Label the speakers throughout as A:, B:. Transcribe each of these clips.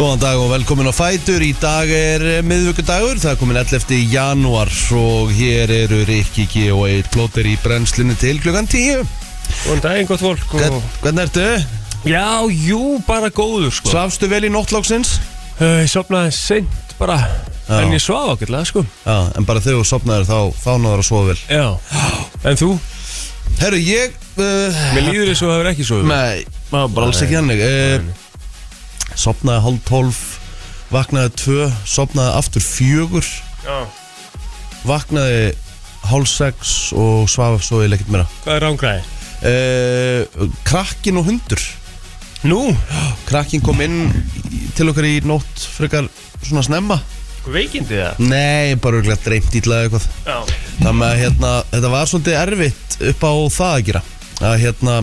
A: Góðan dag og velkomin á Fætur Í dag er miðvökkudagur Það er komin 11. janúar Og hér eru Rikki G og Eitt Plóter í brennslinu til klukkan 10
B: Góðan daginn, gott fólk og...
A: Hvern, Hvernig ertu?
B: Já, jú, bara góður sko
A: Svafstu vel í nóttlóksins?
B: Eh, Ég sopnaði seint bara
A: Já.
B: En ég svaf ágætlega sko
A: Já, en bara þegar þú sopnaður þá, þá náður að sofa vel
B: Já En þú?
A: Herru, ég uh,
B: Mér líður þess að þú hefur ekki svo
A: Nei, maður bara alls ekki hannig uh, Sopnaði hálf tólf Vaknaði tvö Sopnaði aftur fjögur
B: Já.
A: Vaknaði hálf sex Og svaf svo ég lekkit meira
B: Hvað er rángræði?
A: uh, Krakkin og hundur
B: Nú?
A: Krakkin kom inn í- til okkar í nótt Frekar svona snemma
B: Veikindi það?
A: Nei, bara örgulega dreymt ítlaði eitthvað
B: Já
A: Þannig að hérna, þetta var svolítið erfitt upp á það að gera Að hérna,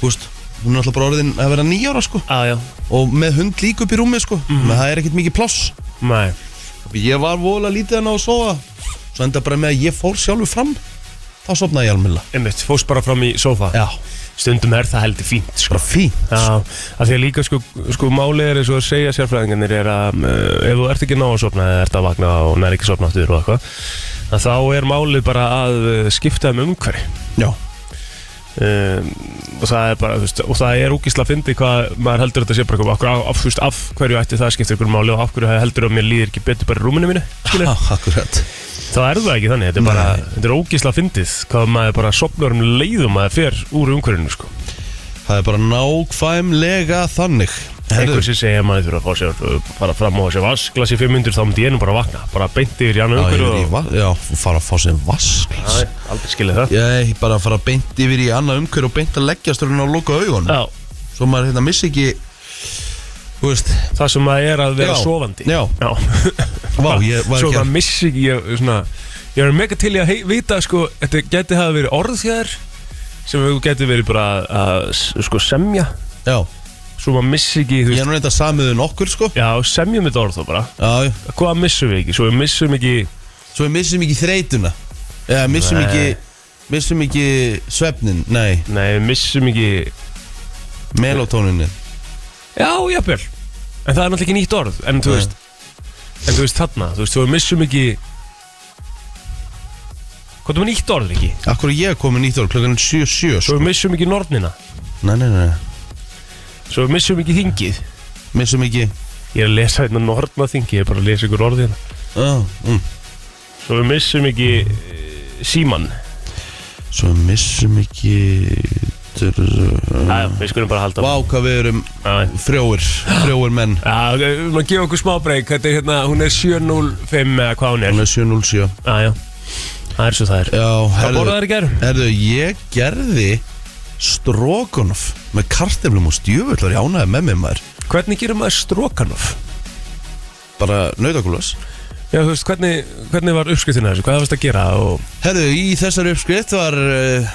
A: þú veist, hún er alltaf bara orðin að vera nýjára sko
B: Á, já
A: Og með hund líka upp í rúmi sko mm. Það er ekkert mikið pláss
B: Nei
A: Ég var voðalega lítið hann á að sofa Svo enda bara með að ég fór sjálfur fram Þá sopnaði ég alveg
B: Einmitt, fórst bara fram í sófa
A: Já,
B: Stundum er það heldur fínt sko
A: bara fín
B: Já, af því að líka sko, sko málið er eins og að segja sérfræðingarnir er að uh, ef þú ert ekki að ná að sofna eða ert að vakna og nær ekki að sofna aftur og eitthvað að þá er málið bara að eh, skipta um umhverfi
A: Já,
B: um, og það er bara, þú veist, og það er úkisla að fyndi hvað maður heldur að þetta sé bara okkur, af, af, þú veist, af hverju ætti það skiptir ykkur máli og af hverju heldur að mér líður ekki betur bara í rúminu mínu skilur.
A: ah, akkurat
B: þá er það ekki þannig, þetta er bara
A: Nei.
B: þetta er ógisla að fyndið, hvað maður bara sopnar um leiðum maður fer úr umhverfinu sko.
A: Það er bara nákvæmlega þannig Herðu,
B: einhversi segja að maður þurfa að fá sér uh, fara fram og sér vasklas í 500 þá myndi ég nú bara vakna, bara beint yfir í
A: já,
B: annan
A: ég er
B: umhverju
A: í
B: og
A: va- Já, og fara að fá sér vasklas
B: Nei, aldrei skilja það
A: Ég er bara að fara beint yfir í annað umhverju og beint að leggja stjórn og loka augun
B: Já,
A: Svo maður hérna missi ekki Þú veist
B: það sem maður er að vera
A: Já.
B: sofandi
A: Já. Vá, ég var
B: Svo
A: ekki
B: maður
A: að
B: missi ekki ég, svona, ég er mega til í að hei, vita sko, þetta geti hafa verið orð þér sem þú geti verið bara að, að s- sko, semja
A: Já,
B: svo maður missi ekki, þú
A: ég
B: veist
A: er nú reynda samiðu nokkur sko
B: Já, semjum þetta orð þá bara
A: Já, já.
B: Hvað missum við ekki? Svo við missum ekki
A: svo við missum ekki þreytuna Eða missum
B: Nei.
A: ekki Missum ekki svefnin, nei,
B: Nei, við missum ekki
A: melótóninni
B: Já, jafnvel En það er náttúrulega ekki nýtt orð En þú
A: Nei.
B: veist En þú veist þarna Þú veist, þú missum ekki Hvað er með nýtt orð ekki?
A: Akkur er ég komin nýtt orð, klokkan 7.7
B: Svo
A: sko.
B: við missum ekki nornina
A: Nei, nei, nei,
B: Svo við missum ekki þingið
A: missum ekki
B: Ég er að lesa hérna norna þingi Ég er bara að lesa ykkur orðið hérna
A: Já, mm.
B: Svo við missum ekki e, síman
A: Svo við missum ekki uh, Vá,
B: Æja, við skulum bara halda
A: hvað við erum
B: Já,
A: frjóir Frjóir menn
B: Já, við erum að gefa okkur smá breyk Þetta er hérna, hún er 705 eða hvað hún er
A: Hún er 707
B: Æja, það er svo það er
A: Já,
B: Hvað
A: herðu,
B: borðað er í gær?
A: herðu Ég gerði Strogonoff Með karteflum og stjöfullar Ég ánæði með mér maður
B: Hvernig gerir maður strókanoff?
A: Bara nautakulas
B: Já, þú veist, hvernig, hvernig var uppskriftin að þessu? Hvað varst að gera? Og...
A: Herðu, í þessari uppskrift var uh,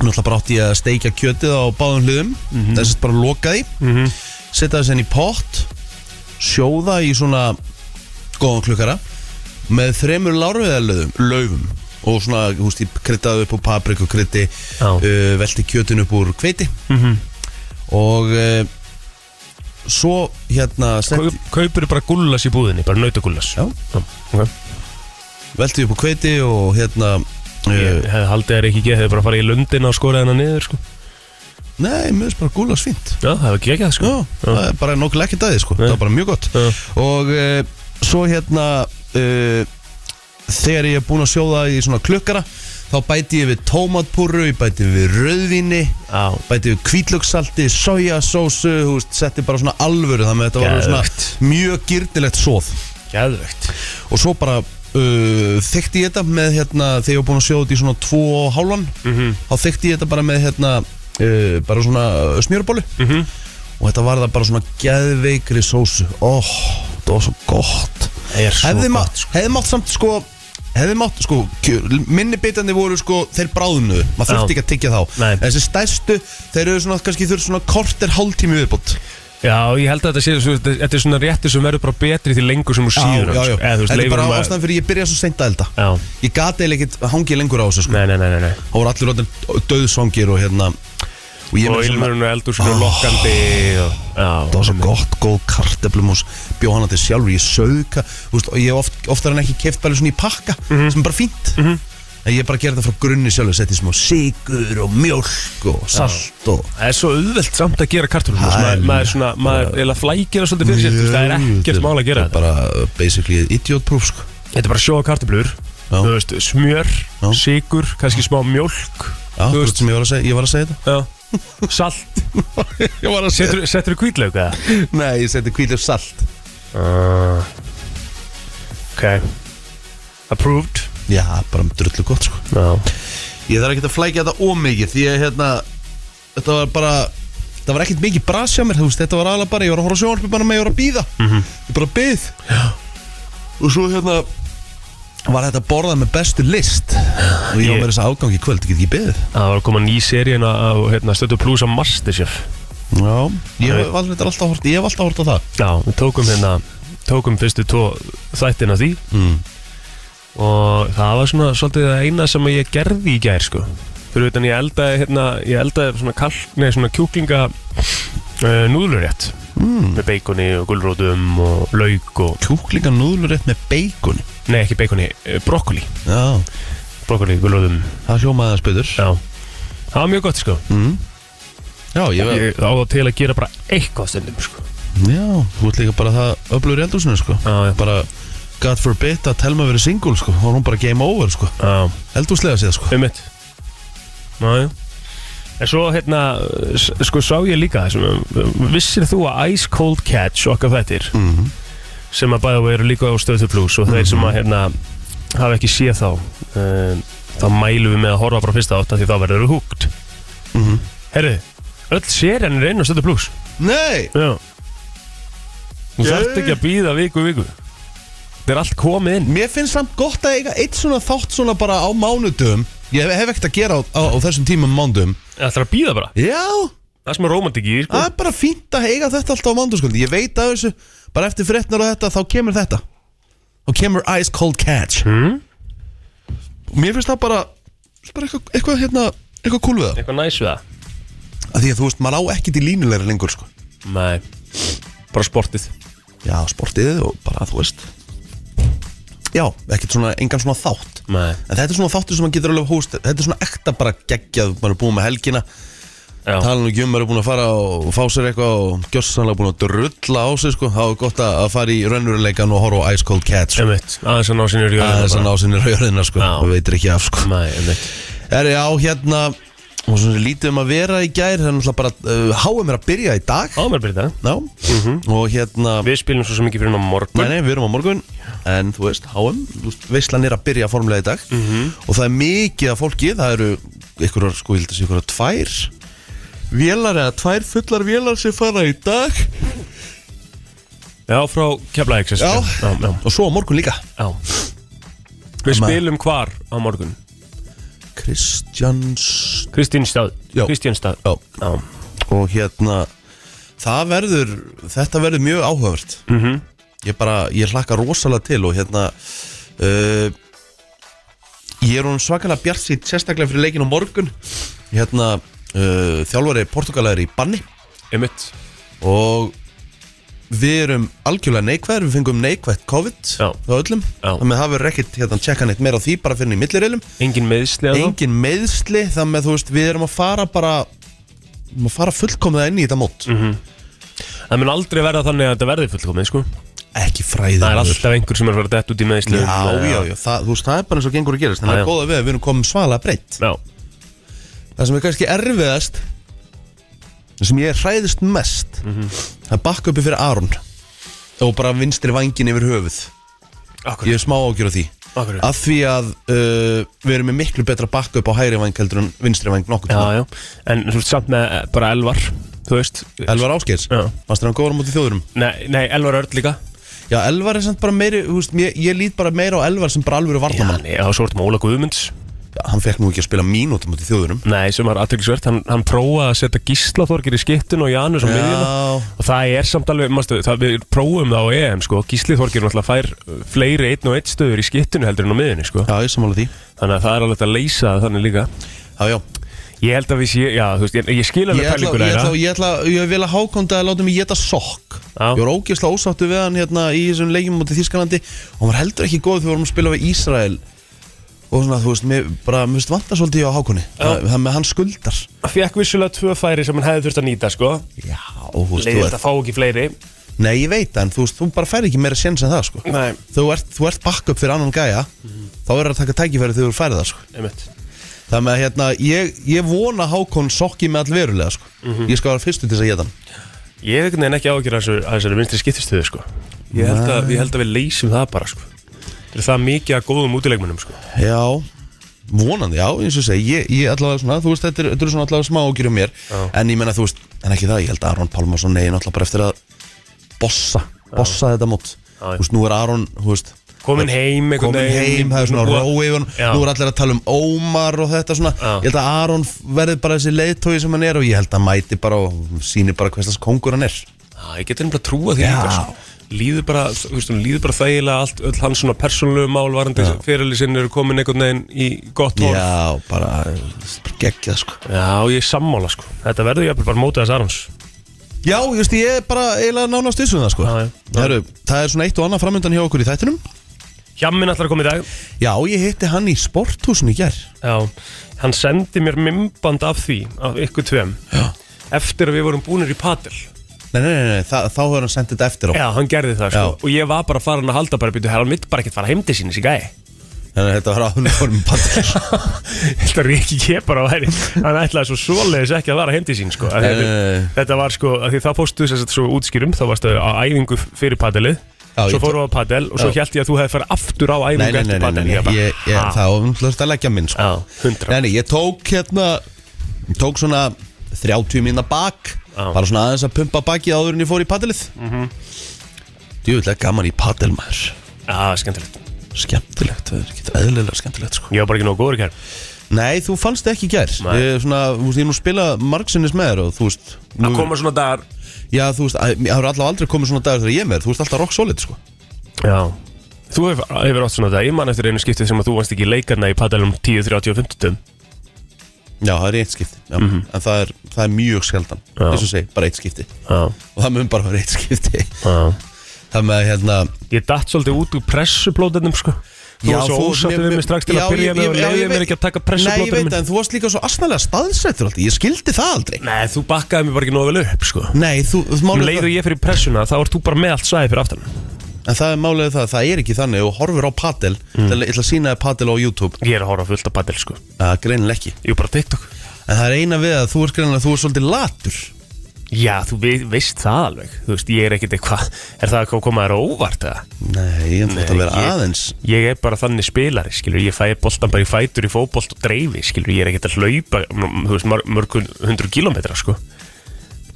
A: Náttúrulega bara átti ég að steikja kjötið á báðum hliðum mm
B: Mhm.
A: -hmm. Þessast bara lokaði
B: Mm -hmm.
A: setja þess henni í pott sjóða í svona góðan klukkara með þremur lárviðarlöfum laufum og svona, þú veist, ég kryddaði upp úr papriku kryddi,
B: Já. Mhm.
A: uh, velti kjötin upp úr hveiti og uh, svo hérna sendi,
B: Kaupir bara gullas í búðinni, bara nautagullas
A: já,
B: ok.
A: velti upp úr hveiti og hérna
B: Ég
A: uh,
B: hefði haldið þær ekki ekki, hefði bara farið í lundina og skorað hennar niður sko.
A: nei, mér finnst bara gúlas fínt
B: Já, það hefði ekki ekki það sko.
A: já, það er bara nokkuð ekki dæði sko,
B: Nei.
A: það var bara mjög gott
B: Já.
A: og uh, svo hérna uh, þegar ég er búinn að sjóða í svona klukkara þá bæti ég við tómatpúru, ég bæti við rauðvinni
B: Já,
A: bæti við kvítlökssalti, sojasósu þú veist, setti bara svona alvöru þannig að þetta var
B: Geðveikt.
A: svona mjög gyrnilegt sóð
B: geðvögt
A: og svo bara uh, þykti ég þetta með hérna þegar ég var búinn að sjóða þetta í svona tvo og hálfan
B: Mhm.
A: þá þykti ég þetta bara með hérna uh, bara svona smjörbólu
B: mm -hmm.
A: og þetta var það bara svona geðveikri sósu óh, þetta var svo gott
B: Það er svo
A: hefði,
B: gott
A: mátt, hefði mátt samt sko hefði mátt sko kjö- minni bitandi voru sko þeir bráðnu
B: Já.
A: maður þurfti ekki að tyggja þá
B: Nei.
A: En þessi stærstu þeir eru svona kannski þurft svona korter hálftími viðbútt
B: Já, ég held að þetta sé svo- Þetta er svona réttur sem verður bara betri því lengur sem þú síður hann,
A: já, já.
B: sko. Eða, þú veist,
A: þetta er
B: leifur
A: bara
B: maður-
A: ástæðan fyrir ég byrja svo seint að elda
B: Já,
A: ég gati eiginlega ekkert hangið lengur á þessu sko
B: nei, nei, nei, nei, nei.
A: þá voru allir orðin döðsvangir og hérna Og ég
B: og
A: meina svona- Ah.
B: ilmurinn og eldurinn og lokkandi og,
A: Það
B: já,
A: var svo gott, góð karteblumús Bjóð hana til sjálfur, ég sauka þú veist, og Ég hef oft, oftar en ekki keft bara svona í pakka
B: Mhm.
A: sem er bara fínt En ég bara gera þetta frá grunni sjálfur Setti smá sigur og mjölk og salt og
B: það er svo auðvelt samt að gera kartöflum
A: Það er-
B: maður, maður, svona, maður eiginlega flækir það svolítið fyrir sér þú veist, það er ekkert mál að gera
A: þetta er Bara basically idiot proof sko.
B: Þetta er bara sjóða kartöflur
A: Já.
B: Þú veist, smjör,
A: Já.
B: sigur, kannski smá mjólk
A: Já,
B: Þú
A: þú
B: veist-
A: veist sem ég var að segja, ég var að segja þetta
B: já, Salt
A: Ég var að
B: Settur þú kvítlaug eða?
A: Nei, ég seti kvílir salt
B: Uh, ok Approved
A: Já, bara um drullu gott sko
B: Já
A: Ég þarf ekki að flækja þetta ómikið Því að hérna Þetta var bara Það var ekkert mikið brasja mér þú veist, Þetta var alveg bara Ég var að horfa sjónarpi bara með Ég var að býða -hmm. Ég bara býð Já Og svo hérna Var þetta borðað með bestu list Og ég var
B: Ég-
A: með þess að afgangi í kvöld Ég get ekki beðið
B: Það var að koma ný seríin á á, hérna, Stötu Plus á Masterchef
A: Já Ég
B: Nei.
A: hef aldrei þetta er alltaf hort Ég hef alltaf hort á það
B: Já, við tókum hérna Tókum fyrstu tvo þættina því
A: mm.
B: Og það var svona svolítið það eina sem ég gerði í gær sko Fyrir utan ég eldaði hérna Ég eldaði svona kalk, nei svona kjúklinga uh, Núðlurétt
A: Mm.
B: Með beikoni og gulrótum og lauk og
A: Kjúklinga núðlur rétt með bacon
B: Nei ekki beikoni, uh, brokkoli
A: Já
B: Brokkoli, gulrótum,
A: Það hljómaði að spytur
B: já Það var mjög gott sko
A: mm. Já, ég var
B: Ég á það til að gera bara eitthvað stundum sko.
A: Já, þú ert líka bara það Öflur í eldhúsinu sko
B: Já, já.
A: bara God forbid að Telma verið single sko og hún bara game over sko
B: Já,
A: eldúslega séð sko
B: um mitt Nájú En svo hérna, s- sko sá ég líka þessum, vissir þú að Ice Cold Catch okkar þættir
A: mm.
B: sem að bæða veru líka á stöðu pluss og þeir sem að hérna hafa ekki séð þá um, þá mælum við með að horfa bara á fyrsta átt af því þá verður þú húgt
A: Mhm.
B: Herru, öll sérinn er einu á stöðu pluss
A: Nei
B: Já Þú
A: Yay.
B: þarft ekki að býða viku viku Þetta er allt komið inn
A: Mér finnst samt gott að eiga eitt svona þátt svona bara á mánudum Ég hef, hef ekkert að gera á, á, á þessum tímum mánudum
B: Það er að býða bara
A: Já,
B: Það sem er rómantik í, því, sko
A: það er bara fínt að eiga þetta alltaf á mánudum sko Ég veit að þessu, bara eftir fréttnar og þetta þá kemur þetta Þá kemur Ice Cold Catch
B: Hmm?
A: Mér finnst það bara, bara eitthvað, eitthvað hérna, eitthvað cool við það
B: Eitthvað næs við það
A: Af Því að þú veist, maður á ekkert í línulegri lengur sko
B: Nei Bara sportið
A: Já, sportið og bara, þú veist Já, ekkert svona, engan svona þátt
B: Nei
A: En þetta er svona þáttur sem maður getur alveg hóst Þetta er svona ekta bara geggjað Maður er búin með helgina
B: Já
A: Talan og gjum maður er búin að fara og fá sér eitthvað Og gjörsanlega búin að drulla á sig sko. Það er gott að að fara í raunveruleikan og horfa á Ice Cold Cats sko.
B: Emitt Aðeins að ná sinni í
A: Það er þess að
B: rjóðum
A: ná sinni rauðina sko.
B: Já.
A: Og veitir ekki af sko.
B: Nei, emitt
A: Er já, hérna Og svona lítið um að vera í gær Það er náttúrulega bara uh, Háum er að byrja í dag
B: Ámar byrja
A: Já
B: Mhm.
A: Og hérna
B: Við spilum svo sem ekki fyrir ná
A: Nei,
B: morgun
A: nei, við erum á morgun En þú veist, HM, þú veist, veislan er að byrja formulega í dag Og það er mikið af fólki Það eru einhverjar, sko, ég held að sé einhverjar tvær Vélar eða tvær fullar vélar sem fara í dag
B: Já, frá Keflæk Já
A: Já.
B: Já,
A: Og svo á morgun líka
B: já Við
A: Amma.
B: spilum hvar á morgun
A: Kristjans
B: Kristínstad
A: Já.
B: Kristínstad
A: Já,
B: Já
A: og hérna Það verður, þetta verður mjög áhugavert
B: Mhm.
A: Ég bara, ég hlakka rosalega til og hérna uh, Ég er hún svakalega bjart sýtt sérstaklega fyrir leikin á morgun Hérna, uh, þjálfari Portugala er í banni
B: Emitt
A: Og við erum algjörlega neikvæðir, við fengum neikvætt COVID
B: Já.
A: á öllum
B: Já.
A: Þannig að það verður ekkit, hérna, tjekka neitt meira á því bara fyrir henni í millirilum
B: Engin meðsli að þá
A: engin meðsli þannig að þú veist við erum að fara bara við erum að fara fullkomlega inn í þetta mót
B: Mhm. Það mun aldrei verða þannig að þetta verði fullkomið, sko
A: ekki fræðið
B: Það er alltaf einhver sem er að vera dett út í meðsli
A: já, já, já, það, þú veist það er bara eins og gengur að gerast en
B: Já,
A: það
B: já.
A: er góða við að við erum komið svalega breytt
B: Já
A: það sem er kannski erfiðast það sem ég er hræðist mest það er bakka uppi fyrir Aron og bara vinstri vangin yfir höfuð
B: Akkur
A: ég er smá ágjur á því
B: Akkur
A: að því að uh, við erum með miklu betra bakka upp á hægri vang heldur en vinstri vang nokkuð
B: Já, já, en þú veist samt með eh, bara Elvar, þú veist
A: Elvar Áskeirs,
B: Já.
A: fannst þér hann góður á móti þjóðurum?
B: Nei, nei Elvar Örn líka
A: Já, Elvar er samt bara meiri, þú veist, ég, ég lít bara meira á Elvar sem bara alvöru
B: Já,
A: varnamann.
B: nei, það var svo orðum Óla Guðmunds
A: Já, hann fekk nú ekki að spila mínútum út í þjóðurum.
B: Nei, sem var aðtöklisvert, hann, hann prófaði að setja Gíslaþorgir í skittun og Janus á miðjuna Og það er samt alveg, mástu, það, við prófum það á EM, sko Gíslaþorgir náttúrulega fær uh, fleiri einn og einn stöður í skittunu heldur en á miðjunni, sko
A: já, ég samála því.
B: Þannig að það er alveg hægt að leysa það þannig líka
A: Já, já,
B: Ég held að við sé, já, þú veist, ég, ég skil
A: Ég
B: alveg
A: ætla,
B: pælinguna
A: ég, ætla,
B: þeirra
A: ég, ætla, ég vil að hákonda að láta mig geta sokk
B: Já.
A: Ég var ógeðslega ósáttu við hann hérna í þessum leikjum mútið Þískalandi og hann var heldur ekki góð þegar við vorum að spila við Ísrael og svona, þú veist, mér bara, mér veist vantar svolítið á hákonni það það með hann skuldar
B: Fekk vissulega tvö færi sem hann hefði þurft að nýta, sko
A: Já, og þú veist, þú
B: Leiðið að
A: ert
B: fá ekki fleiri
A: Nei, ég veit það, en þú veist, þú bara færi ekki meira séns en það, sko
B: Nei,
A: Þú ert, þú ert backup fyrir annan gæja þá er að taka tækifæri þegar þú færið það, sko
B: einmitt
A: Það með að, hérna, ég, ég vona hákon sokki með allverulega, sko Ég skal vera fyrstu til þess að geta hann
B: Ég hef einhvern veginn ekki ágjör að þessari vinstri skiptistöðu sko. ég, held að, ég held að við leysum það bara sko. Það er það mikið að góðum útilegmunum sko.
A: Já, vonandi, já, eins og segi Ég, ég allavega svona, þú veist, þetta er- þetta eru svona allavega smá ágjur um mér En ég menna, þú veist, en ekki það Ég held að Aron Pálmarsson negin allavega bara eftir að Bossa, bossa þetta mót
B: Já, já.
A: Þú veist, nú er Aron, þú veist
B: Komin heim einhvern
A: komin
B: veginn.
A: heim, það er svona
B: Nú-
A: rói yfir hann
B: Já.
A: Nú er allir að tala um Ómar og þetta svona
B: Já.
A: Ég held að Aron verði bara þessi leiðtói sem hann er Og ég held að hann mæti bara og síni bara hverslas kongur hann er
B: Já, Ég get einhvern veginn að trúa því
A: Já.
B: líka sko. Líður bara, þú veist, hún líður bara þægilega allt, öll hans svona persónlegu málvarandi fyrirlisinn eru komin einhvern veginn í gott horf.
A: Já, bara, bara geggjað sko
B: Já, ég er sammála sko. Þetta verður ég bara mótið þess Arons.
A: Já, just, ég er bara eiginlega nánast vissum það sko
B: Já, já.
A: Heru, Það er svona eitt og annað framöndan hjá okkur í þættinum
B: Hjammin ætlar að koma í dag.
A: Já, ég hitti hann í sporthúsinu í gær
B: Já, hann sendi mér mymband af því, af ykkur tveim,
A: Já.
B: eftir að við vorum búinir í patel.
A: Nei, nei, nei, nei þa þá hefur hann sendið þetta eftir á
B: Já, hann gerði það sko
A: Já.
B: Og ég var bara farin að halda bara býtu Hann mitt bara ekkert fara heim til sín þessi gæi
A: Þannig að þetta var áður form patir
B: Þetta er ekki ég bara væri Hann ætlaði svo svoleiðis ekki að fara heim til sín sko Af því
A: Nei,
B: að-
A: nei, nei.
B: Þetta var sko, af því það fórstu þess að svo útskýrum Þá varstu á æfingu fyrir padelið
A: Já,
B: Svo
A: ég-
B: fórum við á padel og svo
A: Já.
B: held ég að þú hefði farið aftur á æfingu
A: Nei, nei, nei,
B: eftir
A: nei,
B: padel
A: nei, nei.
B: Ég bara,
A: Ég, ég,
B: ha,
A: þá umhlaust að leggja minn sko.
B: Já, hundra
A: Nei, nei, ég tók hérna ég Tók svona 30 mínna bak
B: Já. Mhm.
A: Bara svona aðeins að pumpa baki áður en ég fór í patilið mm -hmm. Djúvilega gaman í patilmaður
B: Já, skemmtilegt
A: Skemmtilegt, það er ekki eðlilega skemmtilegt sko
B: Ég var bara ekki nóg góður kær
A: Nei, þú fannst ekki í gær
B: Nei.
A: Ég, er svona, þú veist, ég er nú spila margsinnis með þér og þú veist nú,
B: Að koma svona dagar
A: Já, þú veist, að- það eru allavega aldrei komið svona dagur þegar ég er með þér Þú veist alltaf rock solid, sko
B: Já Þú hefur hefur átt svona dag, ég man eftir einu skiptið sem að þú vannst ekki í leikarna í padelum 10, 30 og 50
A: Já, það er eitt skipti já. Mhm. En það er, það er mjög skeldan
B: Já.
A: Þess að segja, bara eitt skipti
B: Já,
A: Og það mun bara vera eitt skipti
B: já
A: Það með, hérna
B: Ég datt svolítið út úr pressuplótunum sko Þú
A: já,
B: var svo ósattu við mig strax til
A: já,
B: að byrja
A: ég-
B: með og
A: ég- já,
B: leiðið
A: ég
B: mér
A: veit-
B: ekki að taka
A: Nei, ég
B: pressuplótunum
A: veit, en þú varst líka svo asnalega staðsettur alltaf Ég skildi það aldrei
B: Nei, þú bakkaði mér bara ekki nógu vel upp sko
A: Nei, þú, þú
B: Um
A: málið
B: leið
A: það,
B: og ég fyrir pressuna, þá ert þú bara með allt svæði fyrir aftan
A: en það er málið það, það er ekki þannig og horfir á padel, mm. ég ætla að sína þér padel á YouTube,
B: Ég er að horfa fullt af padel sko
A: að greinileg ekki
B: Ég er bara TikTok
A: En það er eina við að þú er skrænilega að þú er svolítið latur
B: Já, þú ve- veist það alveg Þú veist, ég er ekkit eitthvað Er það að koma þér á óvart eða?
A: Nei, ég ætla að vera
B: ég-
A: aðeins
B: Ég er bara þannig spilari, skilur Ég fæ boltan bara í fætur í fótbolt og dreifi, skilur Ég er ekkit að hlaupa, mm, þú veist, mör- mörg hundru kilometra, sko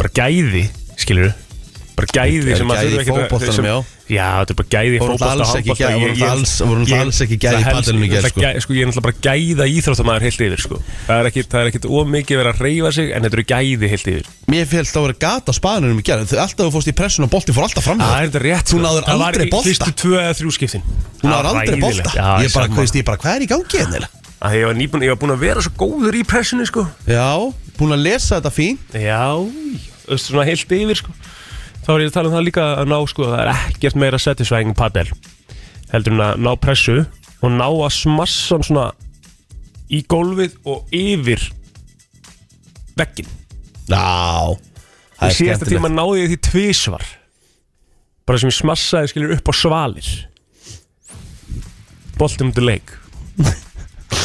B: Bara gæði, skilur Bara gæði
A: Eru
B: sem
A: gæði
B: þurfa
A: í
B: ekkit
A: fótboltanum,
B: sem-
A: já.
B: Já, þetta er bara gæði í
A: Voru
B: fótbolta
A: náttúrulega alls ekki
B: handbolta,
A: gæ-
B: ég-
A: voru náttúrulega
B: ég-
A: alls- voru náttúrulega
B: ég-
A: alls ekki gæði í
B: það helst-
A: padelnum í gær,
B: það
A: sko.
B: gæ- Sko, ég er náttúrulega bara gæða íþróttamæður heilt yfir, sko Það er ekkit, það er ekkit ómikið verið að reyfa sig En þetta eru gæði heilt yfir
A: Mér félst að vera gata á spaðanum í gerð Þau alltaf þú fórst í pressun og bolti fór alltaf fram
B: Það er þetta rétt,
A: Ah. Þú
B: sko.
A: náður
B: Það var
A: aldrei
B: í
A: bolta.
B: Fyrstu tvö eða þrjú skiptin Ah,
A: Hún náður aldrei
B: Hræðilegt.
A: bolta
B: Já,
A: Ég bara,
B: sammála.
A: hvað, ég bara, hvað er í gangi hérna?
B: að ég var, nýbúin, ég var búin að vera svo góður í pressinu sko.
A: Já, búin að lesa þetta fín
B: Já, þú veist svona heilt yfir sko. Þá var ég að tala um það líka að ná sko, það er ekkert meira satisfying en padel heldur en að ná pressu og ná að smassa hann svona í gólfið og yfir veggin
A: Já,
B: Í
A: það er
B: síðasta tíma
A: skemmtilegt
B: náði ég því tvísvar bara sem ég smassaði skilur upp á svalir boltum til leik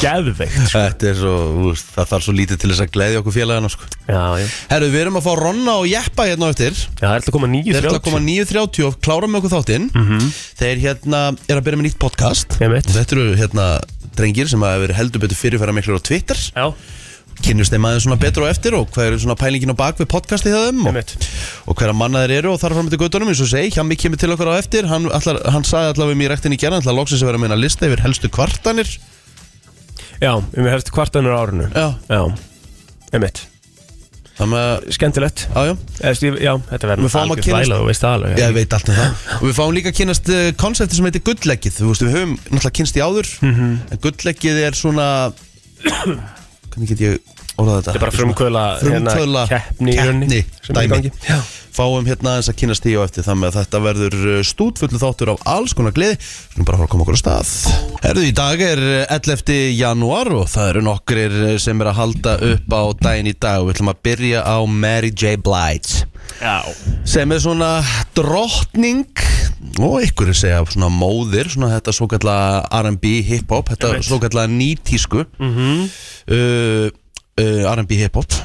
B: Geðveikt sko.
A: Þetta er svo, þú veist, það þarf svo lítið til þess að gleðja okkur félagana sko.
B: Já, já,
A: Herru, við erum að fá Ronna og Jeppa hérna á eftir
B: já, það er alltaf að koma
A: Þeir
B: nýju
A: eru að koma 9.30 og klára með okkur þáttinn Þeir hérna er að byrja með nýtt podcast
B: Ég veit.
A: Og Þetta eru hérna drengir sem hafa verið heldur betur fyrirfæra miklu á Twitter
B: Já,
A: Kynnust þeim aðeins svona betur og eftir og hvað eru svona pælingin á bak við podcasti hjá þeim og,
B: Einmitt.
A: og hverja manna þeir eru og þar fram eftir gautunum eins og segi, Hjami kemur til okkar á eftir Hann, allar, hann sagði allavega mér rektin í gerðan ætlar loksins að vera með meina lista yfir helstu kvartanir
B: Já, um við hefst kvartanur á árinu
A: Já,
B: Já, emitt
A: þannig að,
B: Skemmtilegt
A: já, já
B: Eðst, ég, Já, þetta
A: Við
B: verður
A: fáum að
B: algjör
A: kynnast-
B: þvæla, þú veist það alveg
A: Já, ég veit allt um það Og við fáum líka að kynast uh, konsepti sem heitir Mhm. gullleggið Þú veist, við höfum náttúrulega kynst í áður En gullleggið er svona hvernig get ég orðað þetta
B: Þetta er bara frumkvöla
A: frumtöla
B: keppni í rauninni sem er í gangi. Já.
A: fáum hérna eins að kynast því á eftir þannig að þetta verður stútfullu þáttur af alls konar gleði skulum bara fara að koma okkur á stað Herðu, í dag er 11. janúar og það eru nokkrir eh, sem er að halda upp á daginn í dag og við ætlum að byrja á Mary J. Blige
B: Já,
A: sem er svona drottning og ykkur er segja svona móðir svona þetta svo kallega R&B hip-hop þetta
B: Einmitt. Mhm.
A: svo kallega nýtísku mm uh, uh, R&B hip-hop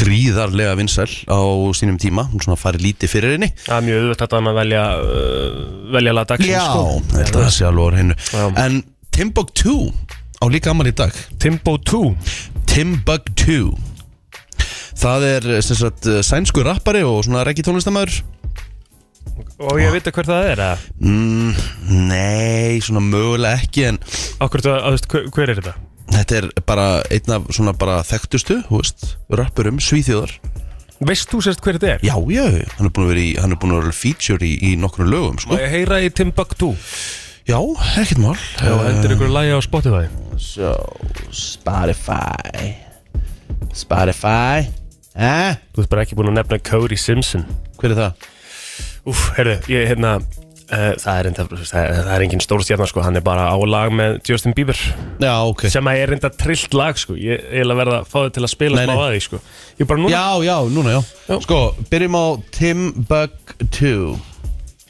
A: gríðarlega vinsæl á sínum tíma hún svona farið lítið fyrir henni
B: það er mjög auðvitað að velja uh, velja laga dagsins
A: Já,
B: sko.
A: þetta sé alveg orð hennu
B: Já.
A: En Timbuktu á líka amal í dag
B: Timbo 2
A: Timbuktu Það er sem sagt sænsku rappari og svona reggi tónlistamæður
B: og ég veit að hver það er eða?
A: mm, Nei, svona mögulega ekki en
B: Akkur, að, að, hver, hver er þetta?
A: Þetta er bara einn af svona bara þekktustu, þú veist, rappurum, svíþjóðar.
B: Veist þú sérst hver þetta er?
A: Já, já, hann er búin að vera í, hann er búin að vera feature í, í nokkrum lögum,
B: Má
A: sko.
B: ég heyra í Timbuktu
A: Já, ekkert mál. Eh,
B: Já, hendur ykkur lagi á Spotify
A: So, Spotify. Spotify. Eh?
B: Þú ert bara ekki búin að nefna Cody Simpson
A: Hver er það?
B: Úf, heyrðu, ég, hérna Uh, það er enda, það er, það er engin stórstjarnar sko, hann er bara á lag með Justin Bieber
A: Já, ok.
B: sem að er enda trillt lag sko, ég ég er að verða að fá þau til að spila
A: Nei,
B: smá
A: nei.
B: að því sko Ég bara núna,
A: Já, já, núna, já. Sko, byrjum á Timbuktu.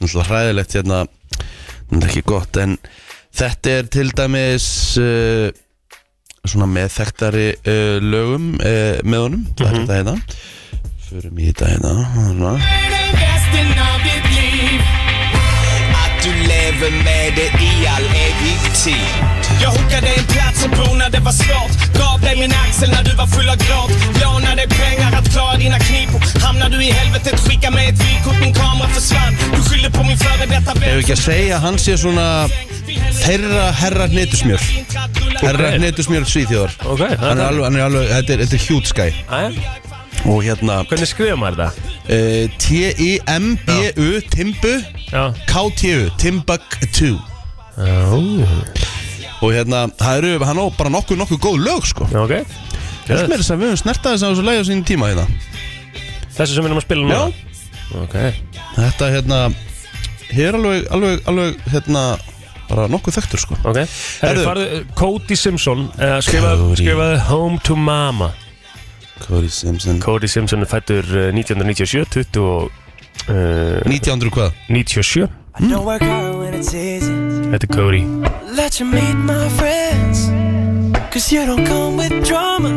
A: Náttúrulega hræðilegt hérna, þetta er ekki gott, en þetta er til dæmis... Uh, svona með þekktari uh, lögum uh, með honum, það er þetta hérna förum í þetta hérna svona.
C: Att du lever med det i all evig tid Jag hookade en plats och bor när det var svårt Gav dig min axel när du var full av gråt Lånade pengar att klara dina knipor Hamnar du i helvetet, skicka mig ett vykort Min kamera försvann, du skyller på min före detta
A: Ef
C: vän
A: ekki að segja að hann sé svona þeirra herra hnetusmjör herra hnetusmjör svíþjóðar
B: ok,
A: hann
B: það
A: er alveg, hann er alveg, þetta er, þetta er huge guy
B: er
A: og hérna
B: Hvernig skrifa maður þetta?
A: uh, T-I-M-B-U Timbu
B: Já,
A: K-T-U Timbuktu og hérna, það eru, hann á bara nokkuð nokkuð góð lög sko,
B: já ok
A: þess með þess að við höfum snertað þess að þessu leið á sínum tíma hérna
B: Þessi sem við erum að spila núna? Ok,
A: Þetta hérna Hér alveg, alveg, alveg hérna Bara nokkuð þekktur sko
B: ok Herru,
A: Herðu.
B: farðu, Cody Simpson uh, skrifaði,
A: Cody.
B: skrifaði Home to Mama
A: Cody Simpson
B: Cody Simpson er fættur eh, 1997 20 og uh,
A: 1900 hvað?
B: 97
D: Hmm. Don't work hard when it's easy.
B: Þetta er Cody
D: Let you meet my friends. Cause you don't come with drama.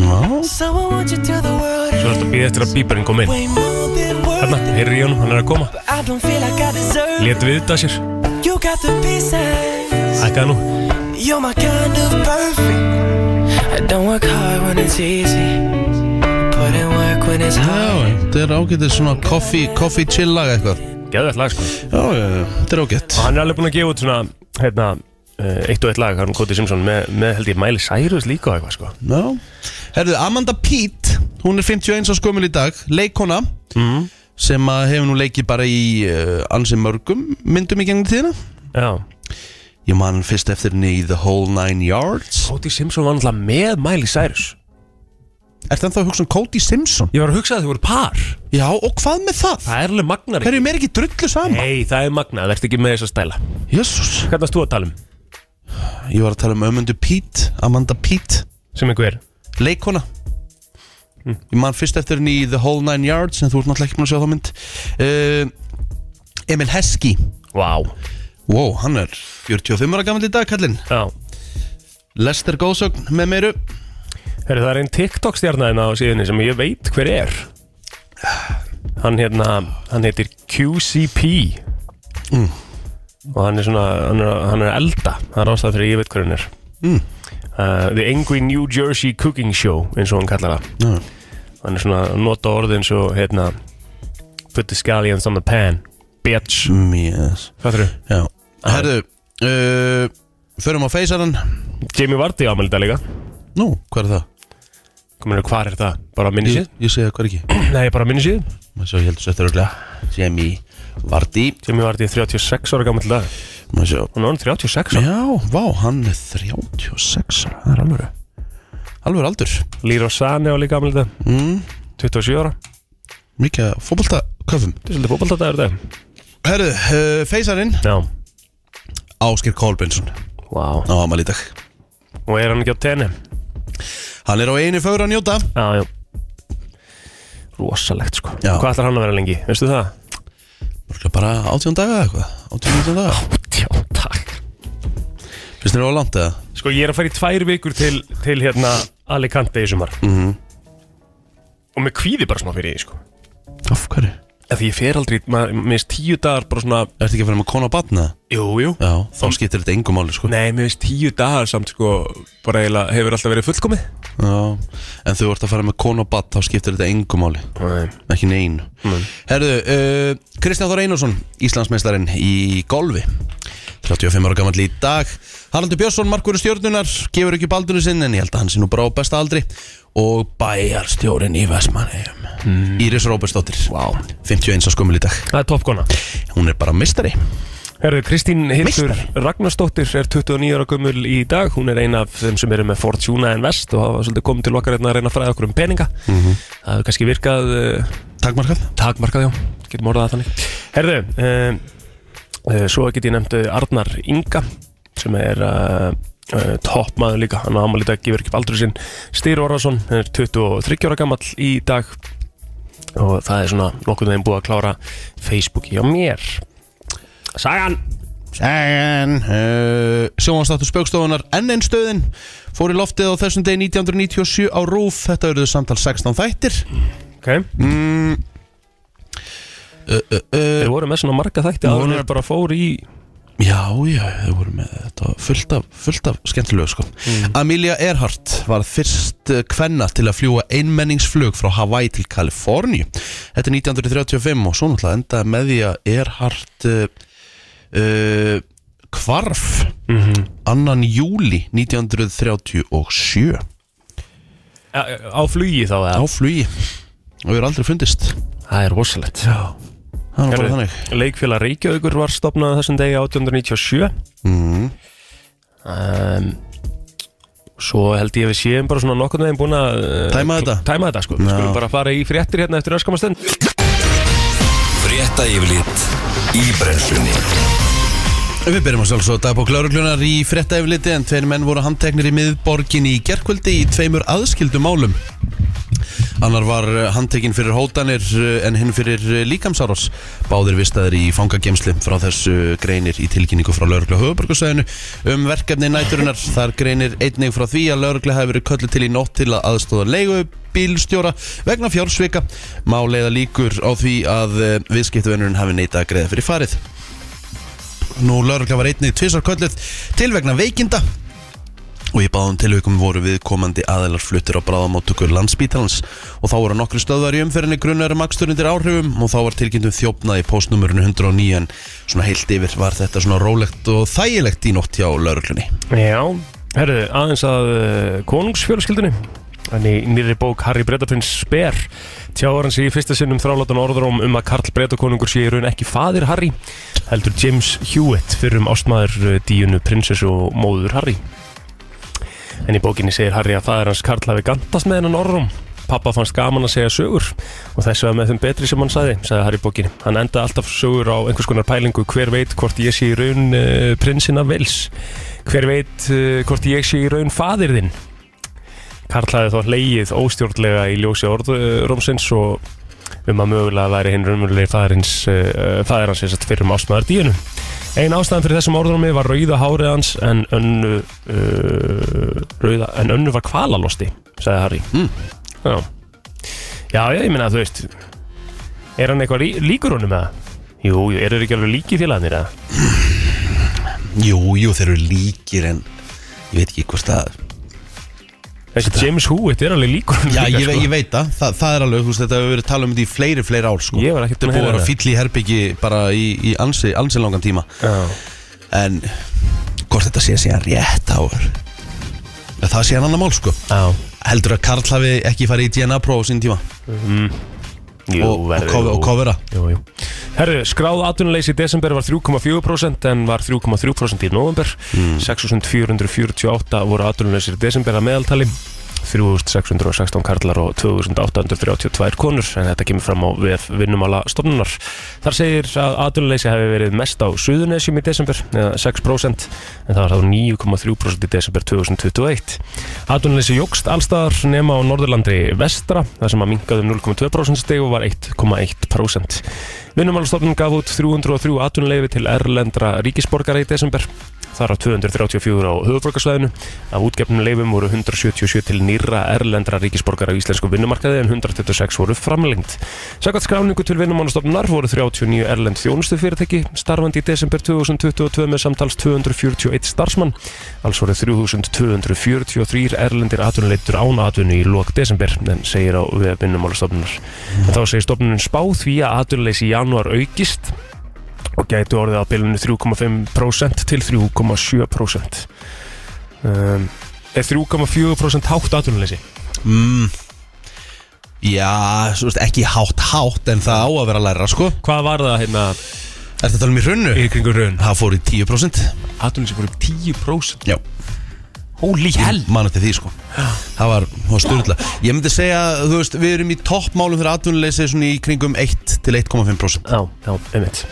A: Já
D: So I want you to the world.
B: Svo ertu að býða eftir að bíberinn kom inn
D: Way more than
B: Þarna,
D: worth it.
B: heyrðu í honum, hann er að koma
D: I don't feel like I deserve it.
B: Lét við þetta sér
D: You got the pieces.
B: Ækkaði nú
D: You're my kind of perfect. Don't work hard when it's easy. Put in work when it's
A: Já,
D: hard.
A: þetta er ágætið svona coffee, coffee chill lag eitthvað
B: Geðvægt lag sko
A: Já, já, já, þetta er ágætt
B: Og hann er alveg búinn að gefa út svona Hérna eh, Eitt og eitt lag Hann Cody Simpson með, með held ég Miley Cyrus líka og eitthvað sko
A: Já Herðu, Amanda Pete Hún er 51 á skömmul í dag Leikona
B: Mhm.
A: Sem að hefur nú leikið bara í uh, ansi mörgum myndum í gengum tíðina
B: Já
A: Ég man fyrst eftir henni í The Whole Nine Yards
B: Cody Simpson var náttúrulega með Miley Cyrus
A: Er það ennþá að hugsa um Cody Simpson?
B: Ég var að hugsa að þau voru par
A: Já, og hvað með það?
B: Það er alveg magnar
A: Hverjum er ekki drullu sama?
B: Nei, það er magnar Það ert ekki með þess að stæla
A: Jésús
B: Hvernig varst þú að tala um?
A: Ég var að tala um ömundu Pete, Amanda Pete
B: Sem einhver
A: Leikona Ég man fyrst eftir henni í The Whole Nine Yards En þú ert náttúrulega ekki búin að sjá þá mynd uh, Emil Heskey
B: Vá
A: Wow, hann er 45 ára gammal í dag, kallinn
B: Já
A: Lester Góðsögn með meiru
B: Herri, það er einn TikTok stjarnaðina á síðunni sem ég veit hver er Hann hérna, hann heitir QCP Mm. Og hann er svona, hann er, hann er að elda Það er ástæð fyrir að ég veit hver hann er uh, The Angry New Jersey Cooking Show eins og hann kallar það
A: Já.
B: Hann er svona að nota orðið eins og hérna Put the scallions on the pan Bitch
A: Mm, Yes
B: Hvað þurru?
A: Já, herðu uh, Förum á feysarann
B: Jamie Vardy ámæli þetta líka
A: Nú, hvað er það?
B: Kominu, hvað er það? Bara á minni
A: Ég,
B: síð?
A: ég segja hvað er ekki
B: Mm. Nei, bara á minni síð
A: Má sjá, ég heldur sér þurruglega Jamie Vardy
B: Jamie Vardy er 36 ára gammal dag
A: Má sjá
B: Hún er orðin 36 ára
A: Já, vá, hann er 36 ára, Það er alveg Alveg aldur
B: Lýra Sani á líka gamlega þetta
A: mm,
B: 27 ára
A: Mikið að fótbolta köfum
B: Þetta er svolítið fótballtataður þetta
A: Herðu, uh, feysarinn
B: Já
A: Áskir Kolbensson
B: Vá
A: á amal í dag
B: Og er hann ekki á tenni?
A: Hann er á einu fögur að njóta
B: Já, já Rosalegt sko
A: Já.
B: Hvað ætlar hann að vera lengi? Veistu það?
A: Mörglega bara 18 daga eða eitthvað 18 daga
B: Já, takk
A: Finnst þér það var langt eða?
B: Sko ég er að fara í tvær vikur til, til hérna Alicante í sumar
A: Mhm.
B: Og mér kvíði bara smá fyrir því sko
A: Af hverju?
B: Af Því ég fer aldrei, maður- mér finnst tíu dagar bara svona
A: Ertu ekki að fara með konu og batna?
B: Jú, jú
A: Já, þá skiptir þetta engum máli sko
B: Nei, mér finnst tíu dagar samt sko Bara eiginlega hefur alltaf verið fullkomið
A: Já, en þú ert að fara með konu og batna þá skiptir þetta engum máli
B: Nei
A: Ekki nein Herðu, uh, Kristján Þór Einarsson, Íslandsmeistarinn í golfi 35 ára gammal í dag Haraldur Björnsson, markvöru stjórnunar gefur ekki baldunni sinn en ég held að hann sé nú bara á besta aldri og bæjarstjórinn í Vestmanheim Íris Róbersdóttir wow. 51 á skumul í dag
B: Það er toppkona
A: Hún er bara mistari
B: Herðu, Kristín Hildur
A: Meistari.
B: Ragnarsdóttir er 29 ára gömul í dag Hún er eina af þeim sem eru með Fortuna Invest og hafa svolítið komið til okkar hérna að reyna að fræða okkur um peninga Það hefur kannski virkað uh,
A: Takmarkað
B: takmarkað, já, getum orðað það þannig Herðu, um, uh, svo get ég nefndu Arnar Inga sem er uh, uh, toppmaður líka, hann á ámæli í dag gefur ekki aldrei sinn Stýr Orðarsson, hann er 23 ára gamall í dag og það er svona nokkuð þeim búið að klára Facebooki á mér Sagan
A: Sagan uh, Sjónvansdáttur spökstofunar enn einn stöðin Fór í loftið á þessum degi 1997 á Rúf Þetta eruðu samtal 16 þættir
B: okay.
A: mm. uh, uh, uh,
B: Þeir voru með svona marga þætti að
A: Voru-
B: hann er bara fór í
A: Já, já, þau voru með þetta var fullt af, fullt af skemmtilegu sko Amelia Earhart var fyrst eh, kvenna til að fljúa einmenningsflug frá Hawaii til Kaliforníu Þetta er 1935 og svo náttúrulega endaði með því að Earhart uh, uh, kvarf
B: mm -hmm.
A: annan júli 1937
B: á flugi þá
A: á
B: eða?
A: flugi og við erum aldrei fundist
B: Það er rosalegt Já
A: það er nú bara
B: Gerðu.
A: þannig
B: Leikfélag Reykjavíkur var stopnað þessum degi 1897
A: mm.
B: um, Svo held ég að við séum bara svona nokkurn veginn búin að uh,
A: Tæma þetta.
B: Tæma þetta sko, við
A: Já.
B: skulum bara fara í fréttir hérna eftir öskama stund
E: Frétta yfirlit í brennslunni
A: Við byrjum að sjálfsög dagbók lauruglunar í frétta yfirliti en tveir menn voru handteknir í miðborgin í gerkvöldi í tveimur aðskildu málum. Annar var eh, handtekinn fyrir hótanir eh, en hinn fyrir eh, líkamsáros. Báðir vistaðir í fangagemsli frá þessu greinir í tilkynningu frá lauruglu höfuborgarsæðinu um verkefni næturinnar. Þar greinir einnig frá því að lauruglu hafi verið köllu til í nótt til að aðstóða leigu bílstjóra vegna fjársvika. Má leiða líkur á því að viðskiptuvenurinn hafi neitað að greiða fyrir farið. Nú laurugla var einnig tvisar kölluð til vegna veikinda og í báðum tilvikum voru viðkomandi aðelar fluttir á bráðamóttöku landsbítalans og þá voru nokkru stöðvar í umferðinni grunnarum aksturundir áhrifum og þá var tilkynntum þjófnað í postnumurinu 109 en svona heilt yfir var þetta svona rólegt og þægilegt í nótt hjá lauruglunni
B: Já, herðu, aðeins að uh, konungsfjölskyldunni Þannig í nýri bók Harry Bretaprins Sper tjáar hann sig í fyrsta sinnum þrálátan orðróm um að Karl Bretakonungur sé í raun ekki faðir Harry heldur James Hewitt fyrir um ástmaður díunu prinsessu og móður Harry En í bókinni segir Harry að faðir hans Karl hafi gantast með hennan orðróm Pappa fannst gaman að segja sögur og þess vegna með þeim betri sem hann sagði, sagði Harry í bókinni. Hann endaði alltaf sögur á einhvers konar pælingu hver veit hvort ég sé í raun uh, prinsina Vils hver veit uh, hvort ég sé í raun fadir þinn Karl hafði þá hleyið óstjórnlega í ljósi orðrómsins og um að mögulega væri hinn raunmjörlega fadirins uh, fadir hans þess að fyrir um ásmaðar díunu Ein ástæðan fyrir þessum orðrómi var rauða hárið hans en önnu uh, rauða, en önnu var kvalalosti sagði Harry
A: Mm.
B: Já. já, já, ég minna að þú veist er hann eitthvað lí líkur honum eða? Jú, jú, eru þeir ekki alveg líki félagarnir eða?
A: Jú, jú, þeir eru líkir en ég veit ekki hvort að
B: Þessi James Hewitt er alveg líkur honum
A: Já,
B: líka, sko.
A: ég, ve ég veit það, Þa, það er alveg, þú veist, þetta hefur verið talað um þetta í fleiri, fleiri ár sko.
B: Ég var ekkert
A: Þetta
B: búinn
A: er
B: að
A: búið að
B: heyra
A: vera fyll í herbyggi bara í, í ansi, ansi langan tíma
B: Já.
A: en hvort þetta sé síðan rétt á það sé hann annar mál sko
B: Já,
A: heldur að Karl hafi ekki farið í DNA próf á sín tíma
B: jú,
A: og, og,
B: verður-
A: kof, og kofera
B: Jú, jú. Herru, skráð atvinnuleysi í desember var 3,4% en var 3,3% í november 6.448 voru atvinnuleysi í desember að meðaltali 3616 karlar og 2832 konur en þetta kemur fram á VF vinnumala stofnunar. Þar segir að atvinnuleysi hefði verið mest á Suðunesjum í desember eða 6% en það var þá 9,3% í desember 2021. Atvinnuleysi jógst allstaðar nema á Norðurlandri vestra þar sem að minkaði um 0,2% steg og var 1,1%. Vinnumálastofnun gaf út 303 atvinnuleyfi til erlendra ríkisborgara í desember þar af 234 á höfuborgarsvæðinu. Af útgefnum leifum voru 177 til nýra erlendra ríkisborgar á íslensku vinnumarkaði en 126 voru framlengt. Sækvært skráningu til vinnumannastofnunar voru 39 erlend þjónustu fyrirtæki starfandi í desember 2022 með samtals 241 starfsmann. Alls voru 3243 erlendir atvinnuleitur án atvinnu í lok desember en segir á vinnumannastofnunar. Þá segir stofnunum spá því að atvinnuleysi í janúar aukist og gætu orðið á bilinu 3,5% til 3,7% um, er 3,4% hátt atvinnuleysi
A: mm. Já, svo veist, ekki hátt hátt en það á að vera að læra sko
B: hvað var það hérna
A: Er þetta talað um í hrunnu?
B: í kringur raun?
A: Það fór í 10%
B: atvinnuleysi fór upp 10%
A: Já
B: holy hell
A: Man eftir því sko Það var, það var styrla Ég myndi segja, þú veist, við erum í toppmálum fyrir atvinnuleysi svona í kringum 1 til 1,5%
B: já, já, einmitt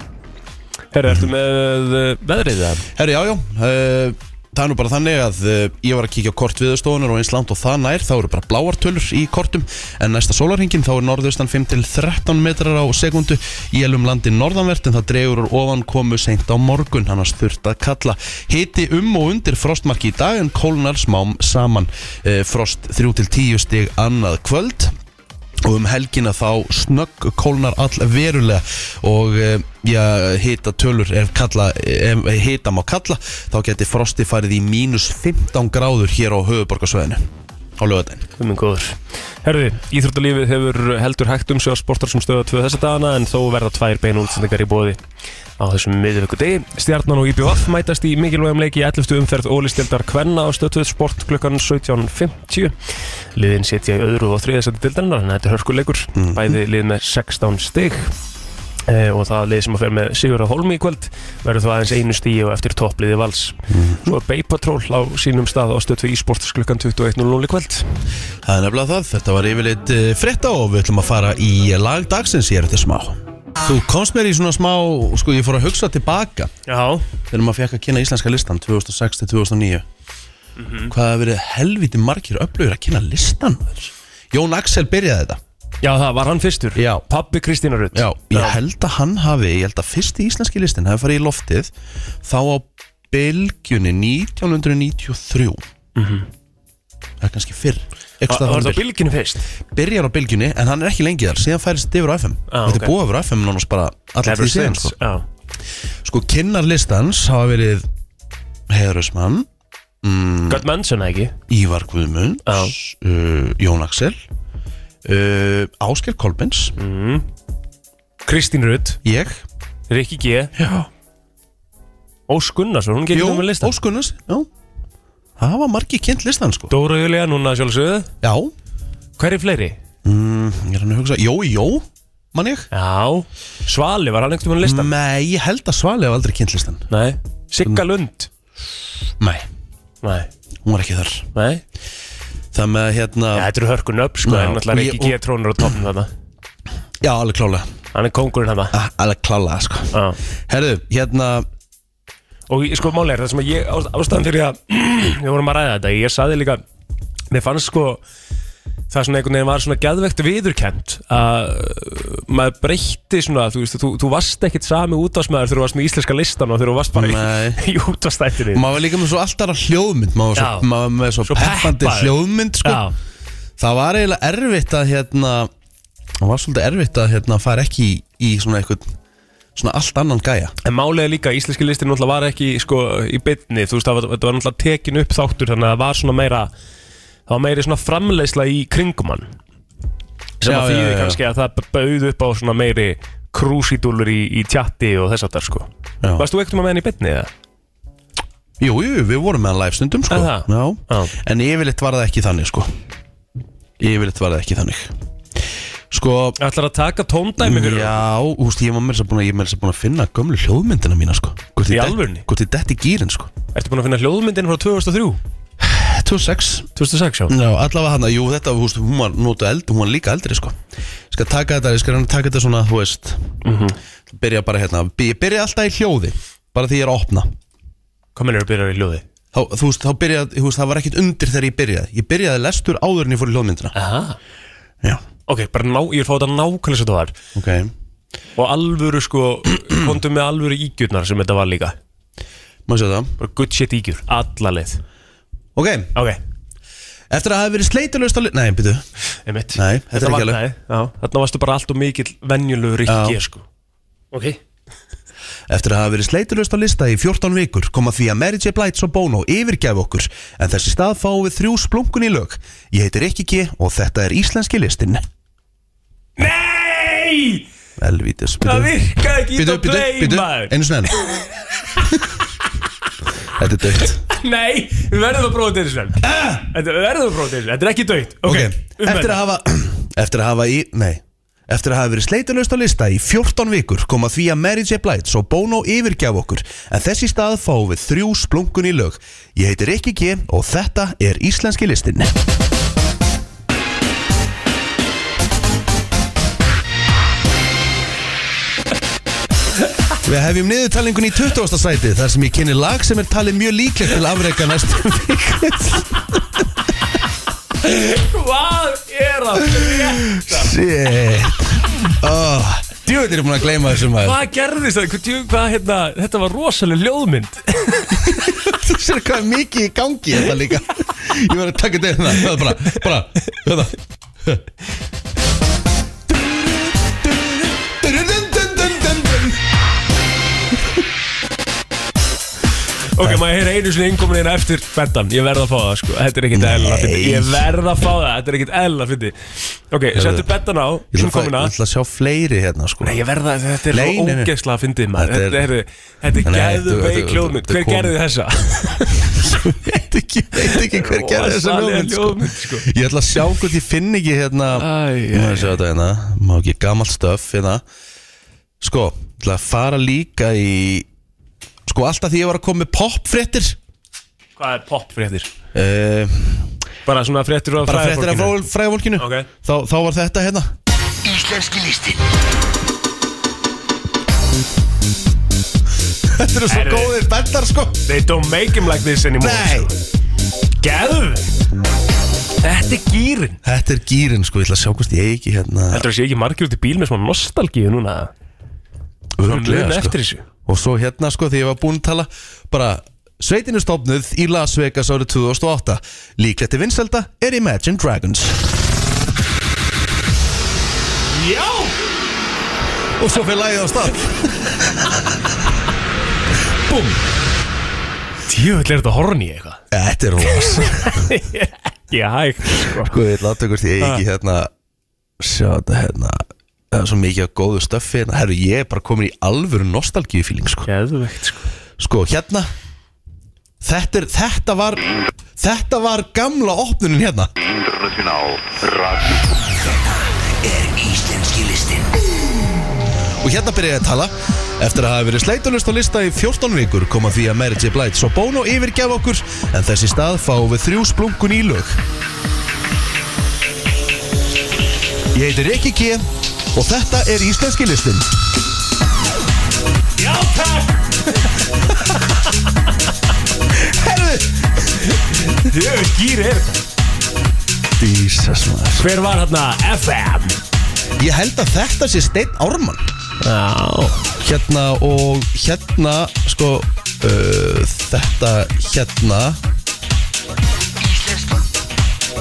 B: herru, ertu með uh, veðrið það?
A: Herri, já, já uh, Það er nú bara þannig að uh, ég var að kíkja á kort viðstofunar og eins langt og það nær, þá eru bara bláartölur í kortum en næsta sólarhingin þá er norðaustan 5 til 13 metrar á sekundu Jélum landi norðanvert en það dregur úr ofan komu seint á morgun annars þurft að kalla hiti um og undir frostmarki í dag en kólnar smám saman uh, frost 3 til 10 stig annað kvöld og um helgina þá snögg kólnar all verulega og eh, já, hita tölur ef, kalla, ef hita má kalla þá geti frosti farið í mínus 15 gráður hér á höfuborgarsveðinu á lögadaginn
B: Um en góður. Herði, Íþróttalífið hefur heldur hægt um sig á sportar sem stöða tvö þessa dagana en þó verða tvær beina útsendingar í bóði á þessum miðvöku degi. Stjarnan og IBF mætast í mikilvægum leik í 11. umferð ólistildar Kvenna á stöðtöð sport klukkan 17.50. Liðin setja í öðru og þriðasætti dildarinnar en þetta er hörkuleikur. Bæði lið með 16 stig eh, og það lið sem að fer með Sigur á Holmi í kvöld verður þá aðeins einu stíu og eftir toppliði vals. Svo er Bay Patrol á sínum stað á stöðtöð í sport klukkan 21.00 í kvöld.
A: Það er nefnilega það, þetta var yfirleitt eh, frétta og við ætlum að fara í lag dagsins hér eftir smá Þú komst mér í svona smá, sko ég fór að hugsa tilbaka
B: Já,
A: þegar maður fekk að kynna íslenska listan 2006-2009 hvað hafa verið helviti margir upplöfur að kynna listan maður? Jón Axel byrjaði þetta
B: Já, það var hann fyrstur
A: Já.
B: Pabbi Kristína Rutt
A: Já, ég held að hann hafi, ég held að fyrsti íslenski listin hafi farið í loftið þá á Belgjunni 1993 Það er kannski fyrr
B: Var
A: Eitthvað
B: var
A: það
B: það á
A: bil...
B: bylginu fyrst?
A: byrjar á Belgjunni en hann er ekki lengi þar, síðan færist yfir á FM
B: Ah, ok.
A: Þetta er búið yfir á FM nánast bara alltaf því síðan sko.
B: Já,
A: sko, kynnar listans hafa verið Heiðarismann, Mm.
B: Gott Manson ekki
A: Ívar Guðmunds
B: Já.
A: uh, Jón Axel uh, Ásker Kolbins
B: Kristín Rutt,
A: ég,
B: Rikki G
A: Já.
B: Ós Gunnarsson, hún getur
A: Jón
B: með listan
A: Óskunnars Já Það var margi kynnt listan sko
B: Dóra Júlía, núna sjálfsögðu
A: Já,
B: Hver er fleiri?
A: ég er hann að hugsa Jó, jó, mann ég
B: Já, Svali, var hann einhvern veginn listan?
A: Nei, ég held að Svali hef aldrei kynnt listan
B: Nei,
A: Mm.
B: Sigga Lund
A: Nei,
B: Nei,
A: hún var ekki þar
B: nei
A: Það með hérna,
B: ja, Þetta eru hörkun upp, sko,
A: Já.
B: en náttúrulega
A: Og ég-
B: Rikki G trónur á toppnum þarna
A: já, alveg klálega
B: Hann er kóngurinn hann
A: Ah, Alveg klálega sko
B: Já
A: Herðu, hérna,
B: og ég- sko máli er það sem að ég ást- ástæðan fyrir að við vorum að ræða þetta, ég saði líka mér fannst sko það svona einhvern veginn var svona gæðvegt viðurkend að uh, maður breytti svona, þú veist, þú, þú varst ekkit sami útvarsmaður þegar þú varst með íslenska listan og þegar þú varst bara
A: Nei.
B: í, í útvarsstættinni
A: maður var líka með svo alltaf hljóðmynd Maður var
B: Já.
A: svo, maður var með svo,
B: Svo
A: peppandi
B: peppaður.
A: hljóðmynd sko
B: Já,
A: Það var eiginlega erfitt að hérna Það var svolítið erfitt að hérna fara ekki í, í svona eitthvað Svona allt annan gæja
B: en málið er líka að íslenski listin náttúrulega var ekki sko í bytni, þú veist, það var, þetta var náttúrulega tekin upp þáttur þannig að það var svona meira það var meiri svona framleiðsla í kringumann sem að
A: Já, já,
B: þýði
A: já, já.
B: kannski að það bauð upp á svona meiri krúsidúlur í, í tjatti og þess að það sko
A: Já.
B: Varst þú ekkert með henni í bytni eða?
A: Jú, jú, við vorum með hann live stundum sko
B: Er það?
A: Já.
B: Já.
A: En yfirleitt var það ekki þannig sko Yfirleitt var það ekki þannig Sko
B: Ætlar að taka tóndæmi fyrir það?
A: Já, þú veist, ég var með þess að búin að, ég var meira að segja búin að finna gömlu hljóðmyndina mína sko Hvort
B: Í
A: ég dett-
B: alvörunni?
A: Hvort ég detti í gýrin sko
B: Ertu búin að finna hljóðmyndin frá 2003?
A: 26
B: 2006 já
A: Já, allavega hann jú, þetta, þú veist, hún var notu eld, hún var líka eldri, sko Ég skal taka þetta, ég skal hann taka þetta svona, þú veist
B: Mhm.
A: Byrja bara hérna, by- ég byrja alltaf í hljóði Bara því ég er að opna
B: Komin eru að byrja í hljóði
A: þá, Þú veist, þá byrja, þú veist, það var ekkert undir þegar ég byrjaði Ég byrjaði lestur áður en ég fór í hljóðmyndina
B: Aha.
A: Já,
B: Ok, bara ná, ég er fáið þetta nákvæmlega sem þetta var
A: ok
B: Og alvöru sko, komdu með alvöru ígjurnar sem þetta var líka
A: Má sjá það
B: Bara good shit ígjur, alla leið
A: Ok,
B: Ok,
A: eftir að það hafi verið sleitulöst að Nei, byrju,
B: einmitt
A: Nei, þetta er
B: var-
A: ekki alveg.
B: nei, já, Þarna varstu bara allt og mikill venjulegur
A: Já.
B: ekki sko Ok
A: Eftir að hafa verið sleitulöst á lista í 14 vikur koma því að Mary J. Blights og Bono yfirgæf okkur en þessi stað fáum við þrjú splunkun í lög. Ég heitir Rikki G og þetta er íslenski listin.
B: Nei,
A: Elvítis, býtu.
B: það virkaði ekki Ítla play maður
A: einu snenn. þetta er dögt.
B: Nei, við verðum að prófa þetta eins og enn Þetta við verðum að prófa þetta eins og enn, þetta er ekki döitt Ok, um
A: Ah. Eftir
B: þetta.
A: að hafa, eftir að hafa í, nei, eftir að hafa verið sleitulöst á lista í 14 vikur koma því að Mary J. Blights og Bono yfirgæf okkur en þessi stað fáum við þrjú splunkun í lög. Ég heitir Rikki G og þetta er íslenski listin. Við hefjum niðurtalingun í 20. sæti þar sem ég kynni lag sem er talið mjög líklegt til afreika næstu
B: Hvað er að
A: Shit oh, Djúvill er ég búin að gleyma þessu maður
B: Hvað gerðist það? Hvað, djú- hvað, hérna, þetta var rosalega ljóðmynd
A: Þú sér hvað er mikið í gangi þetta líka Ég var að taka þetta hérna Það er bara, bara, hérna
B: Ok, maður heyra einu sinni innkomin einu eftir Bentan, ég verð að fá það sko Þetta er ekkit eðla fyndi Ég verð að fá það, þetta er ekkit eðla fyndi Ok, settu Bentan á,
A: Ég ætla að fá- ég
B: innkomina
A: ætla að sjá fleiri hérna sko
B: Nei, ég verð að, þetta er
A: Nei, nei, nei.
B: ógeðslega fyndið maður
A: Þetta
B: Þetta
A: er-
B: er, þetta er
A: Nei,
B: gæðu
A: þetta- þetta-
B: veik ljóðmynd
A: þetta
B: Hver
A: kom-
B: gerði þessa?
A: veit ekki, veit ekki hver gerði þessa
B: Rosalega
A: ljóðmynd sko.
B: ljóðmynd, sko.
A: Ég ætla að sjá hvort ég finn ekki hérna
B: Æ, æ,
A: Má ég sjá þetta hérna Má ekki gamalt stöf hérna Sko, ég ætla að fara líka í Sko, alltaf því ég var að koma með popfréttir
B: Hvað er pop fréttir?
A: uh,
B: Bara svona fréttir á
A: Bara fréttir af
B: fræðafólkinu.
A: frá- fræðafólkinu
B: Ok.
A: þá, þá var þetta hérna
E: Íslenski listin
A: Þetta eru svo
B: Herri.
A: góðir bendar sko
B: They don't make him like this anymore
A: Nei,
B: Gæðu Þetta er gýrin
A: þetta er gýrin sko Ég ætla að sjá hvort ég eigi ekki hérna
B: Heldur það sé ekki margir út í bíl með smá nostalgíu núna
A: Örugglega,
B: muna
A: sko.
B: eftir þessu.
A: Og svo hérna sko því ég var búinn að tala Bara Sveitinu stofnuð í Las Vegas árið 2008 Líklegt til vinselda er Imagine Dragons
B: Já!
A: Og svo fyrir lagið á stað Búm
B: Djöfull er þetta horni eitthvað
A: Þetta er rós
B: Ekki hægt sko.
A: Sko ég láta hvort ég eigi ekki hérna Sjá þetta hérna Það er svo mikið að góðu stöffi hérna Herru ég er bara komin í alvöru nostalgíu fíling sko
B: Geðvegt sko
A: Sko hérna Þetta, er, þetta var Þetta var gamla opnunin hérna
E: International Radio Er íslenski listin
A: Og hérna byrja ég að tala Eftir að hafa verið sleitulust á lista í 14 vikur koma því að Mary J. Blight svo Bono yfirgef okkur en þessi stað fáum við þrjú splunkun í lög Ég heiti Rikki G og þetta er íslenski listin
B: Já takk
A: Herðu
B: Djöfull gýr er þetta
A: Dísas maður
B: Hver var hérna FM?
A: Ég held að þetta sé Steinn Ármann
B: Já
A: Hérna og hérna sko uh, þetta hérna Íslenski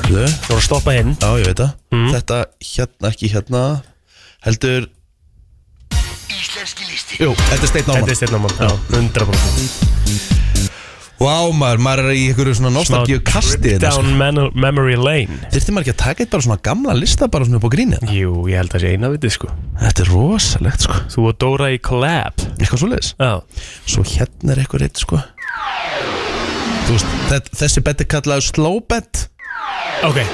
B: Þú voru að stoppa hinn
A: Já, ég veit það
B: Mm.
A: Þetta hérna, ekki hérna Heldur
E: Íslenski listin
A: Jú, þetta er Steinn
B: Þetta
A: Ámann
B: er styrna mann Já, 100%
A: Vá maður, maður er í einhverju svona nostalgíu kasti
B: Down
A: Þyrfti
B: meno- memory lane
A: maður ekki að taka eitt bara svona gamla lista bara svona upp á gríni hérna?
B: Jú, ég held að sé eina vitið sko
A: Þetta er rosalegt sko
B: Þú og Dóra í collab
A: Eitthvað svoleiðis
B: Já
A: Svo hérna er eitthvað reitt sko Þú veist, þett, þessi bett er kallaður slow bet
B: Ok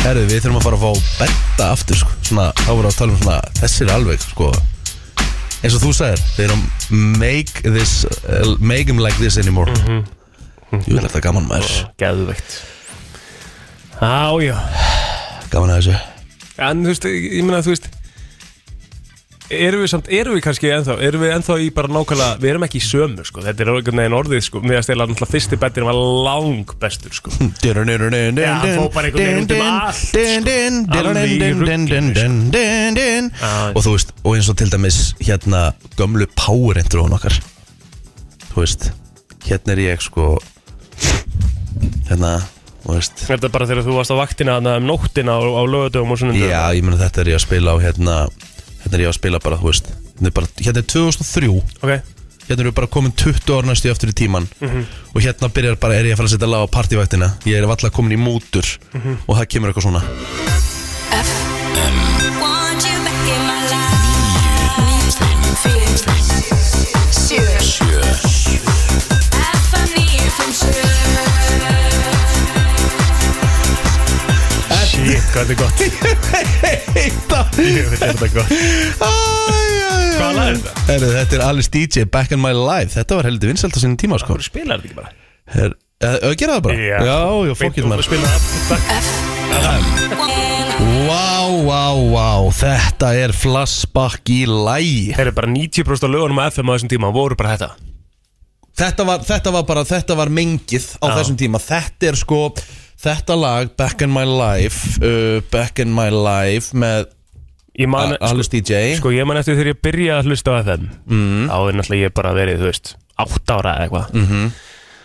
A: Herðu, við þurfum að fara að fá betta aftur sko Svona, þá voru að tala um svona Þessi er alveg sko eins og þú sagðir They don't make this uh, Make them like this anymore mm -hmm. Jú, þetta er gaman maður
B: Geðveikt Á, já
A: Gaman að þessu
B: En þú veist, ég ég meina þú veist Erum við samt, erum við kannski ennþá Erum við ennþá í bara nákvæmlega Við erum ekki í sömu, sko Þetta er einhvern veginn orðið, sko Mér að stela náttúrulega fyrsti bettin var lang bestur, sko
A: Já,
B: hann fór bara einhvern veginn út um allt, Alveg í ruglinu, Já, já.
A: Og þú veist, og eins og til dæmis hérna gömlu power introðun okkar Þú veist, hérna er ég sko Hérna, þú veist
B: Þetta er bara þegar þú varst á vaktina Þannig um nóttina á, á lögadögum og svona
A: Já, ég meina þetta er ég að spila á hérna Hérna er ég að spila bara, þú veist Hérna er, bara, hérna er 2003
B: Ok
A: Hérna erum við bara komin 20 ár næstu aftur í tíman Og hérna byrjar bara, er ég að fara að setja lag á partyvættina Ég er valla komin í mútur Og það kemur eitthvað svona
F: Want you back in my life. Feels like sure. I found you from sure.
B: Shit, hvað þetta er gott Ég veit þetta er gott Hvaða lag er þetta?
A: Heru, þetta er Alice DJ, Back in My Life Þetta var heldur vinsælt á sínum tíma sko
B: Þú spilar þetta ekki bara
A: Her, uh, Gera það bara? já, já fokkitt
B: Þú
A: maður
B: spilar þetta
A: Vá, vá, vá, þetta er flashback í lægi
B: Þeir eru bara 90% af lögunum á FM á þessum tíma voru bara þetta
A: þetta var, þetta var bara, þetta var mengið á
B: Já.
A: þessum tíma Þetta er sko, þetta lag, Back in My Life uh, Back in My Life með
B: Ég man,
A: A- Alice DJ
B: sko ég man eftir þegar ég byrjaði að hlusta á FM mm. þá er náttúrulega ég bara verið, þú veist, 8 ára eða eitthvað mm -hmm.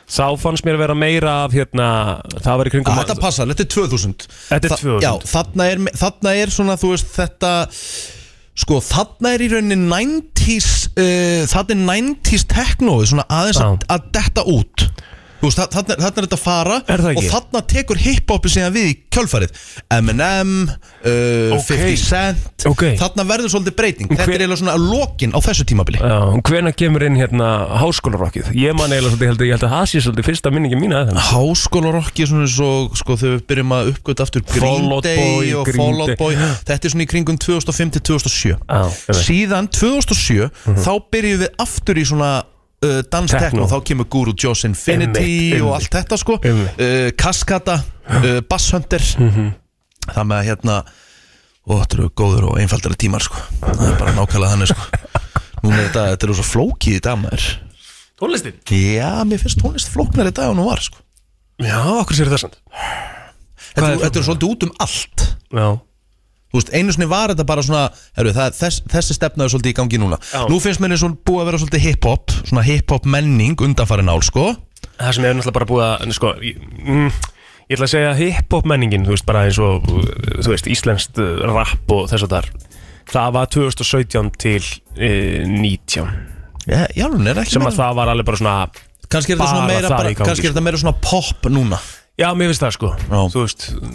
B: Sá fannst mér vera meira af hérna, það var í
A: Já,
B: kringum
A: Ah, Þetta passar, þetta er 2000
B: Þetta er
A: Þa-
B: 2000.
A: Já, þarna er, þarna er svona, þú veist, þetta Sko, þarna er í rauninni 90s uh, Þarna er 90s teknóið Svona aðeins
B: Já.
A: að, að detta út Þú veist, þa- þarna, þarna er þetta að fara
B: Er það
A: Og
B: ekki?
A: þarna tekur hiphopi síðan við í kjölfarið M&M, uh,
B: Ok.
A: 50 Cent
B: Ok.
A: Þarna verður svolítið breyting Þetta
B: hver-
A: er eiginlega svona lokin á þessu tímabili
B: Já, hvena kemur inn hérna háskólarokkið? Ég man eiginlega svolítið, ég held, að- ég held að það sé svolítið fyrsta minningi mín að þeim
A: háskólarokki svona eins og sko þegar við byrjum að uppgöta aftur Green
B: Fall Out
A: Day
B: Boy,
A: og
B: Green
A: Fall Out
B: Day.
A: Boy þetta er svona í kringum 2005-2007
B: Já, ég veit.
A: síðan 2007 þá byrjum við aftur í svona uh, danstekno,
B: Techno.
A: þá kemur Guru Joss Infinity
B: Einmitt,
A: og
B: einmitt.
A: allt þetta sko
B: Einmitt. Mhm.
A: uh, Kaskata, uh, Basshunter það með að hérna og þetta eru góður og einfaldari tímar sko það er bara nákvæmlega þannig sko Núna er þetta, þetta eru svo flókið í dag maður
B: Tónlistin?
A: Já, mér finnst tónlist flóknar í dag en hún var sko
B: Já, okkur sér það sant
A: Þetta,
B: Hvað er
A: þetta er svolítið út um allt
B: Já,
A: Þú veist, einu sinni var þetta bara svona heru, það, þess, Þessi stefna er svolítið í gangi núna
B: Já.
A: Nú finnst mér eins og búið að vera svolítið hip-hop Svona hip-hop menning undanfærin ál sko.
B: það sem er náttúrulega bara búið að, sko, ég, mm, ég ætla að segja hip-hop menningin, þú veist, bara eins og, uh, þú veist, íslenskt uh, rap og þess að þar, það var 2017 til uh, 19,
A: Já, já, hún er ekki
B: sem að það var alveg bara svona,
A: Kanski er þetta
B: bara
A: svona meira,
B: það
A: bara,
B: í gangi, sko.
A: kannski er þetta meira svona pop núna
B: já, mér finnst það, sko,
A: Já.
B: þú veist, uh,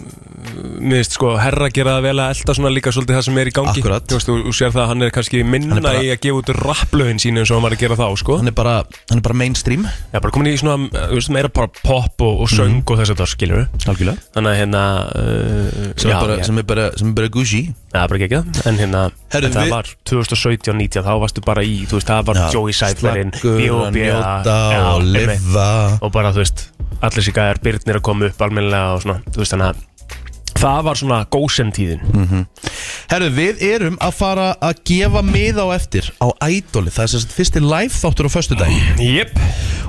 B: mér finnst, sko, herra gera það vel að elda svona líka svolítið það sem er í gangi,
A: Akkurat.
B: þú veist, þú, þú sér það að hann er kannski minna
A: Hann er bara-
B: í að gefa út rapplöfin sín eins og hann var að gera þá, sko,
A: Hann er bara, hann er bara mainstream
B: já, bara komin í svona, uh, þú veist, meira bara pop og, og söng og þess að það, skilur
A: Mhm. Algjörlega
B: Þannig að hérna uh,
A: Sem,
B: já,
A: er bara,
B: já.
A: sem, er bara, sem er bara Gucci
B: Já, það er bara ekki ekki En hérna,
A: Herru,
B: það
A: við-
B: var 2017-19 Þá varstu bara í, þú veist, það var
A: Já,
B: Joey Sætlerinn
A: Slaggur að njóta og lifa
B: Og bara, þú veist, allir sér gæjar Byrnir að koma upp almennilega og svona Þú veist, þannig að það var svona gósentíðin mm.
A: Herru, við erum að fara að gefa miða á eftir Á Idoli, það er sem sagt fyrsti live þáttur á föstudaginn
B: Jep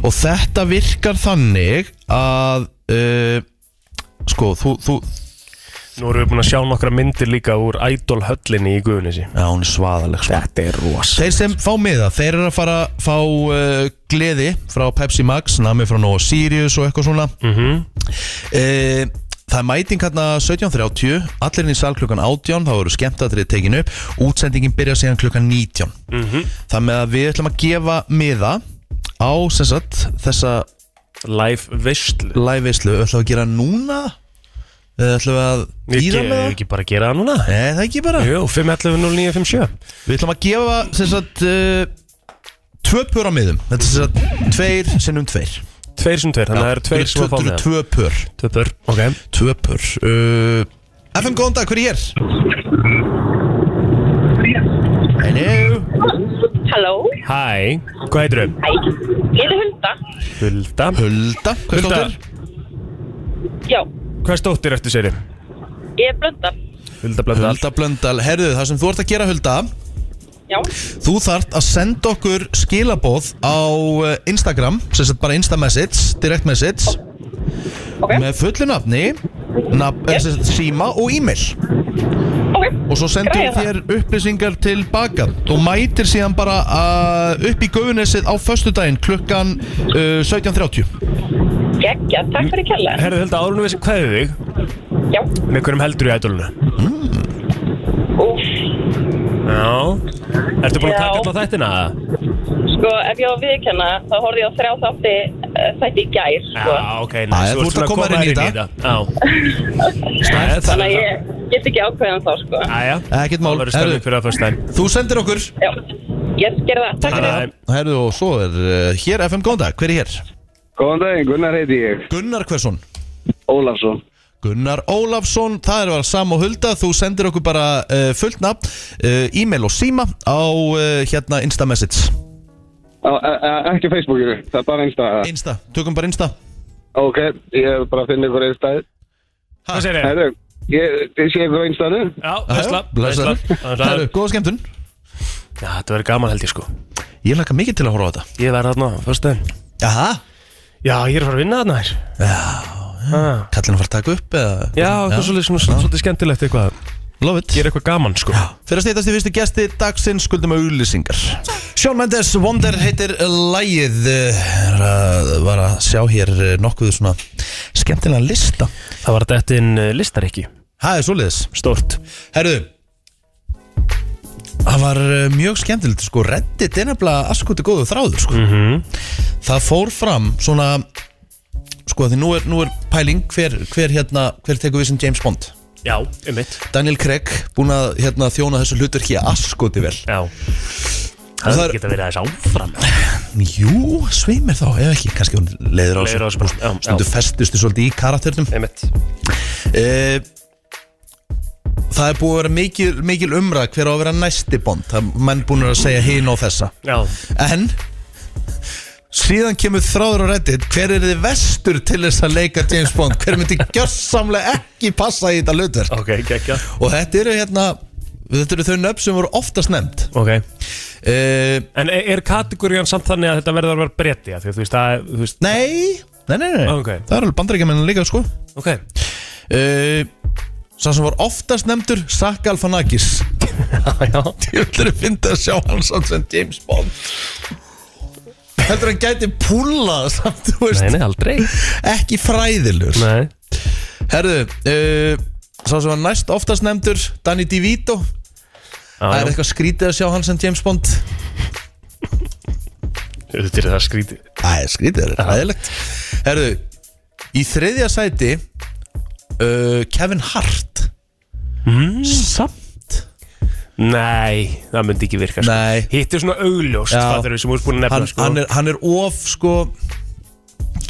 A: Og þetta virkar þannig að uh, Sko, þú, þú
B: Nú erum við búin að sjá nokkra myndir líka úr Idol höllinni í Guðunissi
A: Já, hún er svaðaleg sko.
B: Þetta er rosa
A: Þeir sem fá miða, þeir eru að fara að fá uh, gleði frá Pepsi Max Nami frá Nóa Sirius og eitthvað svona mm Það er mæting hérna 17.30 Allir inn í sal klukkan 18 Þá eru skemmtatrið tekin upp Útsendingin byrja síðan klukkan 19 mm -hmm. Þannig að við ætlum að gefa miða Á sem sagt, þessa
B: Live veistlu
A: live veislu Ætlum við að gera núna Eða ætlum við að
B: Ég
A: bíða með það?
B: ég ekki bara að gera það núna
A: Nei, það er ekki bara
B: Jú, 5.11.09.57
A: Við ætlum að gefa sem sagt uh, Tvö pör á miðum Þetta er sem sagt tveir sinnum tveir
B: Tveir sem tveir, þannig að það eru tveir sem að fá
A: Þetta
B: með það
A: eru tvö pör
B: Tvö börn, ok
A: Tvö pör Eh, uh, FM, góðan dag, hver er ég?
B: Hello
G: Halló,
B: Hæ, hvað heitir þau?
G: hæ, ég er Hulda
B: Hulda
A: Hulda, hvað
B: Hulda,
A: stóttir?
G: Já,
B: hvað stóttir eftir séri?
G: ég er Blönda
B: Hulda Blöndal
A: Hulda Blöndal, herðu það sem þú ert að gera Hulda
G: Já,
A: Þú þart að senda okkur skilaboð á eh, Instagram, sem sagt bara Insta message, direct message
G: Ok.
A: með fullu nafni, nafn, yep. sagt, síma og e-mail
G: ok,
A: og svo sendur
G: Græja
A: við
G: það.
A: þér upplýsingar til baka þú mætir síðan bara uh, upp í gauðunessið á föstudaginn klukkan uh, 17.30
G: geggja, takk fyrir kjalla
B: Herðu Hulda, árunum við sem kveðið þig
G: Já,
B: Með hverjum heldur í ædolunu?
G: úf,
B: Já Ertu búin að
G: Já.
B: taka alla þættina?
G: sko, ef ég á að viðkenna þá horfði ég á þrjá þátti uh, þætti í gær,
B: Já,
G: sko
B: ok,
A: Æ,
B: næs,
A: þú ert að koma þér inn í þetta.
B: Já Snært
G: Þannig að ég get ekki ákveðan þá, sko
B: Æja
A: Ekkert mál,
B: Það verður
A: herðu,
B: stöðum fyrir að fyrst dæm
A: þú sendir okkur
G: Já, ég sker það, takk fyrir
A: herðu, og svo er uh, hér FM góðan dag, hver er hér?
H: Góðan daginn, Gunnar heiti ég,
A: Gunnar Hversson
H: Ólafsson.
A: Gunnar Ólafsson, það er var Sam og Hulda þú sendir okkur bara uh, fullt nafn uh, e-mail og síma á uh, hérna Insta message
H: Á, e- e- Ekki Facebookinu, það er bara Insta.
A: Insta, tökum bara Insta
H: Ok, ég hef bara að finna ykkur einstæði.
B: Hvað segir ég?
H: Herru, ég, ég sé ykkur á Instanu.
B: Já, vesla
A: Blessaður.
B: Vesla
A: Herðu, góða skemmtun
B: Já, þetta verður gaman held ég sko
A: Ég laka mikið til að horfa á þetta
B: Ég verð þarna, fyrst dæm
A: Jaha,
B: Já, ég er að fara að vinna þarna þér Já
A: kallin að fara að taka upp eða
B: Já, eitthvað svolítið svona svona- svolítið skemmtilegt eitthvað
A: Love it
B: Gera eitthvað gaman sko
A: Fyrir að steytast í fyrstu gesti dagsins skuldum að auglýsingar Sean Mendes, Wonder heitir lægið er að, Var að sjá hér eh, nokkuð svona skemmtilega lista
B: Það var þetta inn eh, listarikki
A: Það er svoleiðis
B: Stort
A: Herðu Það var eh, mjög skemmtilegt sko Reddit er nefnilega askutu góðu þráður sko Það fór fram svona Sko því nú er, nú er pæling hver, hver hérna Hver tekur við sem James Bond
B: Já, um mitt
A: Daniel Craig búin að hérna, þjóna þessu hlutverki askutu vel
B: Já
A: Það
B: Það
A: er-
B: geta verið aðeins áfram
A: Jú, sveimir þá, ef ekki, kannski hún leiður á
B: Leiður á þessu, já, já.
A: stundu festustu svolítið í karakternum
B: Um mitt
A: e, Það er búið að vera mikil, mikil umræð hver á að vera næsti bond það er menn búin að segja hin og þessa
B: Já
A: En síðan kemur þráður á reddit hver er þið vestur til þess að leika James Bond hver myndi gjörsamlega ekki passa í þetta hlutverk
B: Ok, gekkja
A: og þetta eru hérna þetta eru þau nöfn sem voru oftast nefnd
B: Ok
A: e,
B: En er er kategórían samt þannig að þetta verður að vera bretti Því að þú veist að þú veist
A: Nei, nei, nei, nei.
B: Ok.
A: það er alveg bandaríkjamennin líka sko
B: Ok
A: Eh, Sá sem var oftast nefndur Saka Alfanakis
B: Já
A: Ég vil þeirri fyndi að sjá hann samt sem James Bond Heldur hann gæti púlað samt, þú veist
B: Nei, nei, aldrei
A: Ekki fræðilur
B: Nei
A: Herðu, uh, sá sem var næst oftast nefndur Danny DeVito Það er
B: Já,
A: eitthvað skrítið að sjá hann sem James Bond
B: þetta er það skríti
A: Það er skrítið, það er ræðilegt Herðu, í þriðja sæti uh, Kevin Hart mm. Samt
B: Nei, það myndi ekki virka sko.
A: Nei.
B: Hitt er svona augljóst
A: Já.
B: Það er við sem úr búin að
A: hann,
B: nefna sko.
A: hann, er, hann er of sko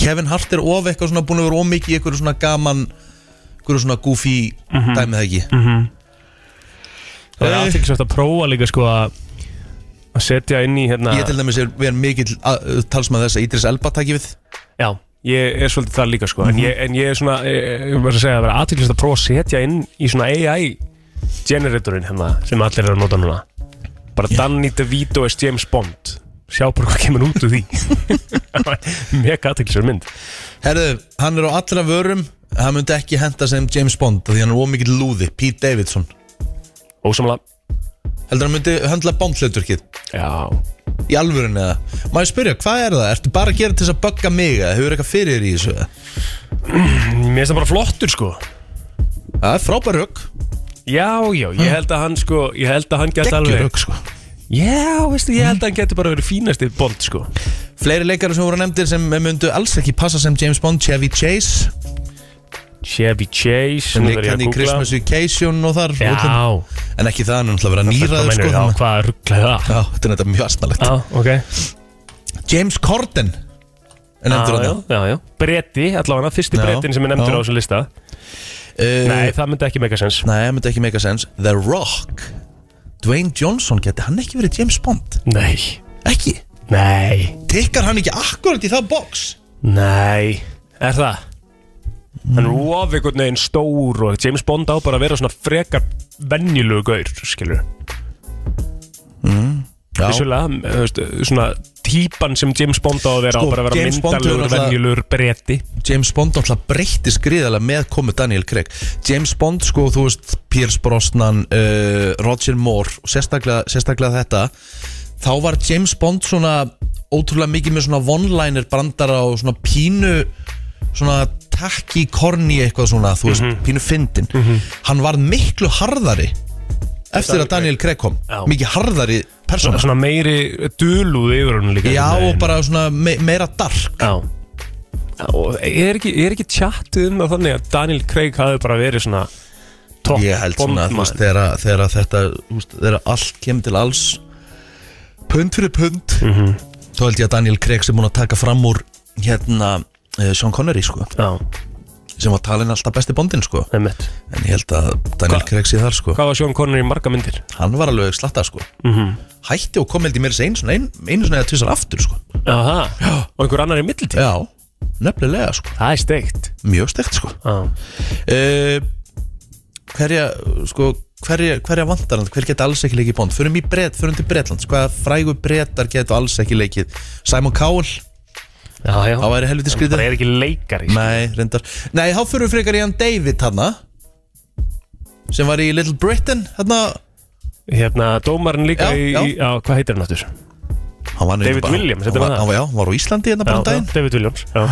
A: Kevin Hart er of eitthvað svona búin að vera of mikið í einhverju svona gaman einhverju svona goofy
B: Mhm.
A: dæmið það ekki
B: Það er alltaf ekki svært að prófa líka sko að að setja inn í hérna
A: ég til dæmis er verið mikill að- talsmaður þess að Idris Elba takki við
B: Já, ég er svolítið það líka sko en, ég, en ég er svona, ég, ég verður að segja að vera aðtýrlist að prófa að setja inn í svona AI generatorinn hérna sem allir eru að nota núna bara Danny DeVito as James Bond sjá bara hvað kemur út úr því mega aðtýrlistur mynd
A: herðu, hann er á allra vörum hann myndi ekki henda sem James Bond af því hann er of mikill lúði, Pete Davidson
B: ósamlega,
A: heldur hann myndi höndla bondhlauturkið
B: já
A: í alvörun eða maður spyrja, hvað er það, ertu bara að gera til þess að bögga mig eða hefur eitthvað fyrir þér í þessu eða?
B: mér finnst það bara flottur sko
A: það er frábær rögg,
B: já, já, ég held að hann sko ég held að hann geti
A: geggjur
B: alveg
A: rögg sko
B: já, veistu, ég held að hann geti bara verið fínasti Bond sko
A: Fleiri leikarar sem voru nefndir sem myndu alls ekki passa sem James Bond, Chevy Chase
B: Chevy Chase,
A: sem
B: nú
A: leik
B: verður ég
A: hann
B: að
A: í
B: googla.
A: Christmas Vacation og þar öllum.
B: já,
A: En ekki það, hann er náttúrulega að vera
B: hvað
A: nýraður
B: mennur,
A: sko
B: já,
A: þannig að-
B: hvað rugglaði það
A: Já, þetta er þetta mjög astnalegt
B: Já, ok
A: James Corden er nefndur
B: já,
A: hann
B: já, já. Breti, allavega, fyrsti
A: Já,
B: bretin sem er nefndur
A: já. Eh.
B: á þessum lista Nei, það myndi ekki meika sens
A: Nei, það myndi ekki meika sens The Rock Dwayne Johnson geti hann ekki verið James Bond
B: Nei,
A: Ekki?
B: nei,
A: Tikkar hann ekki akkurat í það box?
B: nei Er það? Hann er of einhvern veginn stór og James Bond á bara að vera svona frekar venjulegu gaur, skilur
A: Já,
B: Vissulega, eh, þú veist, svona típan sem James Bond á að vera
A: Sko,
B: á bara að vera
A: James Bond hefur
B: myndalur,
A: náttúrulega-
B: venjulur, breyti
A: James Bond alltaf breytti skriðalega með komu Daniel Craig James Bond, sko, þú veist, Pierce Brosnan uh, Roger Moore og sérstaklega, sérstaklega þetta þá var James Bond svona ótrúlega mikið með svona one-liner brandara og svona pínu svona takki korni eitthvað svona, þú veist,
B: Mhm.
A: pínu fyndin hann var miklu harðari eftir að Daniel Craig kom
B: Já.
A: mikið harðari persóna
B: Svona meiri duluð yfir hann líka einhvern
A: já og
B: veginn.
A: bara svona me meira dark
B: Já Og er ekki, er ekki tjattið um það þannig að Daniel Craig hafi bara verið svona topp
A: ég held svona þú veist,
B: bondmaður
A: þegar, þegar þetta þú veist, þegar allt kemur til alls pund fyrir pund
B: Mhm.
A: þá held ég að Daniel Craig sem búin að taka fram úr hérna uh, Sean Connery sko
B: Já,
A: sem var talin alltaf besti bondin sko
B: einmitt
A: en ég held að Daniel
B: Hva- Mhm.
A: Craig sé þar sko
B: Hvað var Sean Connery í marga myndir?
A: hann var alveg slatta sko hætti og kom held ég mér þessi einu svona ein, einu svona eða tvisar aftur sko
B: Já, það Og einhver annar í mittiltíð
A: já nefnilega sko
B: Það er steikt
A: mjög stegt sko
B: Já
A: uh, hverja sko, hverja, hverja vantar hann hver geta alls ekki leikið í Bond förum í brett, förum til Bretlands hvað frægu brettar geta alls ekki leikið Simon Cowell,
B: Já, já
A: þá væri helviti
B: Það
A: skrítið
B: er ekki leikari
A: nei, reyndar nei, þá förum við frekar í hann David hann sem var í Little Britain hann
B: Hérna, dómarinn líka
A: Já,
B: í,
A: já.
B: í Já, hvað heitir hann aftur?
A: hann var
B: David Williams, þetta
A: hann
B: var það.
A: var, hann var, já, hann var á Íslandi hérna
B: Já,
A: bara um
B: já,
A: daginn
B: David Williams Já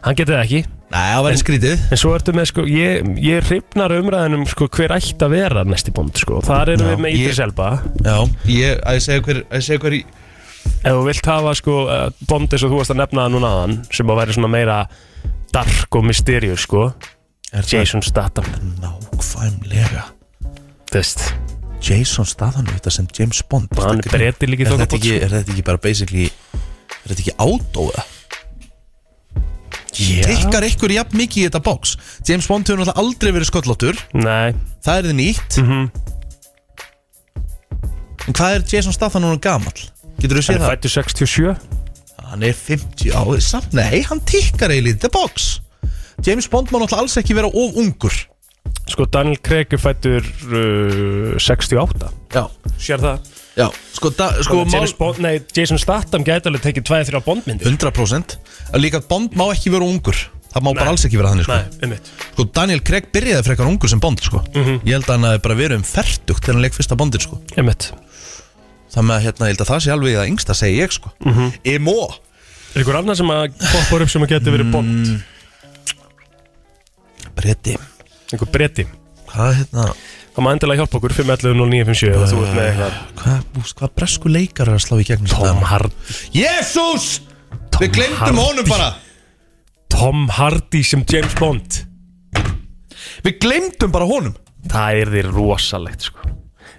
B: Hann getið það ekki
A: nei, það væri skrítið
B: En svo ertu með, sko, ég, ég hrifnar umræðinum, sko, hver ætti að vera næsti bond, sko. Þar erum
A: Já,
B: við með
A: ég-
B: Idris Elba.
A: já, ég, að ég segja hver, að ég segja hver í
B: Ef þú vilt hafa sko eh, Bond eins og þú varst að nefna það núna aðan sem að væri svona meira dark og mysterious sko
A: er það
B: Jason Statham
A: nákvæmlega
B: Þú veist
A: Jason Statham þetta sem James Bond
B: Og hann
A: Þetta er-
B: breytir líka í
A: er
B: þokkabót,
A: þetta ekki, er þetta ekki bara basically er þetta ekki ádóða
B: yeah.
A: tikkar ykkur jafn mikið í þetta box James Bond hefur náttúrulega aldrei verið sköllóttur
B: Nei
A: það er þið nýtt
B: Mhm.
A: en hvað er Jason Statham núna gamall getur þú
B: Hann
A: séð
B: er
A: það?
B: fættur 67
A: hann er 50 ári samt nei, hann tikkar eiginlega í þetta box James Bond má náttúrulega alls ekki vera of ungur
B: Sko Daniel Craig er fættur uh, 68
A: já,
B: Sér það
A: já sko, da, sko mál,
B: James Bond, Nei, Jason Statham gæti alveg tekið 2-3 Bondmyndir
A: 100% að líka Bond má ekki vera ungur það má bara alls ekki vera þannig sko.
B: Nei, einmitt
A: Sko Daniel Craig byrjaði frekar ungur sem Bond sko.
B: Mhm.
A: Ég held að hann hafi bara verið um ferdugt Þegar hann leik fyrsta Bondin sko.
B: Einmitt
A: Þannig að hérna, ég held að það sé alveg það yngsta segi ég sko. mm
B: Mhm.
A: -hmm. Emo
B: Er ykkur annar sem að poppar upp sem að geti verið Bond
A: Breti
B: Einhver breyti
A: Hvað hérna
B: Það má endilega hjálpa okkur 511 0957 ef Þú ert með eitthvað
A: Hvað hva bresku leikar er að slá í gegnum
B: Tom Hardy
A: Jésús
B: Tom
A: Við glemdum
B: Hardy.
A: honum bara
B: Tom Hardy sem James Bond
A: Við glemdum bara honum
B: Það er því rosalegt sko